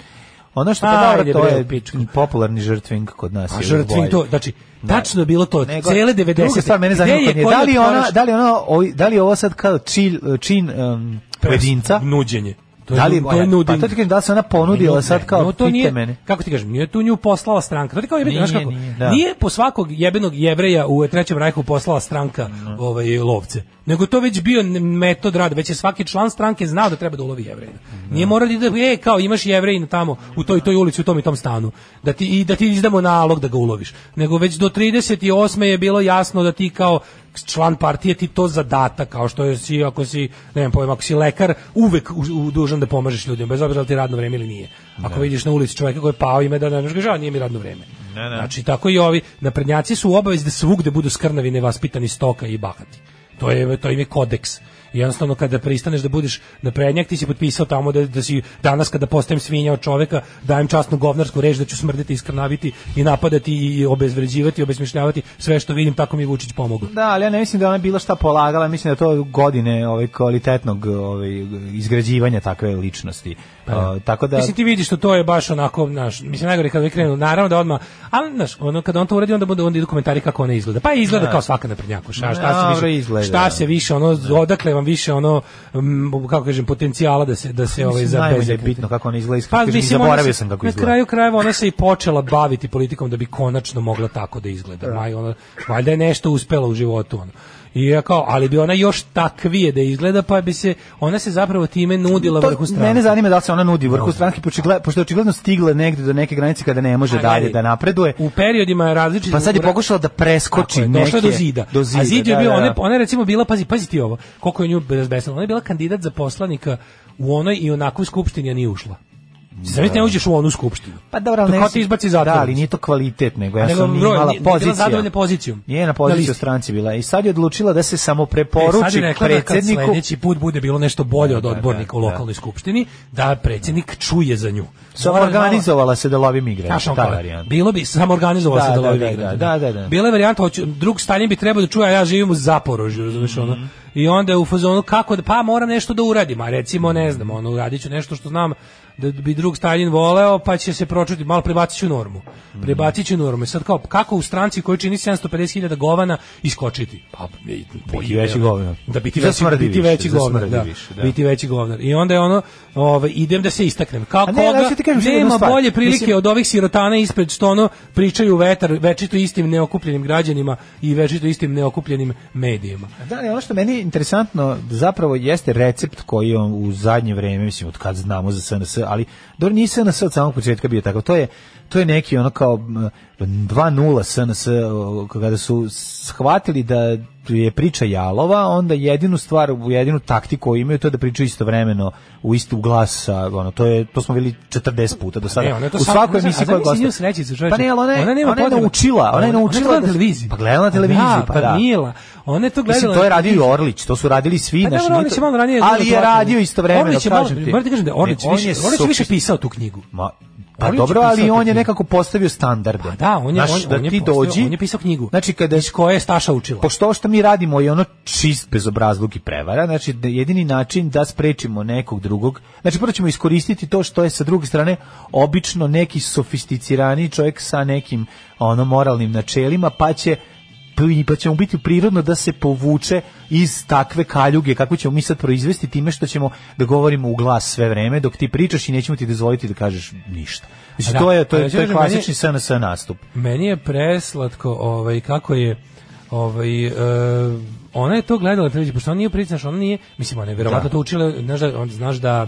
Ono što
Ajde,
pa dobro, to
bre,
je
pičku.
popularni žrtving kod nas. je
A
uvek
žrtvin
bolji.
to, znači, tačno je bilo to,
Nego-
cele 90.
Druga stvar mene zanima kod nje, da li ona, da li ona, oj- da li je ovo sad kao čil, čin em, pojedinca?
Nuđenje. To je,
da li,
nu- to je
pa
nuding.
to ti kažem, da li se ona ponudila
Ne,
sad kao,
no, to
pite
nije,
mene.
Kako ti kažem, nije tu nju poslala stranka. To ti kao jebe,
Nije,
znaš kako?
nije,
Nije,
da.
po svakog jebenog jevreja u Trećem rajhu poslala stranka ovaj, lovce. Nego to već bio n- metod rada, već je svaki član stranke znao da treba da ulovi jevreja. Nije morao da ide, e, kao imaš jevrejina tamo u toj toj ulici, u tom i tom stanu, da ti, i da ti izdamo nalog da ga uloviš. Nego već do 38. je bilo jasno da ti kao član partije ti to zadatak kao što je si ako si ne znam pojma ako si lekar uvek u, u- dužan da pomažeš ljudima bez obzira da li ti je radno vreme ili nije ako vidiš na ulici čovjeka koji je pao ime da ne možeš ga žao nije mi radno vreme znači tako i ovi naprednjaci su u obavezi da svugde budu skrnavi nevaspitani stoka i bahati to je to im je kodeks I jednostavno kada pristaneš da budeš naprednjak ti si potpisao tamo da, da si danas kada postajem svinja od čoveka dajem časnu govnarsku reč da ću smrditi iskrnaviti i napadati i obezvređivati i obesmišljavati sve što vidim tako mi je Vučić pomogao
Da, ali ja ne mislim da ona bilo šta polagala, mislim da to godine ovaj kvalitetnog ovaj izgrađivanja takve ličnosti.
Pa
Uh, tako da
Mislim ti vidiš što to je baš onako, naš, mislim najgore kada bi krenuo, naravno da odmah, ali znaš, ono kada on to uradi onda bude onda idu komentari kako ona izgleda. Pa izgleda kao svaka naprednjakoša, a šta se
Da. Dobro
više
izgleda. da.
šta se više ono odakle vam više ono mm, kako kažem potencijala da se da se ovaj
mislim,
za
najmanje je bitno kako ona izgleda,
Pa
pa,
mislim, ona
zaboravio
se-
sam kako
na
izgleda.
kraju krajeva ona se i počela baviti politikom da bi konačno mogla tako da izgleda. Maj ona valjda je nešto uspela u životu ono. I ja kao, ali bi ona još takvije da izgleda, pa bi se, ona se zapravo time nudila
To-
vrhu stranke.
mene zanima da li se ona nudi u vrhu stranke, pošto očigledno- pošto je očigledno stigla negde do neke granice kada ne može
A,
dalje
gledaj,
da napreduje.
U periodima različitih...
Pa sad je pokušala da preskoči
Tako je,
neke.
došla do zida.
Do zida
A zid je
da,
bio,
da,
ona, je-
da.
ona je recimo bila, pazi, pazi ti ovo, koliko je nju bezbesnila. Ona je bila kandidat za poslanika u onoj i onakvoj skupštini, a nije ušla. Znači, ne uđeš u onu skupštinu.
Pa dobro, ali
To
ne
kao
mislim-
ti izbaci zatvor.
Da, ali nije to kvalitet, nego ja
Nego
sam
broj,
imala
nije- nije bila
pozicija.
zadovoljna pozicijom.
Nije na
Na
poziciju
listi.
stranci bila. I sad je odlučila da se samo
E, sad
preporuči
je rekla da kad
predsjedniku.
sledeći put bude bilo nešto bolje od
Da, da,
odbornika u
da.
lokalnoj skupštini, da predsjednik čuje za nju.
Samo
Ovo je malo-
organizovala se da lovi migre.
Znaš, on
ta
kao,
varijanta.
Bilo bi samo organizovao
Da,
se da,
da,
lovi
da,
migrante.
da, da, da.
Bila je varijanta hoću drug Stalin bi trebao da čuje a ja živim u Zaporožju, razumeš ono.
Mhm.
I onda je u fazonu kako da pa moram nešto da uradim, a recimo ne znam, ono uradiću nešto što znam da bi drug Stalin voleo, pa će se pročuti, malo prebacit ću normu.
Mhm.
Prebacit ću normu. I sad kao, kako u stranci koji čini 750.000 govana iskočiti? Pa, biti
veći govnar.
Da biti
Da
veći,
smrdi
biti
više,
veći
da
govnar.
smrdi
Da,
više, da.
Biti veći govnar. I onda je ono, ovaj, idem da se istaknem. Kako
A ne, ali
koga
sad ti kažem sad jednu
nema
stvar.
bolje prilike
Mislim-
od ovih sirotana ispred što ono pričaju u vetar večito istim neokupljenim građanima i večito istim neokupljenim medijima.
Da, ali ono što meni je interesantno zapravo jeste recept koji on u zadnje vreme, mislim, od kad znamo za SNS, ali dobro nije SNS od samog početka bio takav. To je, to je neki ono kao m, 2-0 SNS, o, kada su shvatili da je priča jalova, onda jedinu stvar, jedinu taktiku koju imaju to je da pričaju istovremeno u istu glas sa, ono, to, je, to smo bili 40 puta do sada.
Ne, E, ona je to
u
sam-
svakoj
ne znam,
emisiji
a
koja
zamisli nju
gosta.
srećicu, čoveče.
Pa ne, ali ona, je-
nema
ona je
potrebe.
naučila, ona je naučila
gledala
da-
na televiziji.
Pa gledala na televiziji,
da,
pa
pa
da.
nije la- Ona je to gledala.
Mislim,
na
to je radio i
televiziji.
Orlić, to su radili svi,
Pa
znači,
dobro,
nije
Orlić
to-
je malo ranije.
ali je
gledao to.
radio istovremeno,
Orlić je malo-
kažem ti.
Moram ti kažem da je Orlić
Ne, on
više,
je
Orlić više
suficit.
pisao tu knjigu.
Ma, pa
Orlić je
dobro,
pisao
ali
tu
on je
knjigu.
nekako postavio standarde.
Pa da, on je,
Znaš,
on,
da
on je
ti
postao-
dođi,
on je pisao knjigu.
Znači, kada
iz koje je Staša učila.
pošto ovo što mi radimo je ono čist bezobrazluk i prevara, znači da jedini način da sprečimo nekog drugog, znači prvo ćemo iskoristiti to što je sa druge strane obično neki sofisticirani čovjek sa nekim ono moralnim načelima, pa će pa ćemo biti prirodno da se povuče iz takve kaljuge kako ćemo mi sad proizvesti time što ćemo da govorimo u glas sve vreme dok ti pričaš i nećemo ti dozvoliti da kažeš ništa. Znači,
Da.
to je, to je,
Ali
to je
kažem, meni-
klasični SNS nastup.
Meni je preslatko ovaj, kako je ovaj, e, ona je to gledala televiziju, pošto ona nije pricnaš, ona nije, mislim, ona je verovatno
Da.
to učila, znaš da, on, znaš da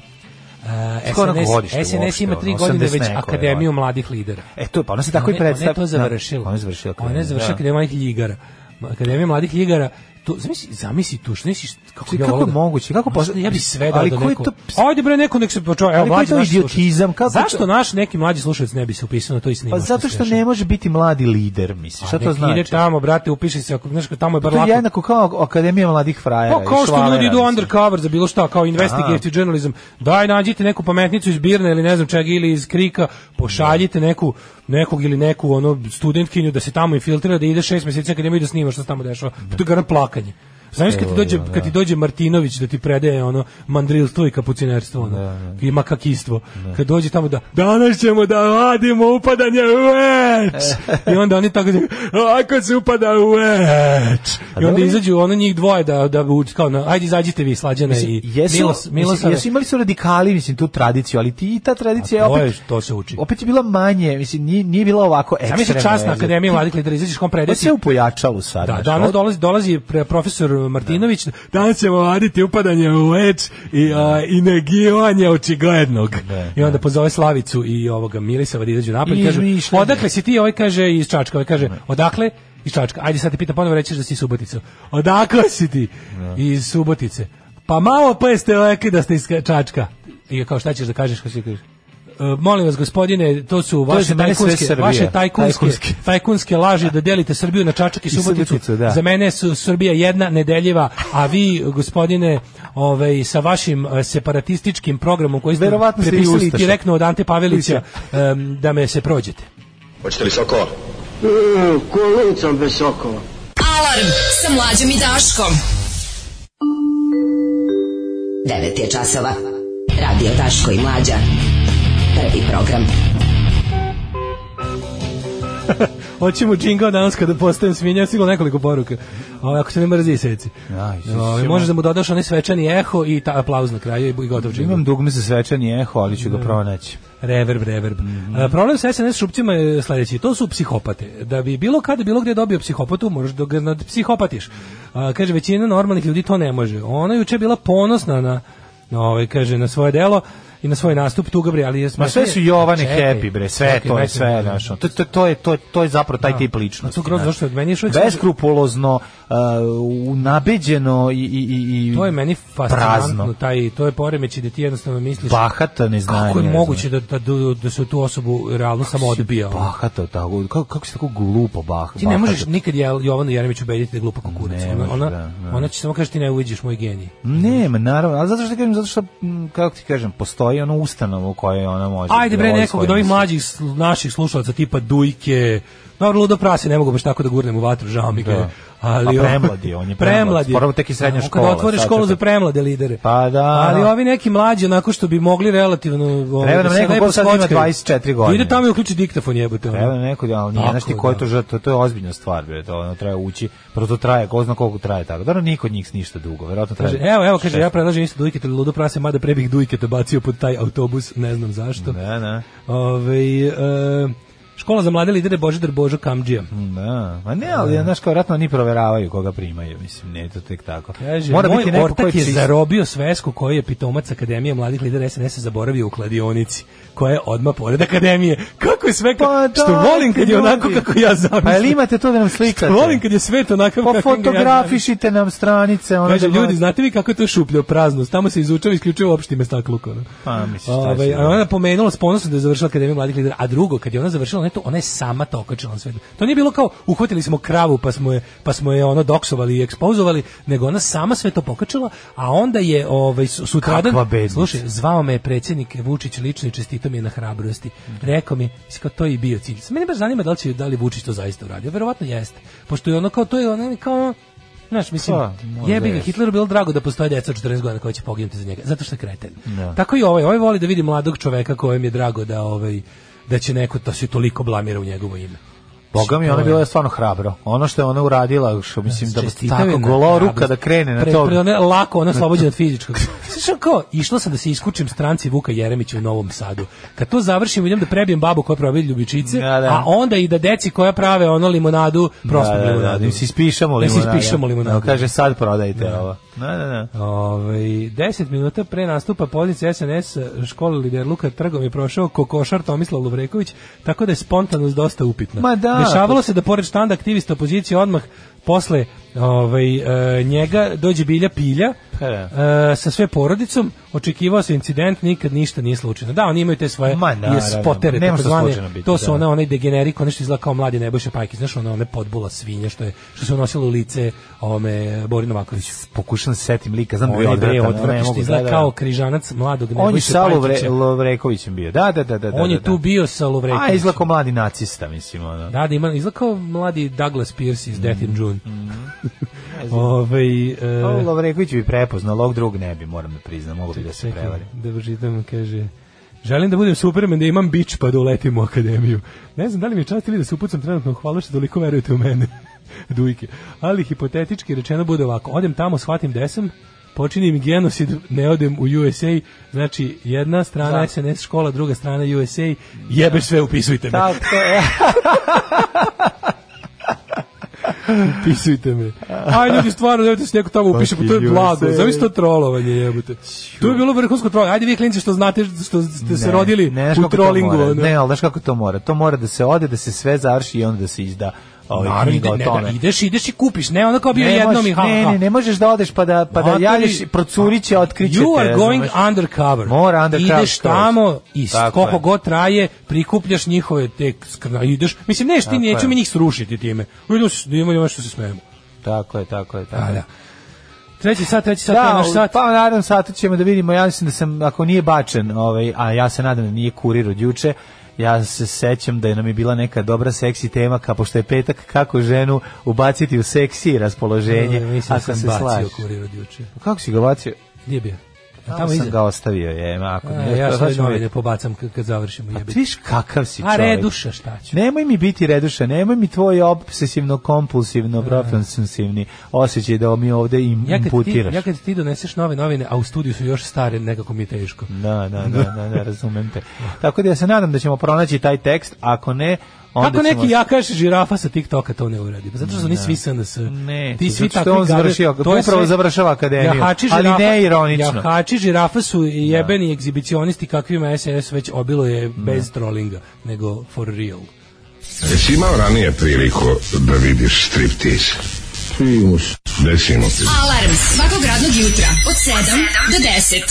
e,
Skoro
SNS,
godište
SNS ima
uopšte,
tri
ono,
godine
80
već
neko,
Akademiju
verovatno.
mladih lidera.
E, to je, pa ona se tako i
Ona je-
predstavlja. Da,
Ona je to završila.
Ona je završila.
Ona je završila
da.
Akademija mladih ligara. Akademija mladih ligara. To, zamisli, zamisli tu, što nisi, kako,
Čekaj,
ja
kako
volao
je
da-
moguće? Kako
Znaš,
posle-
Ja bi sve dao
Ali
da
koji
neko...
to-
Ajde bre, neko nek se počeo. Evo,
Ali koji
mlađi
to
naš slušatelj.
idiotizam? Kako
Zašto
to-
naš neki mlađi slušalac ne bi se upisao na to i snimao?
Pa zato što ne može biti mladi lider, misliš. Šta to znači? Pa
Ide tamo, brate, upiši se, ako, znaš, tamo je bar
To je
lako.
jednako kao Akademija mladih frajera.
Pa kao
i
što
švabera,
ljudi idu
mislim.
undercover za bilo šta, kao investigative journalism, daj nađite neku pametnicu iz Birne ili ne znam čega ili iz Krika, pošaljite neku, nekog ili neku ono studentkinju da se tamo infiltrira, da ide šest mjeseci na akademiju i da snima što se tamo dešava. Pa to je garant plakanje. Znaš kad ti dođe kad ti dođe Martinović da ti predaje ono mandrilstvo i kapucinerstvo ono, i makakistvo. Kad dođe tamo da danas ćemo da vadimo upadanje u več. I onda oni tako kažu, ako se upada u več. I onda
dobro.
izađu ono njih dvoje da da uč- kao na ajde izađite vi slađana i
Jesu,
Milos
mislim,
Milosave.
jesu imali su radikali, mislim, tu tradiciju, ali ti i ta tradicija je
To je
opet,
to se uči.
opet je bila manje, mislim, nije, nije bila ovako ekstremna.
Zamisli čas na
jel?
akademiji mladih lidera izađeš kom
To
predati.
se je upojačalo sad.
Da,
znaš, Da.
danas
ovo-
dolazi, dolazi pre- profesor Martinović, danas ćemo vaditi upadanje u leč i,
Da.
a, i negiranje očiglednog. I onda pozove Slavicu i ovoga Milisava da izađu napad i
I Da.
kažu,
izmišljanje.
odakle si ti, ovaj kaže iz Čačka, ovaj kaže, odakle? Iz Čačka. Ajde sad te pitam, ponovo rećeš da si iz Subotice. Odakle si ti?
Da.
Iz Subotice. Pa malo pa ste rekli da ste iz Čačka. I kao šta ćeš da kažeš kad si kažeš? "E, molim vas gospodine, to su vaše
za mene sve
tajkunske,
Srbija.
vaše tajkunske,
Tajkunske.
tajkunske laži da delite Srbiju na Čačak i Suboticu.
Suboticu, da.
Za mene su Srbija jedna nedeljiva, a vi gospodine, ovaj sa vašim eh, separatističkim programom koji ste
Verovatno ste i
prepisali
ustaše.
direktno od Ante Pavelića em, da me se prođete.
Hoćete li sokova?
Kolicom bez sokova.
Alarm sa Mlađom i Daškom. 9 je časova. Radio Daško i Mlađa. Prvi program.
Hoćemo džingao danas kada postajem svinja, sigurno nekoliko poruka. Ovaj, ako se ne mrzi seci.
Aj,
Ovaj,
Isuse,
možeš da mu dodaš onaj svečani eho i ta aplauz na kraju i gotov džingao.
Imam dugme za svečani eho, ali
Mm.
ću ga pronaći.
Reverb, reverb.
Mhm.
A, problem sa SNS šupcima je sledeći. To su psihopate. Da bi bilo kada, bilo gde dobio psihopatu, moraš da ga psihopatiš. kaže, većina normalnih ljudi to ne može. Ona juče je bila ponosna na, na ovaj, kaže, na svoje delo i na svoj nastup tu Gabri, ali je
Ma sve
smešnije-
su Jovane
Čekaj,
happy bre, sve
čekaj,
to je
majke mi,
sve,
da.
znaš. To to to je to je- to je zapravo taj tip ličnosti.
A to grozno,
znaš.
zašto je od meni još uvijek-
beskrupuloznno, uh, nabeđeno i i i i
To je meni fascinantno,
prazno.
taj, to je poremeć i da ti jednostavno misliš
bahata neznanje.
kako je
ne
moguće da, da, da, da se tu osobu realno samo
znam.
odbija. ono?
Bahata tako, kako kako se tako glupo bah.
Ti ne
bahata.
možeš nikad Jel- Jovanu Jeremić ubediti da je glupa kukurica.
Ne Znači,
ona,
može,
ona,
da, da.
ona će samo kaži ti ne uviđeš moj genij.
Ne, ma naravno, ali zato što ti kažem, zato što, m, kako ti kažem, postoji ono ustanova u kojoj ona može...
Ajde
da
bre
vodi
nekog
svoje
od ovih
misli.
mlađih sl- naših slušalaca tipa Dujke, Dobro, ludo prase, ne mogu baš tako da gurnem u vatru, žao mi ga. je.
Da.
Ali,
A premlad je, on je premlad.
premlad je.
Skoro mu tek i srednja
Ono,
škola,
Kad otvoriš
sad
školu
će
za
te-
premlade lidere.
Pa da.
Ali ovi neki mlađi, onako što bi mogli relativno... ovaj, da Ovo,
Treba nam neko ko sad ima 24 godine.
Ide tamo i uključi diktafon jebute. ono.
Treba neko, ali nije,
Tako,
znaš ti ko je
da.
to žrtva, to je ozbiljna stvar, bre, to ono treba ući, prvo to traje, ko zna koliko traje tako, dobro, niko od njih ništa dugo, verovatno
Kaže,
traje.
evo, evo, kaže, ja predlažem isto Dujke, to je ludo prase, mada pre bih Dujke te bacio pod taj autobus, ne znam zašto.
Da, da,
Ove, e, škola za mlade lidere Božidar Božo Kamđija.
da, ma ne, ali, znaš, kao vratno oni proveravaju koga primaju, mislim, ne, to tek tako.
Kaže,
Mora
moj
biti neko ko je
ortak je
čist.
zarobio svesku koju je pitomac Akademije mladih lidera SNS-a zaboravio u kladionici koja je odmah pored Akademije. Kako je sve, ka-
Pa
što
dajte,
volim kad je onako
ljudi.
kako ja zamislim.
Pa jel imate to da nam
Što
slikate?
volim kad je svet onakav
Pa
kako ga ja zamislim.
fotografišite nam stranice, ono
Kaže,
da
ljudi, znate vi kako je to šupljo prazno? Tamo se izučava isključivo opšti mestakluko. ono.
Pa, mislim, šta
Ove,
će
a ona je pomenula s ponosom da je završila Akademiju mladih lidera, a drugo, kad je ona završila, ona je, to, ona je sama to okačila na svet. To nije bilo kao, uhvatili smo kravu pa smo je, pa smo je ono doksovali i ekspozovali, nego ona sama sve to pokačila, a onda je ovaj, su-
Kakva
sutradan,
bednica.
slušaj, zvao me je predsjednik Vučić lično i čestitao mi je na hrabrosti. Rekao mi, je, mislim, kao to je i bio cilj. Mene baš zanima da li, će, da li Vučić to zaista uradio, verovatno jeste, pošto je ono kao, to je ono kao, Znaš, mislim,
Pa, možda
jebi ga,
jeste.
Hitleru bilo drago da postoje deca od 14 godina koja će poginuti za njega, zato što je kreten. Tako i ovaj, ovaj voli da vidi mladog čoveka kojem je drago da ovaj da će neko to se toliko blamira u njegovo ime.
Boga mi, ona je bila stvarno hrabro. Ono što je ona uradila, što mislim da
Čestitao je
tako
na
goloruka
hrabrost.
da krene na
Pre-
to.
pre- ona, lako, ona slobođena od fizičkog. Slišao kao, išla sam da se iskučim stranci Vuka Jeremića u Novom Sadu. Kad to završim, idem da prebijem babu koja pravi ljubičice,
Da, da.
a onda i da deci koja prave ono limonadu, prostu
da, da, da,
limonadu.
da im se ispišamo
Da im se
limonadu.
ispišamo limonadu.
Evo, kaže, sad prodajte ovo. Da, da, da.
Ove, 10 Ovaj, minuta pre nastupa pozicije SNS škole lider Luka Trgom je prošao kokošar Tomislav Lovreković, tako da je spontanost dosta upitna.
Ma da.
Dešavalo se da pored štanda aktivista opozicije odmah posle ovaj, e, njega dođe Bilja Pilja,
Pa da.
E, sa sve porodicom, očekivao se incident, nikad ništa nije slučajno. Da, oni imaju te svoje
Ma, naravno,
je spotere,
nema šta
takozvane,
slučajno biti,
to su
da.
ona onaj degenerik, onaj što izgleda kao mladi Nebojša Pajkić, znaš ona one podbula svinja što je što se unosilo u lice ovome Boru Novakoviću.
Pokušam se setim lika, znam da
On
je
je bre
odvratan, ali ne
odvratan, što
mogu.
izgleda
da, da.
kao križanac mladog
On je
Nebojša
sa Lovre,
Pajkića.
Lovrekovićem bio. Da, da, da, da. da,
On je
da.
tu bio sa
A,
Lovrekovićem.
izlako mladi nacista, mislim, ono.
Da, da ima, izgleda kao mladi Douglas Pierce iz Death in
Mm.
June. Ovaj, e,
Pa, Lovreković bi prepoznao, ovog drug ne bi, moram da priznam, mogu bi da se
Čekaj,
prevari.
Da pročitam, kaže... Želim da budem Superman, da imam bić pa da uletim u akademiju. Ne znam da li mi je čast ili da se upucam trenutno, hvala što toliko verujete u mene. Dujke. Ali hipotetički rečeno bude ovako. Odem tamo, shvatim da sam, počinim genosid, ne odem u USA, znači jedna strana
Da.
SNS škola, druga strana USA, jebeš sve, upisujte me.
Tako je.
Upisujte me. Aj ljudi, stvarno, nemojte se neko tamo upiše, pa to je
Fucking
blago.
USA.
Zamisli to trolovanje, jebote. To je bilo vrhunsko trolovanje. Ajde vi klinci što znate, što ste se
Ne,
rodili
ne, znaš
u
kako to
trolingu.
mora.
ono.
Ne, ali znaš kako to mora? To mora da se ode, da se sve završi i onda da se izda ovaj
Naravno,
knjiga
ide,
o
ne,
tome.
da, ideš, ideš i kupiš, ne ono kao bio
Ne
jednom
moš-
i ha,
ne,
ha.
ne, ne možeš da odeš pa da, pa da
Matori,
javiš, procuriće, otkriće
You are
te,
going
razumeš?
undercover.
Mora undercover
Ideš
skroz.
tamo i s-
Tako
koliko
je.
god traje, prikupljaš njihove te skrna, ideš. Mislim, neš, ti
Tako
neću
je.
mi njih srušiti time. Idemo, idemo, idemo što se smejemo.
Tako je, tako je, tako
Da,
je.
da. Treći sat, treći sat, da,
Da,
naš sat.
pa u narednom satu ćemo da vidimo, ja mislim da sam, ako nije bačen, ovaj, a ja se nadam da nije kurir od juče, ja se sećam da je nam je bila neka dobra seksi tema, kao pošto je petak, kako ženu ubaciti u seksi raspoloženje,
Mislim da
ako
sam
se
bacio
slažeš.
kurir od juče.
Kako si ga bacio?
Nije bio. A
Tamo
tamo
sam
iza.
ga ostavio, je, ma, ako
A,
ne,
ja
to
svoje
ćemo
novine
vidjeti.
da pobacam kad, kad završimo
A ti
jebiti.
viš Pa kakav si
A
čovjek.
reduša šta ću?
Nemoj mi biti reduša, nemoj mi tvoj obsesivno, kompulsivno, profesivni osjećaj da mi ovde im,
E. Ja kad, ti,
imputiraš.
ja kad ti doneseš nove novine, a u studiju su još stare, nekako mi je teško.
Da, da, da, da, da, razumem te. Tako da ja se nadam da ćemo pronaći taj tekst, ako ne, onda
Kako
ćemo... Da.
neki jakaš žirafa sa TikToka to ne uradi? Pa zato što su oni svi SNS.
Ne,
ti
to
svi
zato što
takvi gade-
on završio-
to je
upravo
sve-
završava akademiju,
Jahači
ali
žirafa-
ne ironično. Da.
Jahači žirafa su jebeni egzibicionisti kakvima SNS već obilo je bez trollinga, nego for real.
Jesi imao ranije priliku da vidiš striptiz? Primus. Desimo se.
Alarm svakog radnog jutra od 7 do 10.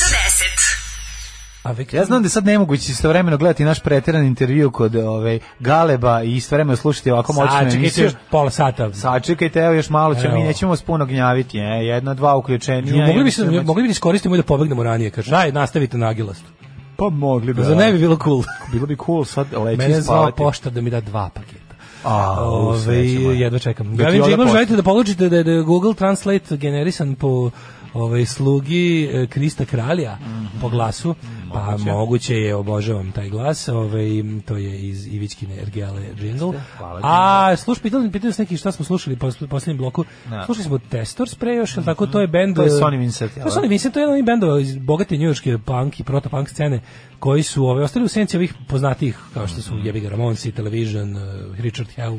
A Viktor-
Ja znam da je sad nemoguće istovremeno gledati naš preteran intervju kod ovaj, Galeba i istovremeno slušati ovako moćnu
Sad, čekajte
emisiju.
još pola sata.
Sačekajte, evo još malo ćemo, mi
Evo.
nećemo vas puno gnjaviti, e, jedna, dva uključenja.
mogli bi
i
se
onda ćemo-
mogli bi da iskoristimo i da pobegnemo ranije, kaže. Daj, nastavite na Agilastu.
Pa mogli bi.
Za ne bi
ali
bilo cool.
Bilo bi cool sad leći
Mene je
Mene
zvao
spavati.
pošta da mi da dva paketa.
A, u,
Ove,
sreća moja.
jedva čekam.
Da
Ja
ti
vidim
onda
Jingom
pošta.
želite da polučite da je, da je Google Translate generisan po ovaj slugi e, Krista Kralja
Mhm.
po glasu, pa moguće. je, obožavam taj glas, ovaj, m, to je iz Ivićkine Ergele Jingle.
hvala ti.
A sluš, pitali, pitali su neki šta smo slušali po posljednjem bloku,
Da.
slušali smo Testor Spray još, jel
Mhm.
tako, to je bend...
To je
e,
Sonny Vincent,
To je
jel da?
Sonny Vincent, to je jedan od onih bendova iz bogate njujorške punk i protopunk scene koji su ove, ostali u senci ovih poznatijih kao što su
Mhm.
Jebi ga Ramonsi, Television, eh, Richard Hell,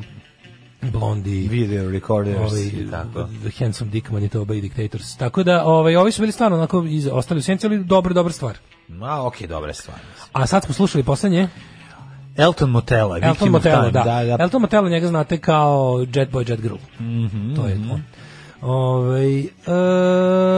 Blondie,
Video recorders
ovaj,
i tako.
The Handsome Dick Manitoba i Dictators. Tako da ovaj, ovi su bili stvarno onako iz, ostali u senci, ali dobro, dobra stvar.
Ma, okej, dobra stvar.
A sad smo slušali poslednje
Elton Motela.
Elton
Victim of
Motelo,
Time,
da.
da, da.
Elton Motelo njega znate kao Jet Boy, Jet Girl.
Mhm,
to je on. Ovaj, e,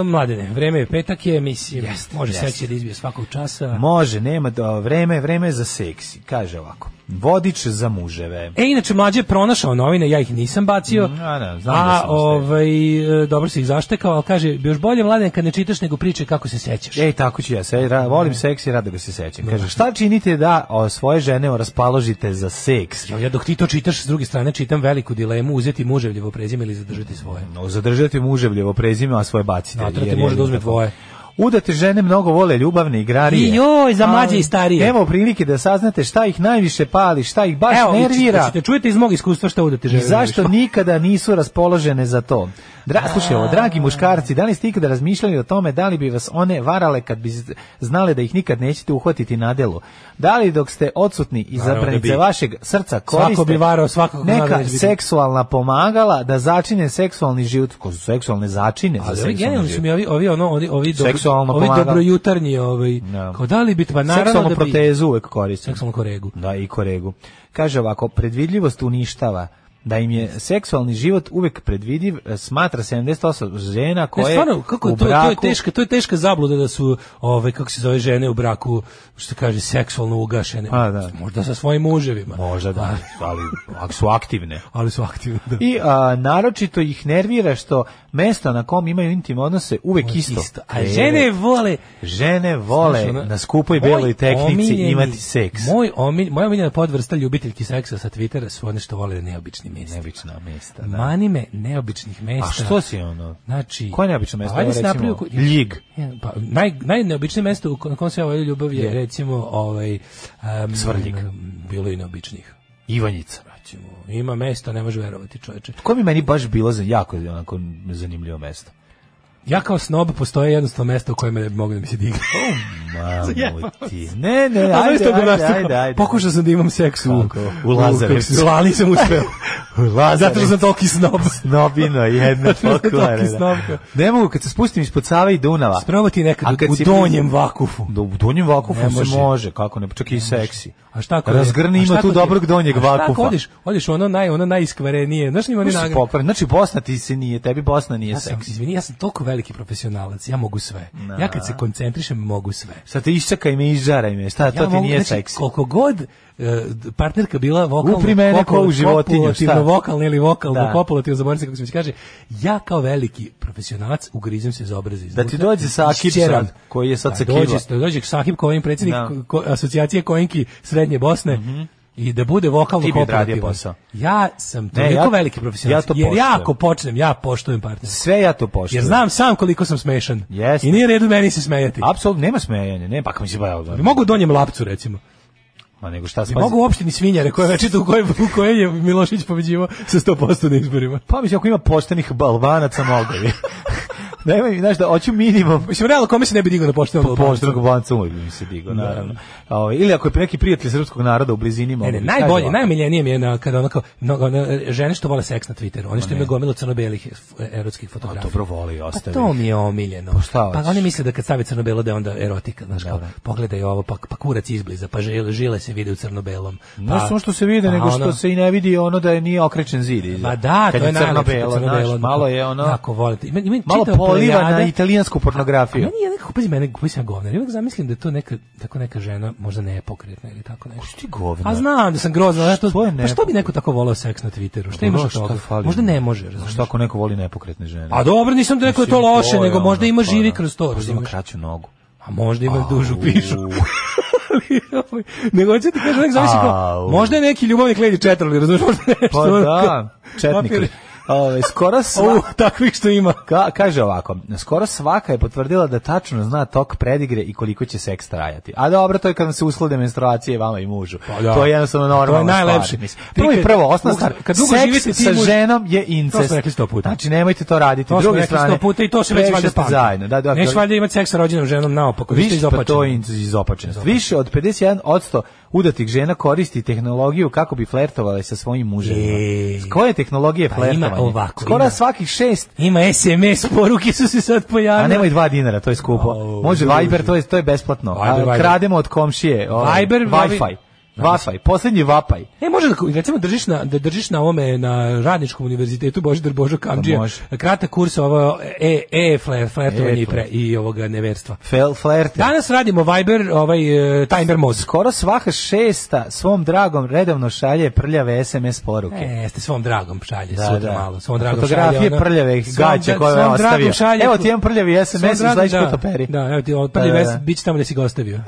mladene, vreme je petak je, mislim, može
jeste.
seksi da izbije svakog časa.
Može, nema da, vreme, vreme je za seksi. Kaže ovako. Vodič za muževe.
E, inače, mlađe je pronašao novine, ja ih nisam bacio.
Mm, a da, znam da
a,
si mi
ovaj, e, dobro se ih zaštekao, ali kaže, još bolje mladen kad ne čitaš nego priče kako se sećaš.
Ej, E, tako ću ja. Se, ra, volim seks i rado ga se sećam. Kaže, šta činite da o, svoje žene raspaložite za seks?
Ja, ja dok ti to čitaš, s druge strane čitam veliku dilemu, uzeti muževljevo prezime ili zadržati svoje.
No, zadržati muževljevo prezime, a svoje bacite.
Natrati
jer je
može da uzme
tako.
tvoje.
Udate žene mnogo vole ljubavne igrarije.
I joj, za mlađe
Ali
i starije.
Nema prilike da saznate šta ih najviše pali, šta ih baš
Evo, da
nervira.
Ćete, čujete iz mog iskustva šta udate
I
žene.
zašto nikada nisu raspoložene za to? Dra, slušaj, ovo, dragi muškarci, da li ste ikada razmišljali o tome da li bi vas one varale kad bi z- znale da ih nikad nećete uhvatiti na delu? Da li dok ste odsutni i
Naravno da
zabranice
bi.
vašeg srca koriste
bi varao svakog ko zna da
neka
će biti.
seksualna pomagala da začine seksualni život? Ko su seksualne začine
Ali
za
ovi
Pa seksualni
genijalni
život?
su mi ovi, ovi ono, oni, ovi, dobro,
Seksualno
ovi
pomagalo.
dobrojutarnji, ovaj,
Da.
kao da li bi, pa naravno
Seksualnu Mm.
da bi,
protezu uvek koristim.
seksualnu koregu. E,
Da, i koregu. Kaže ovako, predvidljivost uništava. da im je seksualni život uvek predvidiv, e, smatra 78 žena koje
ne, stvarno, kako
u
je to,
braku...
to je teška, to je teška zabluda da su ove kako se zove žene u braku što kaže seksualno ugašene.
A, da.
Možda sa svojim muževima.
Možda da, ali ako su aktivne.
Ali su aktivni, da.
I a, naročito ih nervira što mesto na kom imaju intimne odnose uvek isto.
Isto. A žene vole
žene vole
Znaš, ono,
na skupoj
moj
beloj tehnici
omiljeni-
imati seks.
Moj omilj, moja omiljena podvrsta ljubiteljki seksa sa Twittera su one što vole da neobični mesta.
Neobična mesta. Da.
Mani me neobičnih mesta.
A što si ono?
Znači,
Koje neobično mesto?
Ajde
Evo,
se
recimo,
napravio ko-
Ljig.
Ja, Pa, naj, najneobičnije mesto u ko- na kom se ja ovaj ljubav je, recimo, ovaj, um,
Svrljig.
Bilo i neobičnih.
Ivanjica.
Recimo, ima mesta, ne može verovati čoveče.
Koje bi meni baš bilo za jako onako zanimljivo mesto.
Ja kao snob postoje jednostavno mesto u kojem ne bi mogli da mi se digne.
Mamo ti. Ne, ne,
A
ajde,
zaista
ajde, ajde,
obdanašta.
ajde, ajde.
Pokušao sam da imam seks u,
Kako? U Lazarevcu.
kako se- ali nisam uspeo.
U Lazarevcu.
Zato što sam toliki snob.
Snobino jedna
Zato što je
pokvara,
toliki
da.
snobka.
Ne mogu kad se spustim ispod Save i Dunava.
Sprobati nekad
A kad
u, u
si-
donjem vakufu.
Da, u donjem vakufu
Ne
se
može.
može, kako ne, čak i seksi.
A šta ako je-
Razgrni
a šta
ima
ako
tu
ti-
dobrog donjeg
a šta ako
vakufa.
Odeš, odeš u ono naj ono najiskvarenije. Znaš ima oni
Tu si
nagrade.
popravi. Znači Bosna ti se nije, tebi Bosna nije
Ja sam,
seksi.
izvini, ja sam toliko veliki profesionalac, ja mogu sve. Ja kad se koncentrišem, mogu sve.
Sad te iščekaj me, izžaraj me, šta, to
ja
ti
mogu,
nije
znači,
seksi.
Koliko god e, d- partnerka bila vokalno,
Upri mene ko u životinju, šta?
kopulativno vokalna ili vokalno
Da.
da. kopulativno, zaboravim se kako se već kaže, ja kao veliki profesionalac ugrizem se za obraze iznutra.
Da ti dođe Sakib
išćeram.
sad, koji je sad sa
da, dođe,
Kiva.
da dođe Sakib Kojin, predsjednik
Da. Mhm.
ko, asocijacije Kojinki Srednje Bosne, i da bude vokalno
Ti bi odradio
kopulativan.
posao.
Ja sam
Ne,
toliko
ja-
veliki profesionalac.
ja to
jer ja
poštujem.
ako počnem, ja poštujem partnera.
Sve ja to poštujem.
Jer znam sam koliko sam smešan.
Jeste.
I nije redu meni se smejati.
Apsolutno, nema smejanja, ne, pa kako mi se bavio.
Bi mogu donjem lapcu, recimo.
Ma nego šta se...
Bi mogu u opštini svinjare, koja je večito u kojoj, u kojoj je Milošić pobeđivao sa 100% na izborima.
Pa mislim, ako ima poštenih balvanaca, mogu bi. Nemoj, znaš da, hoću minimum
Mislim, realno, kome se ne bi digao da na poštenom
poštenog balvanca, uvijek bi mi se digao,
Da.
naravno. Ovo, ili ako je neki prijatelj srpskog naroda u blizini,
Ne,
mogu
ne,
bi.
najbolje,
Kaži,
najmiljenije mi je na, kada ono kao, mnogo, ono, žene što vole seks na Twitteru, one što imaju gomilu crno-belih eh, erotskih fotografija.
Pa dobro voli i
Pa
ostavi.
to mi je omiljeno.
Pa šta hoćeš? da.
pa oni misle da kad stavi crno-belo da je onda erotika, znaš, kao, pogledaj ovo, pa, pa kurac izbliza, pa žile, žile se vide u crno-belom.
Ne
pa,
samo što se vide,
pa
nego što
ono-
se i ne vidi ono da je nije okrećen zid. iza.
Ma da,
Kad
to je
crno-belo,
crno
znaš, malo je ono,
Jako volite. Ima, ima
malo
čitava
poliva na
plejada.
italijansku pornografiju.
Meni je nekako, pazi, mene, pazi, sam govnar. Uvijek zamislim da je to neka, tako neka žena, možda nepokretna ili tako nešto.
Ti govno.
A znam da sam grozna, znaš, to,
Što
pa
je
što bi
nepokretno?
neko tako volao seks na Twitteru? Pa Šta imaš od
Šta
toga?
fali?
Možda ne može,
A
razumiješ?
Šta ako neko voli nepokretne žene?
A dobro, nisam da rekao da je to
Mislim,
loše,
je
nego
Pa ono,
možda ima
pa
živi
da.
kroz to,
Možda ima
razumiješ?
kraću nogu.
A možda ima
Au.
dužu pišu. Ali, ovaj, nego hoću da ti kažem, nek zavisi kao,
Au.
možda je neki ljubavnik ledi četrali, razumiješ, možda je nešto.
Pa
ono,
da,
kao-
četnik.
papir.
Ove, skoro
Au,
sva...
takvih što ima.
Ka, kaže ovako, skoro svaka je potvrdila da tačno zna tok predigre i koliko će seks trajati. A dobro, to je kad vam se uslode menstruacije vama i mužu.
Pa da.
To je jednostavno
To je
normalno.
najlepše.
Prvo
Ti kad-
i prvo, osnovna
u-
stvar,
kad dugo
seks
živite, ti
sa
muž-
ženom je incest.
To smo rekli sto puta.
Znači, nemojte to raditi.
To
S
smo
druge
rekli
strane,
sto puta i to se već
previše
valjda
ste
pamti.
Zajedno. Da, da,
Neš
da-
valjda imati seks sa rođenom ženom naopako, vi ste
Više pa
izopačeni.
to je in- izopačenost. Više od 51% udatih žena koristi tehnologiju kako bi flertovale sa svojim muževima.
Ej.
S koje tehnologije
Pa
flertovanje?
ima ovako,
Skoro
ima.
svakih šest
Ima SMS poruke su se sad pojavile.
A nemoj dva dinara, to je skupo.
Au,
Može
druže.
Viber, to je to je besplatno. A
Viber, Viber.
krademo od komšije. ovaj,
Viber,
Wi-Fi. Wi-Fi, poslednji vapaj.
E, može da, recimo, držiš na, da držiš na ovome, na radničkom univerzitetu Božidar Božo Kamđija,
Pa može.
kratak kurs ovo e, e fler, flertovanje
E, Da.
i, pre, i ovoga neverstva.
Fel flerte.
Danas radimo Viber, ovaj, e, timer mod.
Skoro svaka šesta svom dragom redovno šalje prljave SMS poruke.
E, jeste svom dragom šalje,
Da,
sutra
da.
malo. Svom dragom
Fotografije
šalje, ono-
prljave
svom
gaće
dra-
koje
svom
je
dragom
ostavio.
šalje-
Evo ti jedan prljavi SMS
svom
i
dragom-
sledeći put
da.
operi.
Da, evo ti, on
Da,
prljavi
da,
da.
da.
bit će tamo gde si ga ostavio.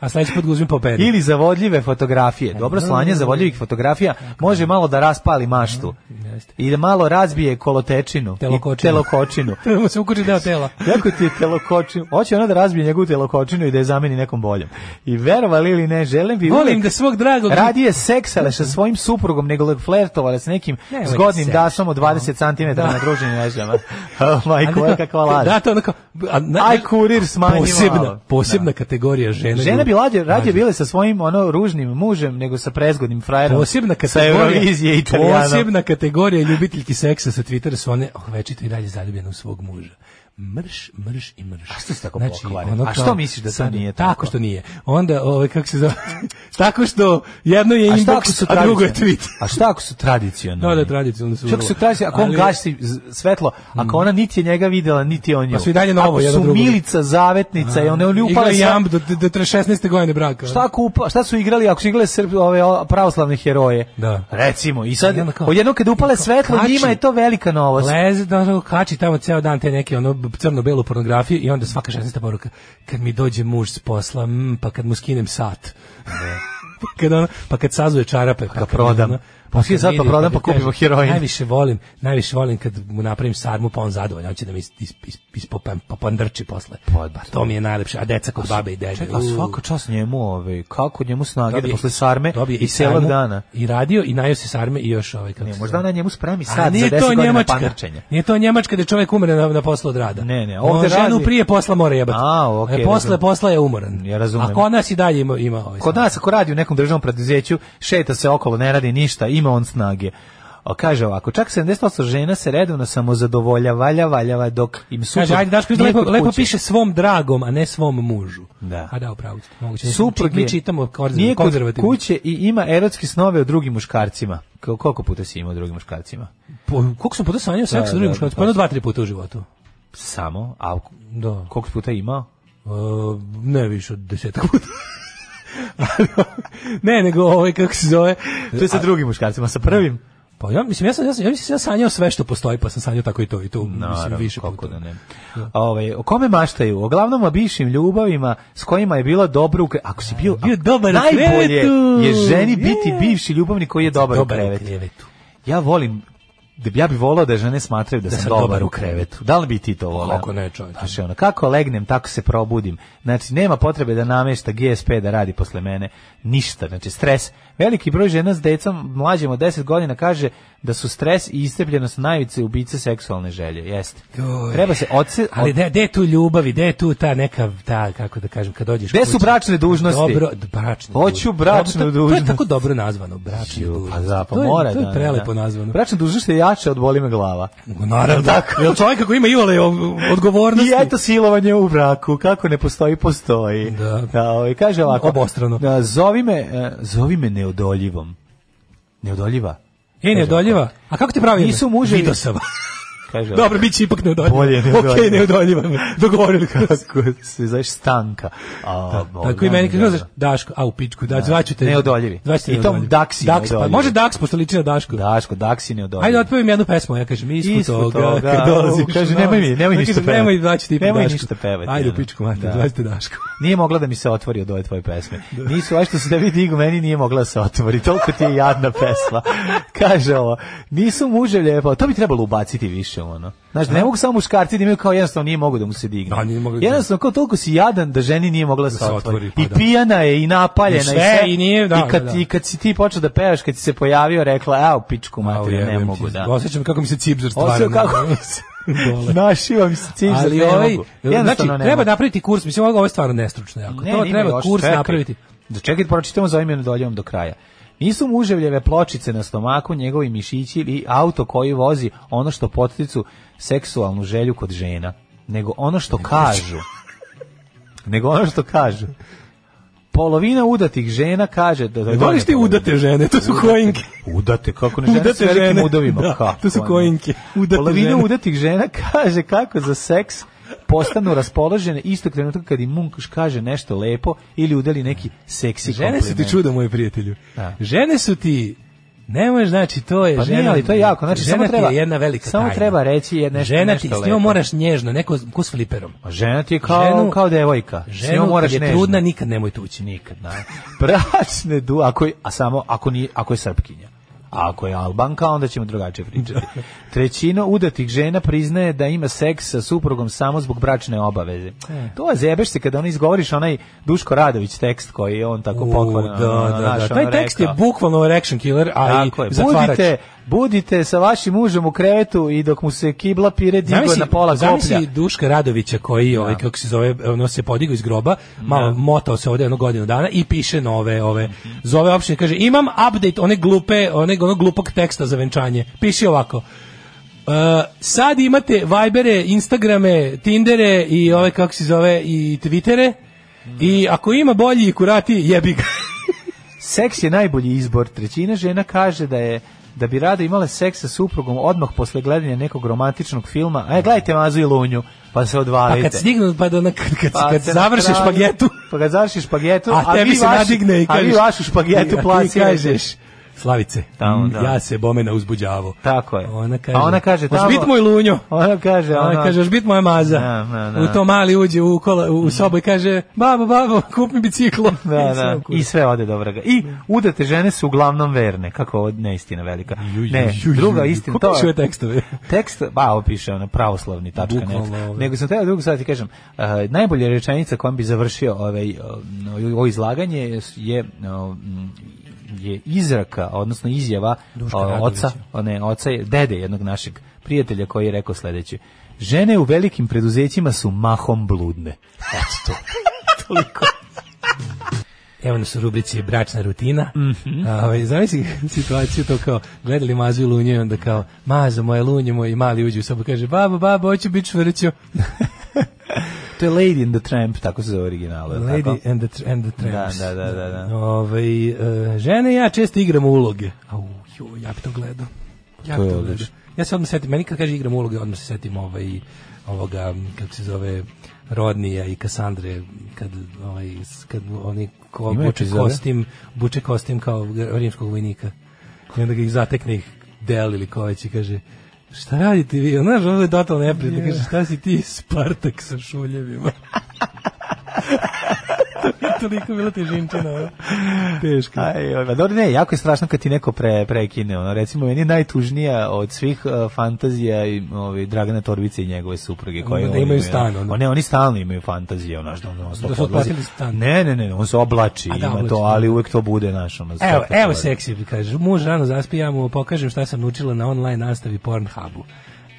A sledeći put ga uzmi po peri.
Ili zavodljive fotografije.
E.
Dobro slanje zavodljivih fotografija može malo da raspali maštu.
Jeste.
I da malo razbije kolotečinu. I
Telokočinu.
telokočinu.
Da mu se ukoči deo tela.
Jako ti je telokočinu. Hoće ona da razbije njegovu telokočinu i da je zameni nekom boljom. I verovali ili ne, želim bi
Volim
uvek-
da svog dragog...
Radije seksale sa svojim suprugom nego li flertovale sa nekim
Nemoj
zgodnim
seks.
dasom od 20 cm na druženim nežama. Oh, majko, je kakva laž.
Da, to onako... A, na,
Aj, kurir smanji malo.
Posebna, posebna kategorija žene.
Žene bi lađe, radije
Lađe.
bile sa svojim ono ružnim mužem nego sa prezgodnim frajerom.
Posebna
Sa
kategorija,
Eurovizije Italijanom.
posebna kategorija ljubiteljki seksa sa Twittera su one oh, večito i dalje zaljubljene u svog muža. mrš, mrš i mrš.
A što si tako
Znači,
pokvaren?
ono
A
kao-
što misliš da to
sad-
nije
tako?
tako?
što nije. Onda, ovaj, kako se zove, tako što jedno je
A šta ako
inbox,
su
a drugo je
tradicionalni?
tweet.
A šta ako su tradicionalni?
Da, da, tradicionalni su
Čak
vrlo.
su tradicionalni, ako on
Ali- Mm.
gasi z- svetlo, ako ona niti je njega videla, niti je on nju.
Pa su i dalje novo,
Ako
jedno
su
drugo.
Milica, Zavetnica, i one oni upale
Igra
sa-
jamb do, do, do 16. godine braka.
Šta, ako upa- šta su igrali ako su igrali srp, ove o, pravoslavne heroje?
Da.
Recimo, i sad
I onda kao-
odjednom kada upale svetlo,
kači.
njima je to velika novost.
Leze, da ono kači tamo ceo dan te neke ono crno-belu pornografiju i onda svaka 16. poruka, kad mi dođe muž s posla, mm, pa kad mu skinem sat. pa, kad ono, pa kad sazuje čarape. Pa
ga
kad mi
Da. prodam.
ono-
Pa skinem
kad
sat, pa
vidi,
prodam,
kad
pa kupimo
kaže,
heroin.
Najviše volim, najviše volim kad mu napravim sarmu, pa on zadovoljan, hoće da mi is, is, is, ispopam, pa pandrči posle. Pa, to mi je najlepše, a deca kod babe i dede.
Pa Čekaj, a
u.
svaka čast njemu, ove, kako njemu snage da
Dobije-
posle sarme
dobije
i celog
sarmu,
dana.
I radio i najeo se sarme i još ovaj kako.
Ne,
se
možda
zove.
ona njemu spremi
A
sad za
nije
10
to
godina
Njemačka.
panarčenja.
Nije to Njemačka da čovjek umre na, na poslu od rada.
Ne, ne,
On
ovde
ženu
radi-
prije posla mora jebati.
A, okej,
E, posle
razumem.
posla je umoran.
Ja razumem.
A kod nas i dalje ima, ima ovaj.
Kod
san.
nas ako radi u nekom državnom preduzeću, šeta se okolo, ne radi ništa, ima on snage. A kaže ovako, čak 70% žena se redovno samozadovoljava, valja, valjava, dok im suprug...
Kaže, ajde, Daško,
nije
lepo,
kod
lepo
kuće.
piše svom dragom, a ne svom mužu.
Da.
A da, upravo ste. Moguće.
Suprug
Mi
je-
čitamo
nije
konzervativno.
kod
konzervativno.
kuće i ima erotske snove o drugim muškarcima. Ko- Koliko puta si imao o drugim muškarcima?
Po, koliko sam puta sanjao seks
Da,
sa drugim
da,
muškarcem?
da,
Pa jedno dva, tri puta u životu.
Samo, a
Da.
koliko puta imao?
E, ne više od desetak puta. Ali, ne, nego ovaj, kako se zove...
To je sa drugim muškarcima, sa prvim.
Pa ja mislim ja sam ja, sam, ja mislim ja sanjao sve što postoji, pa sam sanjao tako i to i to mislim
Naravno,
više
kako
puta.
da ne. Ovaj, o kome maštaju? O glavnom o bivšim ljubavima s kojima je bila dobra u kre- Ako si bio,
Bio
ako-
dobar u
najbolje
krevetu.
je ženi
Yeah.
biti bivši ljubavnik koji je dobar,
Dobar
u
u
krevetu.
krevetu.
Ja volim da bi- ja bih volao da žene smatraju da, sam dobar u krevetu. Da li bi ti to volao?
Kako ne, čovječe.
Znaš, ono, kako legnem, tako se probudim. Znači, nema potrebe da namešta GSP da radi posle mene. Ništa, znači stres. Veliki broj žena s decom mlađim od 10 godina kaže da su stres i istrpljenost najvice ubice seksualne želje. Jeste.
Joj.
Treba se odse...
Ali
od-
de, de je tu ljubavi, de je tu ta neka, ta, kako da kažem, kad dođeš
Gde su
kući-
bračne dužnosti?
Dobro, d- bračne
Hoću
dužnosti.
bračnu
Dobro, to- To
dužnost.
je tako dobro nazvano, bračne
Ju,
dužnosti.
Pa da, pa
to je,
mora
To
da,
je prelepo
da.
nazvano.
Bračna dužnost je jača od boli me glava.
Naravno. Tako. Jel čovjek ako ima iole odgovornosti?
I eto silovanje u braku, kako ne postoji, postoji.
Da.
ovaj, kaže ovako.
Obostrano.
Da, zovi me, e, zovi me neodoljivom. Neodoljiva?
E, neodoljiva. A kako ti pravi? ime?
pa- Nisu muževi.
Vidio sam.
Kaže ovako.
Dobro, bit će ipak neodoljiva.
Bolje neodoljiva.
Okej, neodoljiva. da. Dogovorili smo se.
Kako se zoveš stanka. A,
Da,
Bogdan
tako i meni
Gaga.
kako kažeš Daško, a u pičku, da, zvaću te.
Neodoljivi.
Zvaću te
I tom
neodoljivi.
Daksi
Daks, pa
neodoljivi.
može Daks, pošto liči na Daško.
Daško, Daksi neodoljivi.
Ajde, otpevam jednu pesmu, ja kažem, mi
Ispod
ispod toga,
toga, da,
kad dolaziš.
u, kaže,
na
nemoj
ulicu.
mi, nemoj
Ja
ništa
kažem,
pevati.
Nemoj zvaću ti
Nemoj
Daško.
ništa pevati,
Ajde, u
ono.
pičku, mater,
Da.
zvaću te Daško.
Nije mogla da mi se otvori od ove tvoje pesme. Nisu, aj što se tebi digu, meni nije mogla da se otvori. Toliko ti je jadna pesma. Kaže ovo, nisu muže lijepo. To bi trebalo ubaciti više, ono. Znaš, da ne mogu samo muškarci da imaju kao jednostavno nije mogu da mu se digne.
Da, nije mogla-
jednostavno, kao toliko si jadan da ženi nije mogla da se
se
otvori.
otvori, pa
I
da.
pijana je, i napaljena,
I sve, i nije, da,
i, kad,
da, da.
I kad si ti počeo da pevaš, kad si se pojavio, rekla, evo, pičku materiju, ne
jebem
mogu,
ti.
da.
Osjećam kako mi se cipzer stvara.
Osjećam
na-
kako mi se-
Dole.
Našiva mi se cilj,
Ali
ne
ovaj,
mogu.
znači,
Jednostavno ne
treba
mogu.
napraviti kurs, mislim, ovo je stvarno nestručno jako.
Ne,
To
ne, ima
treba
još,
kurs
čekaj.
napraviti.
Da čekaj, pročitamo za imenu doljevom do kraja. Nisu muževljeve pločice na stomaku, njegovi mišići ili auto koji vozi ono što poticu seksualnu želju kod žena, nego ono što kažu. nego ono što kažu. Polovina udatih žena kaže da... da
Ne voliš ti udate žene, to su koinke.
Udate, kako ne žene
Udate
udate sa velikim
žene,
udovima.
da,
kako
to su
ne.
koinke. Udate
Polovina
žene.
udatih žena kaže kako za seks postanu raspoložene istog trenutka kad im muž kaže nešto lepo ili udeli neki seksi
Žene su
kompliment.
ti čudo, moj prijatelju.
Da.
Žene su ti Ne možeš, znači, to je
Pa
žena.
nije, ali to je jako. Znači,
žena
samo
ti
treba-
je jedna velika
samo
tajna.
treba reći je nešto-
žena ti,
nešto
s
lepo.
njom moraš nježno, neko ko s fliperom.
A žena ti je kao,
Ženu-
kao devojka. S njom
Ženu, kad
moraš
je
nežno.
trudna, nikad nemoj tući.
Nikad, da. Bračne du, ako je, a samo ako nije, ako je srpkinja. A ako je Albanka, onda ćemo drugačije pričati. Trećina udatih žena priznaje da ima seks sa suprugom samo zbog bračne obaveze.
E.
To je zebeš se kada ono izgovoriš onaj Duško Radović tekst koji je on tako
U,
pokvarno.
da,
ono,
da,
znaš,
da.
ono
Taj tekst je
rekao.
bukvalno erection killer, a i
Tako je.
zatvarač.
Budite, budite sa vašim mužem u krevetu i dok mu se kibla pire digo
Zamisli,
na pola koplja. Da.
zamisli Duška Radovića koji ovaj kako se zove ono se podigao iz groba, malo motao se ovdje jedno godinu dana i piše nove ove
Mhm.
zove opštine kaže imam update one glupe, one onog glupog teksta za venčanje. Piši ovako. Uh, sad imate Vibere, Instagrame, Tindere i ove kako se zove i Twittere. I ako ima bolji kurati, jebi ga.
Seks je najbolji izbor. Trećina žena kaže da je da bi rado imala seks sa suprugom odmah posle gledanja nekog romantičnog filma. E, gledajte Mazu i Lunju, pa se
Pa
odvalite.
kad stignu, pa da na, kad, kad, kad
se na
završiš
kraju-
pagetu,
Pa kad završiš špagetu,
a, tebi
vi
se
vaši-
nadigne i
a
kažeš...
vi vašu špagetu
a ti
plasirate.
kažeš, Slavice,
Tamo,
mm,
da.
ja se bome na uzbuđavo.
Tako je.
Ona kaže,
a ona kaže
"Hoćeš
tamo...
bit moj lunjo.
Ona kaže,
Ona
ona
kaže, još bit moja maza.
Da, da, da.
U to mali uđe u, kola, u, u sobu i kaže, babo, babo, kup mi biciklo.
Da,
I sve
da,
u kurac.
i sve ode do vraga. I udate žene su uglavnom verne, kako ovo neistina velika. Ne,
ju, ju,
druga
ju.
istina,
Ko
to
piše
je...
ove tekstove?
Tekst, ba, ovo piše ono, pravoslavni, tačka net.
Bukvalno, ovaj.
Nego sam teo drugu sad ti kažem, uh, najbolja rečenica kojom bi završio ovaj, uh, ovo izlaganje je... uh, je izraka, odnosno izjava
Duška
uh, oca,
Radovića.
o ne, oca je dede jednog našeg prijatelja koji je rekao sledeće. Žene u velikim preduzećima su mahom bludne. Eto to. Toliko.
Evo nas u rubrici bračna rutina. Mm
Mhm.
zamisli situaciju to kao gledali Mazu i Lunju i onda kao Maza moja, Lunje moja i mali uđe u sobu kaže babo, babo, hoću biti čvrćo.
To je Lady and the Tramp, tako se zove originalu. je li tako?
Lady and the, tr- and the Tramps.
Da, da, da, da, da.
Ovaj, e, žene i ja često igramo uloge. Au, jo, ja bi to gledao. Ja
To
bi
je
to gledao.
odlično.
Ja se odmah setim, meni kad kaže igram uloge, odmah se setim ovaj, ovoga, m, kako se zove, Rodnija i Kasandre, kad, ovaj, s- kad oni ko,
Ima
buče
epizode?
kostim, buče kostim kao g- rimskog vojnika. I onda ga ih zatekne ih del ili ko već i kaže, šta radite vi? Znaš, ovo je totalno neprijatno. Kaže, šta si ti Spartak sa šuljevima? Toliko je bila težinčina. ono. Da. Teško.
Aj, oj, ma dobro, ne, jako je strašno kad ti neko pre, prekine. Ono, recimo, meni je najtužnija od svih uh, fantazija i, ovaj, Dragana Torbice i njegove supruge. Koje
Da
oni
imaju stan, ono.
O, ne, oni stalno imaju fantazije. Ono, što, ono,
Da su otplatili stan.
Ne, ne, ne, on se oblači,
A da,
ima
oblači,
to,
da.
ali uvek to bude naš. Ono,
Evo,
stvarno.
evo seksi, kaže. Muž rano zaspi, ja mu pokažem šta sam naučila na online nastavi Pornhubu.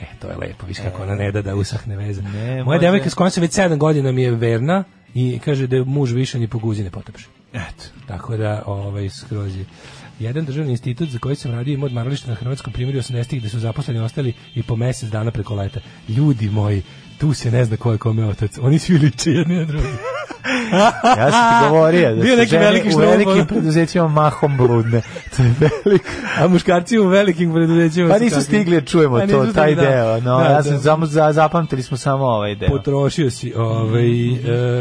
E, to je lepo, viš kako ona ne da da usahne veze.
Ne,
Moja
može.
devojka s kojom sam već 7 godina mi je verna i kaže da je muž više ni po guzi ne potepše.
Eto.
Tako da, ovaj, skroz je. Jedan državni institut za koji sam radio ima odmaralište na Hrvatskom primjeru 80-ih gde su zaposleni ostali i po mesec dana preko leta. Ljudi moji, tu se ne zna ko je kome otac. Oni svi liče jedni na drugi.
Ja sam ti govorio da
Bio
su
neki
žene
veliki
u
šlom, ono.
velikim preduzećima mahom bludne. To je veliko.
A muškarci u velikim preduzećima
Pa
su
nisu
kakvi.
stigli da čujemo
Pa nisu
to,
stigli,
taj
da.
deo. No,
Da,
ja
da.
sam samo za, zapamtili smo samo ovaj deo.
Potrošio si.
Mhm,
Ovaj,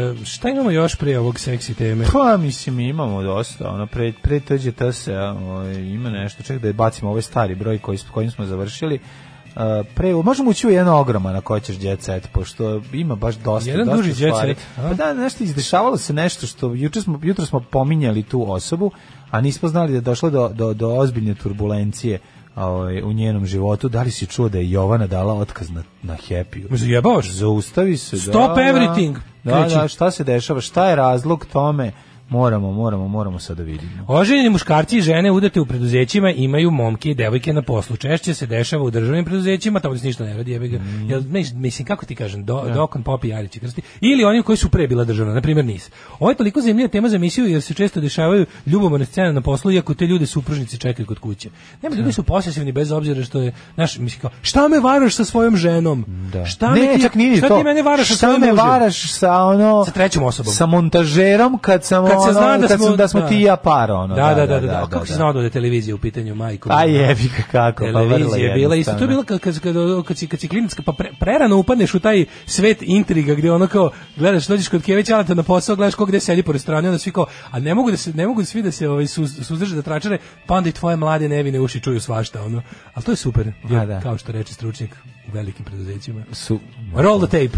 e, šta imamo još prije ovog seksi teme?
Pa mislim imamo dosta, ono pre pre tođe ta se ovaj, ima nešto, ček da bacimo ovaj stari broj koji s kojim smo završili. Uh, pre, možemo ući u jedno ogromno na koji ćeš jet set, pošto ima baš dosta,
Jedan
dosta
duži jet
stvari.
set, a?
Pa da, nešto izdešavalo se nešto što juče smo, jutro smo pominjali tu osobu, a nismo znali da je došlo do, do, do ozbiljne turbulencije ovaj, u njenom životu. Da li si čuo da je Jovana dala otkaz na, na Happy?
Ma zajebavaš?
Zaustavi se.
Stop everything,
Da,
kreći.
da, šta se dešava, šta je razlog tome, moramo, moramo, moramo sad da vidimo.
Oženjeni muškarci i žene udate u preduzećima imaju momke i devojke na poslu. Češće se dešava u državnim preduzećima, tamo gde se ništa ne radi. jebe ga.
Mhm.
Jel, ne, mislim, kako ti kažem, do,
Da.
dokon popi Jarić i Krsti. Ili oni koji su pre bila državna, na primjer nisu. Ovo je toliko zanimljiva tema za emisiju jer se često dešavaju ljubomorne scene na poslu, iako te ljude supružnici čekaju kod kuće. Nema,
Da.
ljudi su posesivni bez obzira što je, znaš, mislim kao, šta me varaš sa svojom ženom? Šta, me
Da. ne,
ti,
čak nije ni
šta
to.
ti mene varaš sa
šta
svojom
me
mužem?
varaš sa ono...
Sa trećom osobom.
Sa montažerom kad sam,
Kad se
ono,
zna da
kad
smo,
sam, da smo ti i ja par, ono.
Da, da, da, da, da, A kako se znao da je televizija u pitanju, majko?
A
moja?
Pa jebi ga kako, pa vrlo
Televizija je bila isto, to je bilo kad, kad, kad, kad, si, kad si klinicka, pa pre, prerano upadneš u taj svet intriga gdje ono kao, gledaš, dođeš kod Kevića Alata na posao, gledaš ko gde sedi pored strane, onda svi kao, a ne mogu da se, ne mogu svi da se ovaj, suz, suzdrže da tračare, pa onda i tvoje mlade nevine uši čuju svašta, ono. Ali to je super, jer,
A, da.
kao što reče stručnjak u velikim preduzećima.
Su, da.
Roll the tape.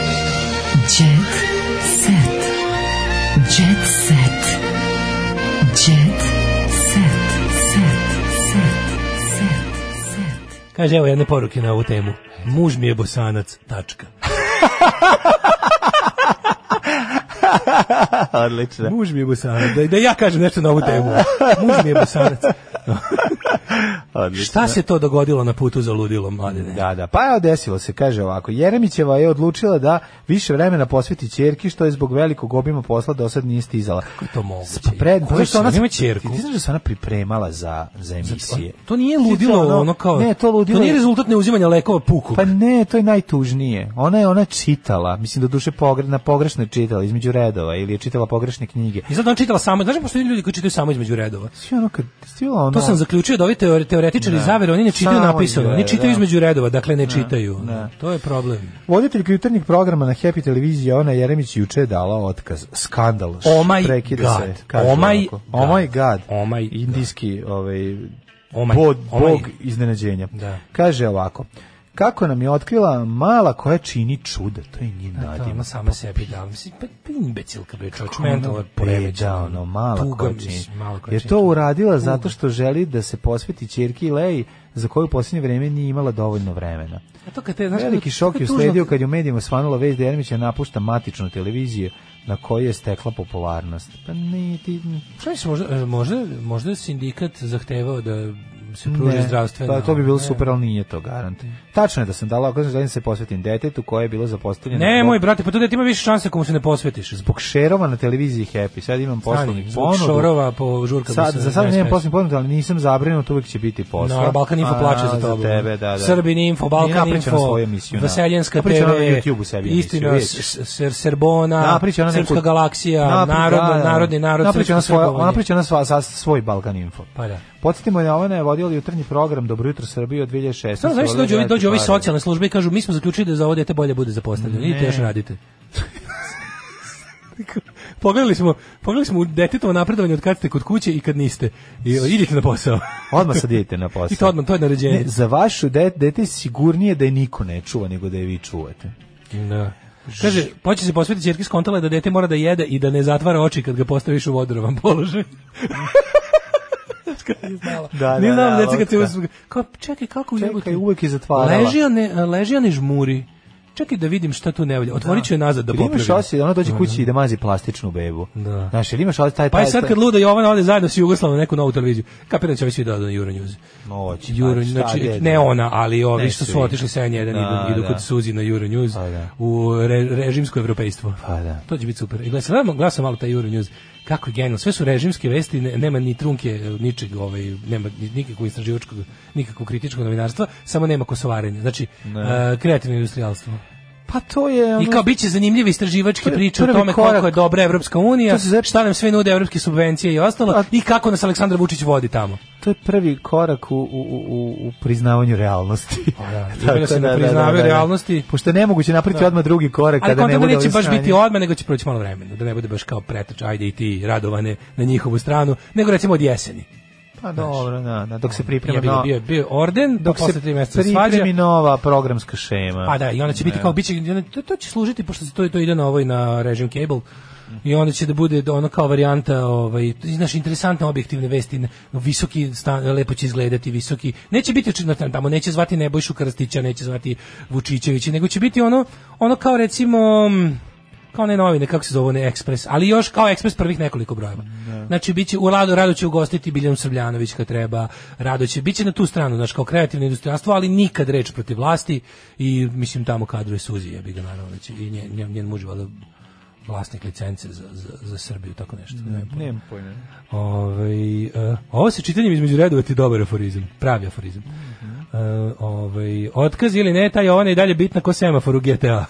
Jet set. Jet set. Jet set. Set. Set. Set. Set.
Kaže, evo jedne poruke na ovu temu. Muž mi je bosanac, tačka.
odlično.
da Muž mi je bosanac. Da, da ja kažem nešto na ovu temu. Muž mi je bosanac.
Odlično.
Šta se to dogodilo na putu za ludilo, mladine?
Da, da. Pa evo desilo se, kaže ovako. Jeremićeva je odlučila da više vremena posveti ćerki što je zbog velikog obima posla do sad nije stizala. Kako
je to moguće?
Pred,
Koja
zato što
će-
ona
nema
se-
ćerku?
Ti znaš da se ona pripremala za, za emisije.
To nije
Ti
ludilo,
to
ono, kao...
Ne, to ludilo.
To nije
je-
rezultat neuzimanja lekova puku.
Pa ne, to je najtužnije. Ona je ona čitala, mislim da duše pogre, na pogrešno je čitala između redova ili je čitala pogrešne knjige.
I sad on čitala samo, znaš da postoji ljudi koji čitaju samo između redova.
Sve ono kad stila ono.
To sam zaključio da ovi teore- teoretičari
Da.
zavere, oni ne čitaju
Samo
napisano, oni
izgleda,
čitaju
da.
između redova, dakle ne čitaju.
da.
To je problem.
Voditeljka jutarnjeg programa na Happy televiziji Ona Jeremić juče je dala otkaz. Skandal.
Oh my
Prekida
God.
se, kaže
Oh my
ovako. Oh my god.
Oh my God.
Indijski ovaj
Oh my-
bod,
oh my-
bog iznenađenja.
Da.
Kaže ovako. Kako nam je otkrila mala koja čini čuda, to je njen
Da,
nadim.
ona sama sebi da, mislim, pa pa imbecilka bre, čovječ,
Ona
mentalno poremećaj,
beda, da, ono, mala
tuga,
kočin.
mislim, mala koja
Je
čini.
to uradila zato što želi da se posveti ćerki Leji, za koju u posljednje vreme nije imala dovoljno vremena.
A E to kad te, znaš,
Veliki
kad-
šok
kad
je
tužno-
usledio kad je u medijima svanula vez da Jeremića napušta matičnu televiziju na kojoj je stekla popularnost. Pa ne, ti...
Šta misliš, možda, e, možda, možda je sindikat zahtevao da se pruži
Ne,
zdravstvena...
pa to bi bilo
ne.
super, ali nije to garant. Tačno je da sam dala, ako sam želim da se posvetim detetu koje je bilo zapostavljeno
Ne,
zbog-
moj brate, pa to da ti ima više šanse ako mu se ne posvetiš. Zbog
zbog šerova na televiziji Happy. Sad imam poslovni
zbog
ponudu.
šorova po žurkama.
Sad,
se
za sad
ne
nemam
smeš.
poslovni ponud, ali nisam zabrinut, uvek će biti posla.
No, Balkan Info
A,
plače za tobom.
tebe, da, da.
Srbin Info, Balkan
Napraviće ona
Info,
svoju emisiju na-
Vaseljenska TV,
napraviće ona na YouTubeu sebi emisiju,
Istina,
vidjet
s-
ćeš.
s- ser, Serbona,
Napraviće ona neku-
Srpska galaksija,
Napri-
narodno,
da, da.
Narodni narod,
Napraviće ona
Srpsko
svoja,
srbovanje.
ona priča na sva, sa- svoj Balkan Info.
Pa da.
Podsjetimo da ona je vodila jutarnji program Dobro jutro Srbije od 2016.
Samo znači
Voleo
dođu ovi,
Jati
dođu ovi
Pare.
socijalne službe i kažu mi smo zaključili da za ovo dete bolje bude zapostavljeno. Idite još radite. pogledali smo, pogledali smo u detetovo napredovanje od kad ste kod kuće i kad niste. I e, idite na posao.
Odmah sad idete na posao.
I to odmah, to je naređenje.
Ne, za vašu dete, dete je sigurnije da je niko ne čuva nego da je vi čuvate.
Da. Kaže, poče se posvetiti ćerki skontala je da dete mora da jede i da ne zatvara oči kad ga postaviš u vodorovan položaj. Kad nije znala.
Da,
Nije
da,
znala
da,
deca kad se
lutka.
uzme- kao, čekaj, kako
Čekaj,
jebote?
uvek je zatvarala.
Leži, a ne, leži, a ne žmuri. Čekaj da vidim šta tu ne valja. Otvorit ću je nazad da
Da imaš
popravim.
osjećaj da ona dođe kući i da mazi plastičnu bebu.
Da.
Znaš, jel imaš osjećaj taj...
Pa i
taj-
sad kad Luda i Jovana ode zajedno s Jugoslavom na neku novu televiziju, kapiram da će ovi svi da odu na Euronews.
Noć,
Euro,
šta
znači,
je,
ne
da.
ona, ali ovi
Ne,
što
svi.
su otišli sa N1
Da,
idu, idu
da.
kod Suzi na Euronews
Pa da.
u re, režimsko evropejstvo.
Pa da.
To će biti super. I gledam, gledam, gledam malo taj Euronews. Kako je genijalno. Sve su režimske vesti, ne- nema ni trunke e, ničeg, ovaj, nema ni- nikakvog istraživačkog, nikakvog kritičkog novinarstva, samo nema kosovarenja. Znači, e, kreativno industrialstvo.
Pa to je...
I
ono-
kao biće zanimljive istraživačke
Prvi-
priče o
prvi
tome
korak-
koliko je dobra Evropska unija,
To se zove-
šta nam sve nude evropske subvencije i ostalo
A-
i kako nas Aleksandar Vučić vodi tamo.
To je prvi korak u, u, u, u priznavanju realnosti.
da.
Tako
Ima da se ne priznavaju realnosti. Da.
Pošto je nemoguće napraviti odmah drugi korak
Ali
kada ne
kontam da
bude
neće
ovih
baš
sranja.
biti odmah, nego će proći malo vremena, da ne bude baš kao preteč, ajde i ti radovane na njihovu stranu, nego recimo od jeseni.
Pa dobro, da, da, dok se
Ja
priprema
bio,
no,
bio, bio je orden, dok
dok
posle
se
tri meseca svađa.
pripremi nova programska šema.
Pa da, i onda će biti kao biće to, to će služiti pošto se to to ide na ovaj na režim cable. I onda će da bude ono kao varijanta, ovaj, znaš, interesantne objektivne vesti, ne- visoki, stan, lepo će izgledati, visoki, neće biti očigledno tam- tamo, neće zvati Nebojšu Krstića, neće zvati Vučićevića, nego će biti ono, ono kao recimo, mm, kao ne novine, kako se zove, one ekspres, ali još kao ekspres prvih nekoliko brojeva. Znači, biće, u Rado, Rado će ugostiti Biljanu Srbljanović kad treba, Rado će, bit će na tu stranu, znači, kao kreativno industrijalstvo, ali nikad reč protiv vlasti i, mislim, tamo kadruje Suzi, je bi ga naravno, znači, i njen, njen, njen muž, je valjda, vlasnik licence za, za, za Srbiju, tako nešto. Ne,
Nemam pojma.
Ovaj, eh, ovo se čitanjem između redova ti je dobar aforizam, pravi aforizam. Eh, ovaj, otkaz ili ne, taj Jovana je i dalje bitna ko semafor u GTA.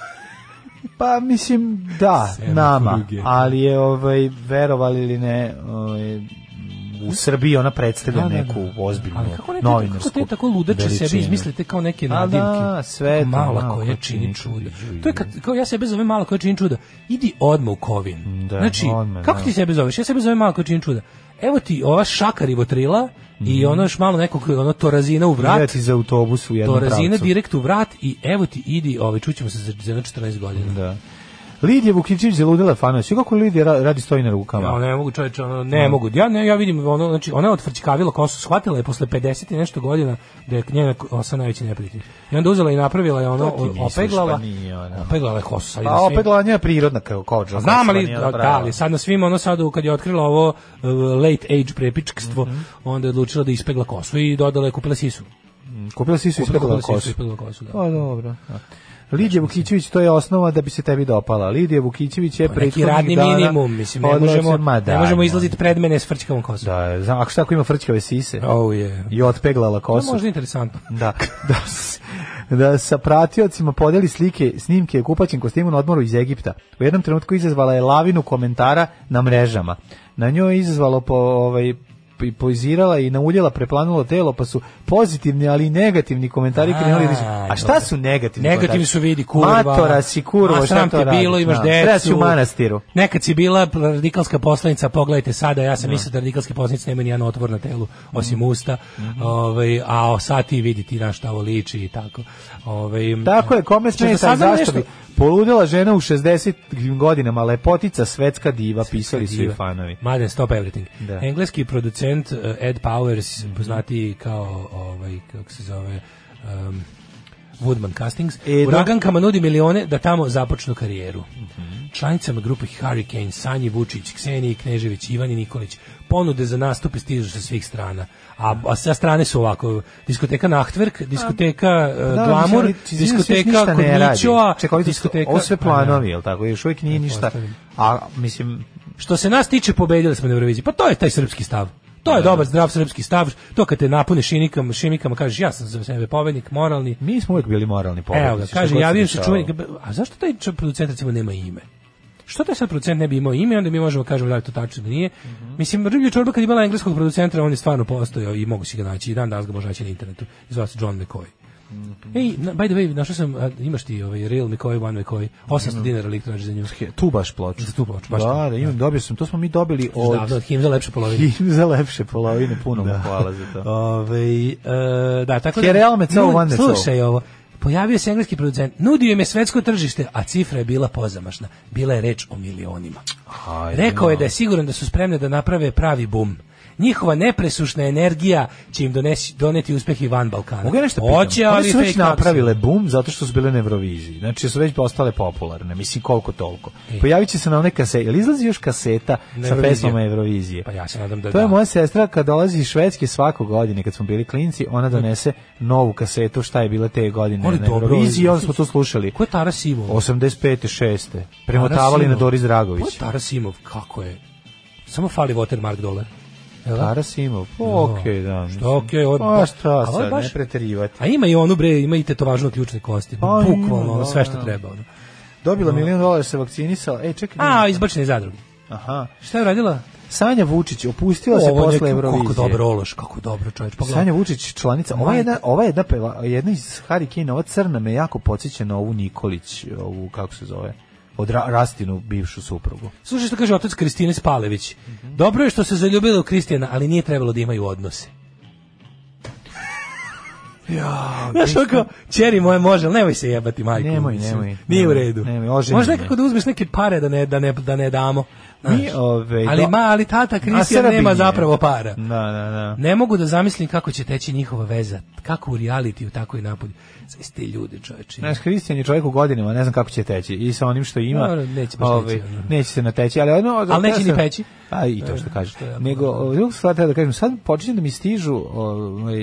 Pa mislim da,
Semafor
nama,
druge.
ali je ovaj verovali ili ne, ovaj, u Srbiji ona predstavlja neku ozbiljnu
Da, Ali kako ne te, kako
novinarsku.
te tako ludače sebi
veličinu.
izmislite kao neke
A
nadimke?
da, sve
Tako
to,
mala
mala
koja
koja
čini
čini
čuda.
čuda.
To je kad, kao ja sebe zovem mala koja čini čuda. Idi odmah u kovin.
Da,
znači,
odmah,
kako
da.
ti sebe zoveš? Ja sebe zovem mala koja čini čuda. Evo ti ova šakarivo trila i ono još malo nekog ono torazina u
Ide
vrat.
Mm. ti za autobus u jednom
Torazina
pravcu.
direkt u vrat i evo ti idi, ovaj, čućemo se za, za jedno 14 godina.
Da. Lidija Vukićević je ludila fanoć. I kako Lidija ra- radi stoji na rukama?
Ja, ne mogu čoveče, ono, ne
Da.
mogu. Ja ne, ja vidim ono, znači ona je otfrčkavila kosu, shvatila je posle 50 i nešto godina da je njena osa najveći neprijatelj. I onda uzela i napravila je ono
To ti misliš,
opeglala.
pa nije ona.
Opeglala je kosu, sad je
Pa
na svim-
opet glanja prirodna kao kođa.
Pa znam,
koja se
ali,
nije
da,
napravila.
ali sad na svima, ono sad kad je otkrila ovo uh, late age prepičkstvo,
Mhm.
onda je odlučila da ispegla kosu i dodala je, kupila sisu.
Kupila si su
Kupila-
ispegla
kupila sisu,
kosu.
ispegla kosu, da.
Pa dobro. da. Lidija Vukićević, to je osnova da bi se tebi dopala. Lidija Vukićević je
Pa neki
prethodnih
radni
dana
minimum, mislim, ne
odlazi-
možemo,
Ma da,
ne možemo
da.
izlaziti pred mene s frčkavom kosom.
Da, znam, ako šta ako ima frčkave sise
Oh, yeah.
i otpeglala
To je
kosu.
možda interesantno.
da, da, s- da sa pratiocima podeli slike, snimke u kupaćem kostimu na odmoru iz Egipta. U jednom trenutku izazvala je lavinu komentara na mrežama. Na njoj je izazvalo po, ovaj, i poizirala i nauljela, preplanula telo, pa su pozitivni, ali i negativni komentari
A,
krenuli. da su- A šta
dobro.
su negativni
Negativni
komentari?
su vidi, kurva.
Matora si kurva,
Ma,
šta
sram
to
te
radiš?
bilo, imaš
Da,
decu.
Treba si u manastiru.
Nekad si bila radikalska poslanica, pogledajte sada, ja sam mislio da radikalske poslanice nema ni jedan otvor na telu,
Mhm.
osim usta, ovaj, a o, sad ti vidi ti na šta ovo liči i tako. Ovaj,
Tako je, kome
Čekaj,
smeta i
saznam
zašto bi?
nešto.
Poludela žena u 60 godinama, lepotica, svetska diva, pisali su i
Diva.
fanovi.
Madden, stop everything.
Da. Mhm.
Engleski producent eh, Ed Powers, poznati kao, ovaj, kako se zove, um, Woodman Castings,
E,
e,
da. Mhm.
uragankama nudi milione da tamo započnu karijeru. Članicama grupe Hurricane, Sanji Vučić, Kseniji Knežević, Ivan i Nikolić, ponude za nastupe stižu sa svih strana. A, a sa strane su ovako, diskoteka Nachtwerk, diskoteka eh,
Da, mislim,
Glamour,
ali ti znaš, još
diskoteka
ništa ne radi.
Kodnićoa,
Čekaj, ovdje su-
diskoteka...
Ovo sve
Pa, da.
planovi, jel tako? Još uvijek nije ništa.
Pretpostavljam.
A, mislim,
Što se nas tiče, pobedili smo na Euroviziji. Pa to je taj srpski stav. To
Da,
je dobar, zdrav srpski stav. To kad te napune šinikama, šimikama, kažeš ja sam za sebe povednik, moralni.
mi smo uvijek bili moralni pobednici.
Evo ga,
šta god
kaže, javio se
dešavalo.
čuveni, a zašto taj čo- producent recimo nema ime? Što taj sad producent ne bi imao ime, onda mi možemo kažemo da li je to tačno da nije.
Mhm.
Mislim, Riblja Čorba kad je imala engleskog producenta, on je stvarno postojao i mogu si ga naći i dan danas ga može naći na internetu. Zove se John McCoy.
Mhm.
Ej, na- by the way, našao sam, a, imaš ti ovaj Real McCoy, One McCoy,
Mhm.
800 dinara lik traži za nju.
Tu baš ploču.
Za tu ploču, baš
Da,
tu.
da, imam, dobio sam. To smo mi dobili
Odavno,
od...
od Himza lepše polovine.
I za lepše polovine, puno
Da.
mu hvala za to.
Ovaj, e, da, tako da...
Kereal me cao,
Nudi-
van me cao.
Slušaj ovo. Pojavio se engleski producent, nudio im je svetsko tržište, a cifra je bila pozamašna. Bila je reč o milionima.
Ajde,
Rekao je
no.
da je siguran da su spremne da naprave pravi bum. Njihova nepresušna energija će im donesi, doneti uspeh i van Balkana.
Mogu ja nešto pitam?
Hoće, ali
One su već
fake taksi.
napravile bum zato što su bile na Euroviziji. Znači su već postale popularne, mislim koliko toliko. Pojavit će se na one kasete. Jel izlazi još kaseta
E. Na
sa
Euroviziju.
pesmama Eurovizije?
Pa ja se nadam da
To
da.
je moja sestra kad dolazi iz Švedske svako godine kad smo bili klinci, ona donese novu kasetu šta je bila te godine
Ali
na
dobro,
Euroviziji, i onda
ali-
smo to slušali.
Ko je Tara Simov?
85. 6. Premotavali na
Tarasimov.
Doris
Ko je
Dragović.
Tara Simov? Kako je? Samo fali Watermark dolar. Jel da?
Tarasimov. Okej, da. mislim.
Što okej, ovo je
Pa
baš-
šta
a ovo je
sad,
baš-
ne preterivati.
A ima i onu bre, ima i tetovažu na ključne kosti.
Pa ima,
Bukvalno, ono, sve
da,
što
da.
treba. Ono.
Dobila milion dolara se vakcinisala. Ej, čekaj.
Da. A, izbačene iz zadruge.
Aha.
Šta je radila?
Sanja Vučić opustila se
Ovo je
posle
neki-
Eurovizije.
Kako dobro ološ, kako dobro čovječ. Pogledaj.
Sanja Vučić članica. Ova jedna, ova jedna peva, jedna iz Harikina, ova crna me jako podsjeća na ovu Nikolić, ovu kako se zove, od Ra- Rastinu bivšu suprugu.
Slušaj što kaže otac Kristine Spalević.
Mhm.
Dobro je što se zaljubila u Kristijana, ali nije trebalo da imaju odnose. Ja, Znaš, ono kao, čeri moje može, ali nemoj se jebati, majku.
Nemoj,
mislim.
nemoj,
Nije u
nemoj,
redu.
nemoj, oženi
Možda
me.
nekako da uzmeš neke pare da ne, da ne, da ne damo.
Mi,
znaš.
ove,
ali,
ovaj, do-
ma, ali tata Kristijan
Srbin
nema
je.
zapravo para.
Da, da, da.
Ne mogu da zamislim kako će teći njihova veza, kako u realitiju, tako i napolju. Sve ste ljude, čoveče.
Znaš, Kristijan je čovjek u godinama, ne znam kako će teći. I sa onim što ima,
Dobro, neće baš
ovaj,
teći, ono.
neće se nateći. Ali, ono,
Ali neće ni
ja sam-
peći. E,
A, Pa, i to što kažeš.
to je jako
Nego, drugog stvar treba da kažem, sad počinje da mi stižu ovaj,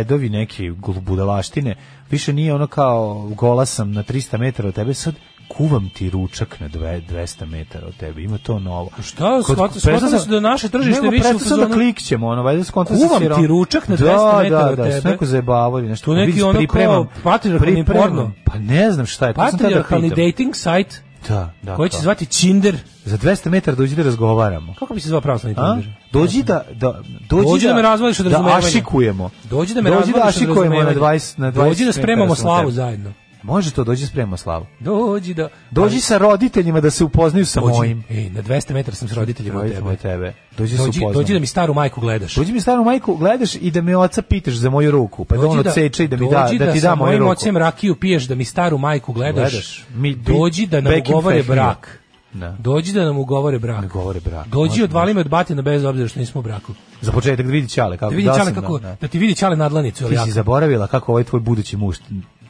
edovi neke budalaštine. Više nije ono kao gola sam na 300 metara od tebe, sad kuvam ti ručak na dve, 200 metara od tebe. Ima to novo.
Šta, shvat-
prestao
shvatili
sam-
su da naše tržište
Nego,
više u
prestao sam da
fazonu-
klikćem, ono, valjda skontam
Kuvam ti ručak na 200 metara
da, da,
od
da,
tebe.
se neko zajebavao ili nešto.
Tu neki
Vidiš,
ono kao
pripremam-
patrijarhalni
pripremam-
porno.
Pa ne znam šta je, to sam tada
Patriarhalni
pitam.
dating site
Da, da,
koji će
to.
se zvati Tinder.
Za 200 metara dođi da razgovaramo.
Kako bi se zvao pravoslavni
A?
Tinder?
Dođi da, da, dođi,
Dođi da me razvališ od
da
razumevanja.
ašikujemo.
Dođi da me
dođi
razvališ
da
od
ašikujemo na
razumevanja.
20, na 20
Dođi da spremamo
metara smo od
slavu
tebe.
zajedno.
Može to dođi spremimo slavu.
Dođi da...
Dođi sa roditeljima da se upoznaju sa
Dođi,
mojim.
Ej, na 200 metara sam s roditeljima od
Roditeljima
tebe.
od tebe. Dođi,
Dođi,
se
dođi,
upoznamo.
da mi staru majku gledaš.
Dođi mi staru majku, gledaš i da me oca pitaš za moju ruku, pa da on odseče i da mi da,
dođi
da ti
sa
da moju
mojim
ruku.
ocem rakiju piješ, da mi staru majku gledaš.
Gledaš. Mi-
Mi, dođi da nam
Bekim
ugovore
Fehmija.
brak.
Da.
Dođi da nam ugovore brak.
Govore brak.
Dođi
Može,
odvali me od batina bez obzira što nismo u braku.
Za početak da vidi Ćale kako
Da vidi
li
Ćale
sam
kako,
na-
da,
na-
ti vidi Ćale nadlanicu.
Ti
Ili
si
jako.
zaboravila kako ovaj tvoj budući muž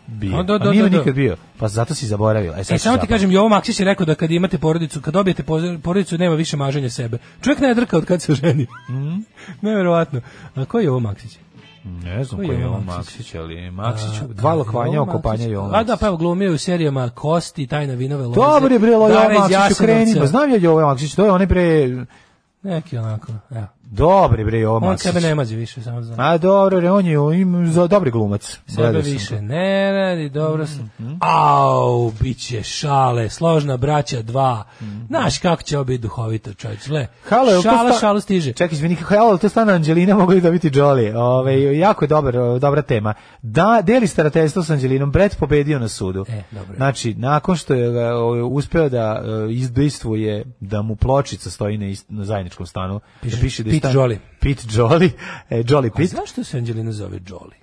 bio.
A, da, da,
A nije
da,
me
da.
nikad bio. Pa zato si zaboravila. E, sad
E,
si
samo ti
zapamtila.
kažem, Jovo Maksić je rekao da kad imate porodicu, kad dobijete poz- porodicu, nema više maženja sebe. Čovjek ne drka od kad se ženi.
Mhm.
Neverovatno. A ko je Jovo Maksić?
Ne znam
Ko je
koji je
Jovan
on
Maksić?
Maksić, ali Maksić,
A,
Pa, dva
da,
lokvanja
Jovo
oko panja
Maksić.
Jovan
A da,
Maksić.
pa evo glumio je u serijama Kosti, Tajna vinove loze.
Dobar je bre Lojo
Dara iz
Maksić,
Jasenovca.
kreni, pa znam ja Jovan Maksić, to je onaj pre...
Neki onako, evo.
Dobar je bre Jovan
On
Maksić.
sebe ne mazi više, samo znam.
A dobro, bre, on je im za dobri glumac.
Sebe
Gledao sam
više
to. Mm,
ne radi, dobro sam. Au, bit će šale, složna braća dva.
Mm,
Znaš kako će ovo biti duhovito, čovječ. Gle,
Halo, je li to
šala,
sta-
šalu stiže.
Čekaj, izvini, halo, to je stvarno Anđelina, mogli da biti Jolie. Ove, jako je dobar, o, dobra tema. Da, deli starateljstvo s Anđelinom, Brett pobedio na sudu.
E, dobro je.
Znači, nakon što je ga, o, uspeo da e, izdejstvuje da mu pločica stoji na, ist, na zajedničkom stanu,
Piše,
da piše da je
Pete
stan-
Jolie.
Pete Jolie, e, Jolie
A
Pete.
zašto se Anđelina zove Jolly?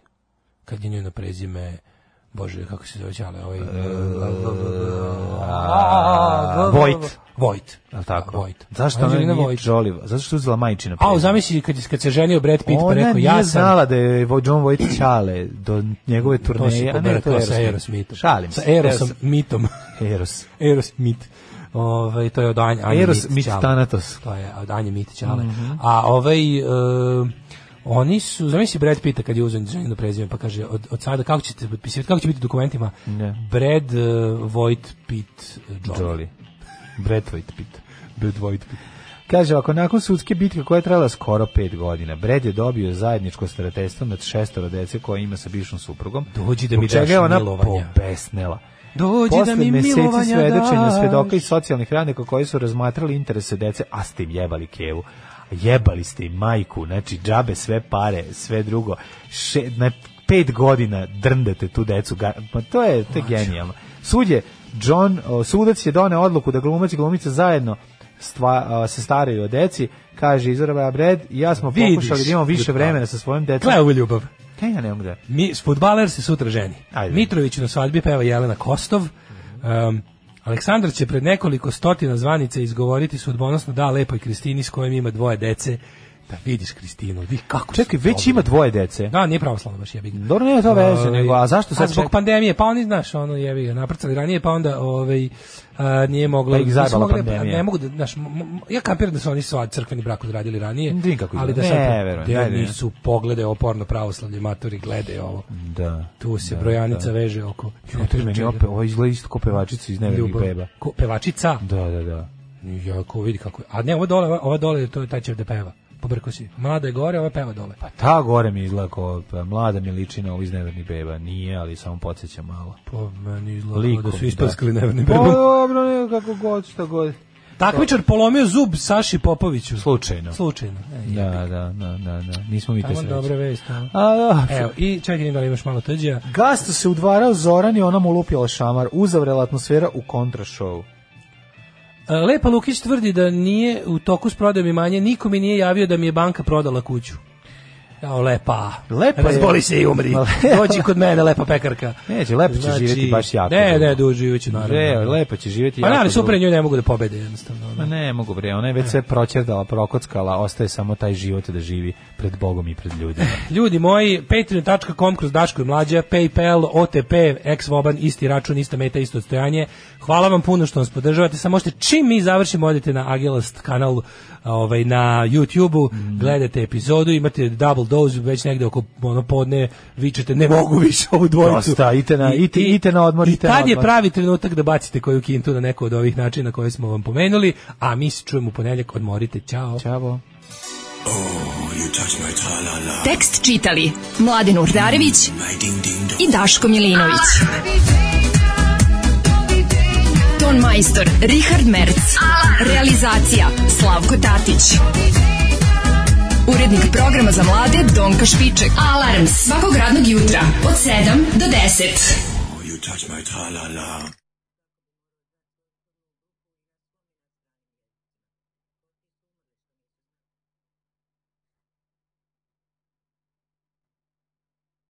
Kad je njoj na prezime, bože, kako se zove Ćale,
E,
ovaj...
Vojt.
Vojt.
Jel tako?
Vojt.
Zašto ona
Anđelina
nije
Vojt.
Jolie? Zato što je uzela majčina.
A, zamisli kad, kad se ženio Brad Pitt, pa
Ona
rekao,
nije
ja sam...
znala da je Vo- John Vojt Čale do njegove
To se
turneje, a ne, to
pobrkao
je
sa
Aerosmith.
Aerosmithom.
Šalim
Sa
se.
Aerosom, mitom.
Eros.
Eros Mit. Ovaj to je od Anje, Anje
Eros
Mit
Mit Mhm.
Ćale.
Thanatos.
To je od Anje Mit Ćale. A ovaj e, oni su, zamisli Brad Pita kad je uzeo Anđelino prezime, pa kaže od, od sada kako ćete potpisivati, kako će biti u dokumentima?
Ne.
Brad e, Void Pit Jolly.
Jolly. Brett White Pitt. Brett White Pitt. Kaže, ako nakon sudske bitke koja je trajala skoro pet godina, Brad je dobio zajedničko starateljstvo nad šestoro dece koje ima sa bivšom suprugom,
Dođi da
zbog
mi daš
čega je ona
milovanja.
pobesnela.
Dođi
Posle
da mi
meseci
milovanja
svedočenja
daš.
svedoka i socijalnih radnika koji su razmatrali interese dece, a ste im jebali kevu. Jebali ste im majku, znači džabe sve pare, sve drugo. Še, na pet godina drndate tu decu. Ga, ma to je, to je genijalno. Sud je, John, o, sudac je doneo odluku da glumac i glumica zajedno stva, a, se staraju o deci, kaže Izora Bred, i ja smo
Vidiš,
pokušali da imamo više
Ljubka.
vremena sa svojim decom.
Gle ovo je ljubav.
Kaj ja ne mogu da...
Mi, futbaler se sutra ženi.
Ajde.
Mitrović na svadbi peva Jelena Kostov. Um, Aleksandar će pred nekoliko stotina zvanica izgovoriti sudbonosno da lepoj Kristini s kojom ima dvoje dece. Da vidiš Kristinu, vi kako
Čekaj,
su
već
dobri.
ima dvoje dece.
Da, nije pravoslavno baš jebi ga.
Dobro, nema to veze,
Ovaj,
nego, a zašto sad
zbog
ček-
pandemije, pa oni, znaš, ono jebi ga, naprcali ranije, pa onda ovaj, a, nije moglo...
Pa ih
nisu
zajebala
mogli-
pandemija.
Ne mogu da, znaš, m- m- ja kampiram da su oni sva crkveni brak odradili ranije,
Nikako
ali
ide.
da
Ne,
sad...
verujem,
da
ne, ne.
nisu poglede oporno pravoslavlje, maturi, glede ovo.
Da.
Tu se
Da,
brojanica
da.
veže oko.
Ne, to je meni opet, ovo izgleda isto kao pevačica iz nevernih
Ljubav.
beba.
Ko, pevačica?
Da, da, da.
Ja, ko vidi kako je. A ne, ovo dole, ova- ova dole, to je taj će da peva. Pobrko si. Mlada je gore, ova peva dole.
Pa ta gore mi izgleda kao, pa, mlada mi liči na ovo iz nevernih beba. Nije, ali samo podsjeća malo.
Po meni
Likom,
izgleda da su ispaskali neverni
Pa
bebom.
dobro, ne, kako god, šta god.
Takmičar polomio zub Saši Popoviću.
Slučajno.
Slučajno. E,
Da, da, da, da, da. Nismo mi te
Tamo
sreće.
dobra vest. a?
A, da.
Evo, i čekaj da li imaš malo tđa.
Gasto se udvarao Zoran i ona mu lupila šamar. Uzavrela atmosfera u kontrašovu.
E, Lepa Lukić tvrdi da nije u toku s prodajom imanja, niko mi nije javio da mi je banka prodala kuću. Jao, lepa.
Lepa je.
Razboli se i umri.
Ma-
Dođi kod mene, lepa pekarka. Znači,
Neće, lepo će živjeti baš jako
Ne,
dugo.
ne, duže živeće, naravno.
Re, lepo će živjeti.
Pa ne,
jako
ali
dugo.
super njoj ne mogu da pobede, jednostavno.
Ma ne, mogu bre, ona je već sve proćerdala, prokockala, ostaje samo taj život da živi pred Bogom i pred ljudima.
Ljudi moji, patreon.com kroz Daško i Mlađa, Paypal, OTP, Exvoban, isti račun, ista meta, isto odstojanje. Hvala vam puno što nas podržavate. Samo možete čim mi završimo, odete na Agelast kanal ovaj, na YouTube-u,
Mhm.
gledate epizodu, imate double dose, već negde oko ono podne, vičete ne mogu više ovu dvojicu.
Dosta, idite na-
I-
idite-
i-
idite na odmor,
I
idite na
tad je
odmor.
pravi trenutak da bacite koju kintu na neko od ovih načina koje smo vam pomenuli, a mi se čujemo u ponedjeljak, odmorite, čao.
Ćavo.
Tekst čitali Mladin Urdarević i Daško Milinović. Ton majstor Richard Merc. Realizacija Slavko Tatić. Urednik programa za mlade Donka Špiček. Alarms svakog radnog jutra od 7 do 10.
You you touch my tra-la-la.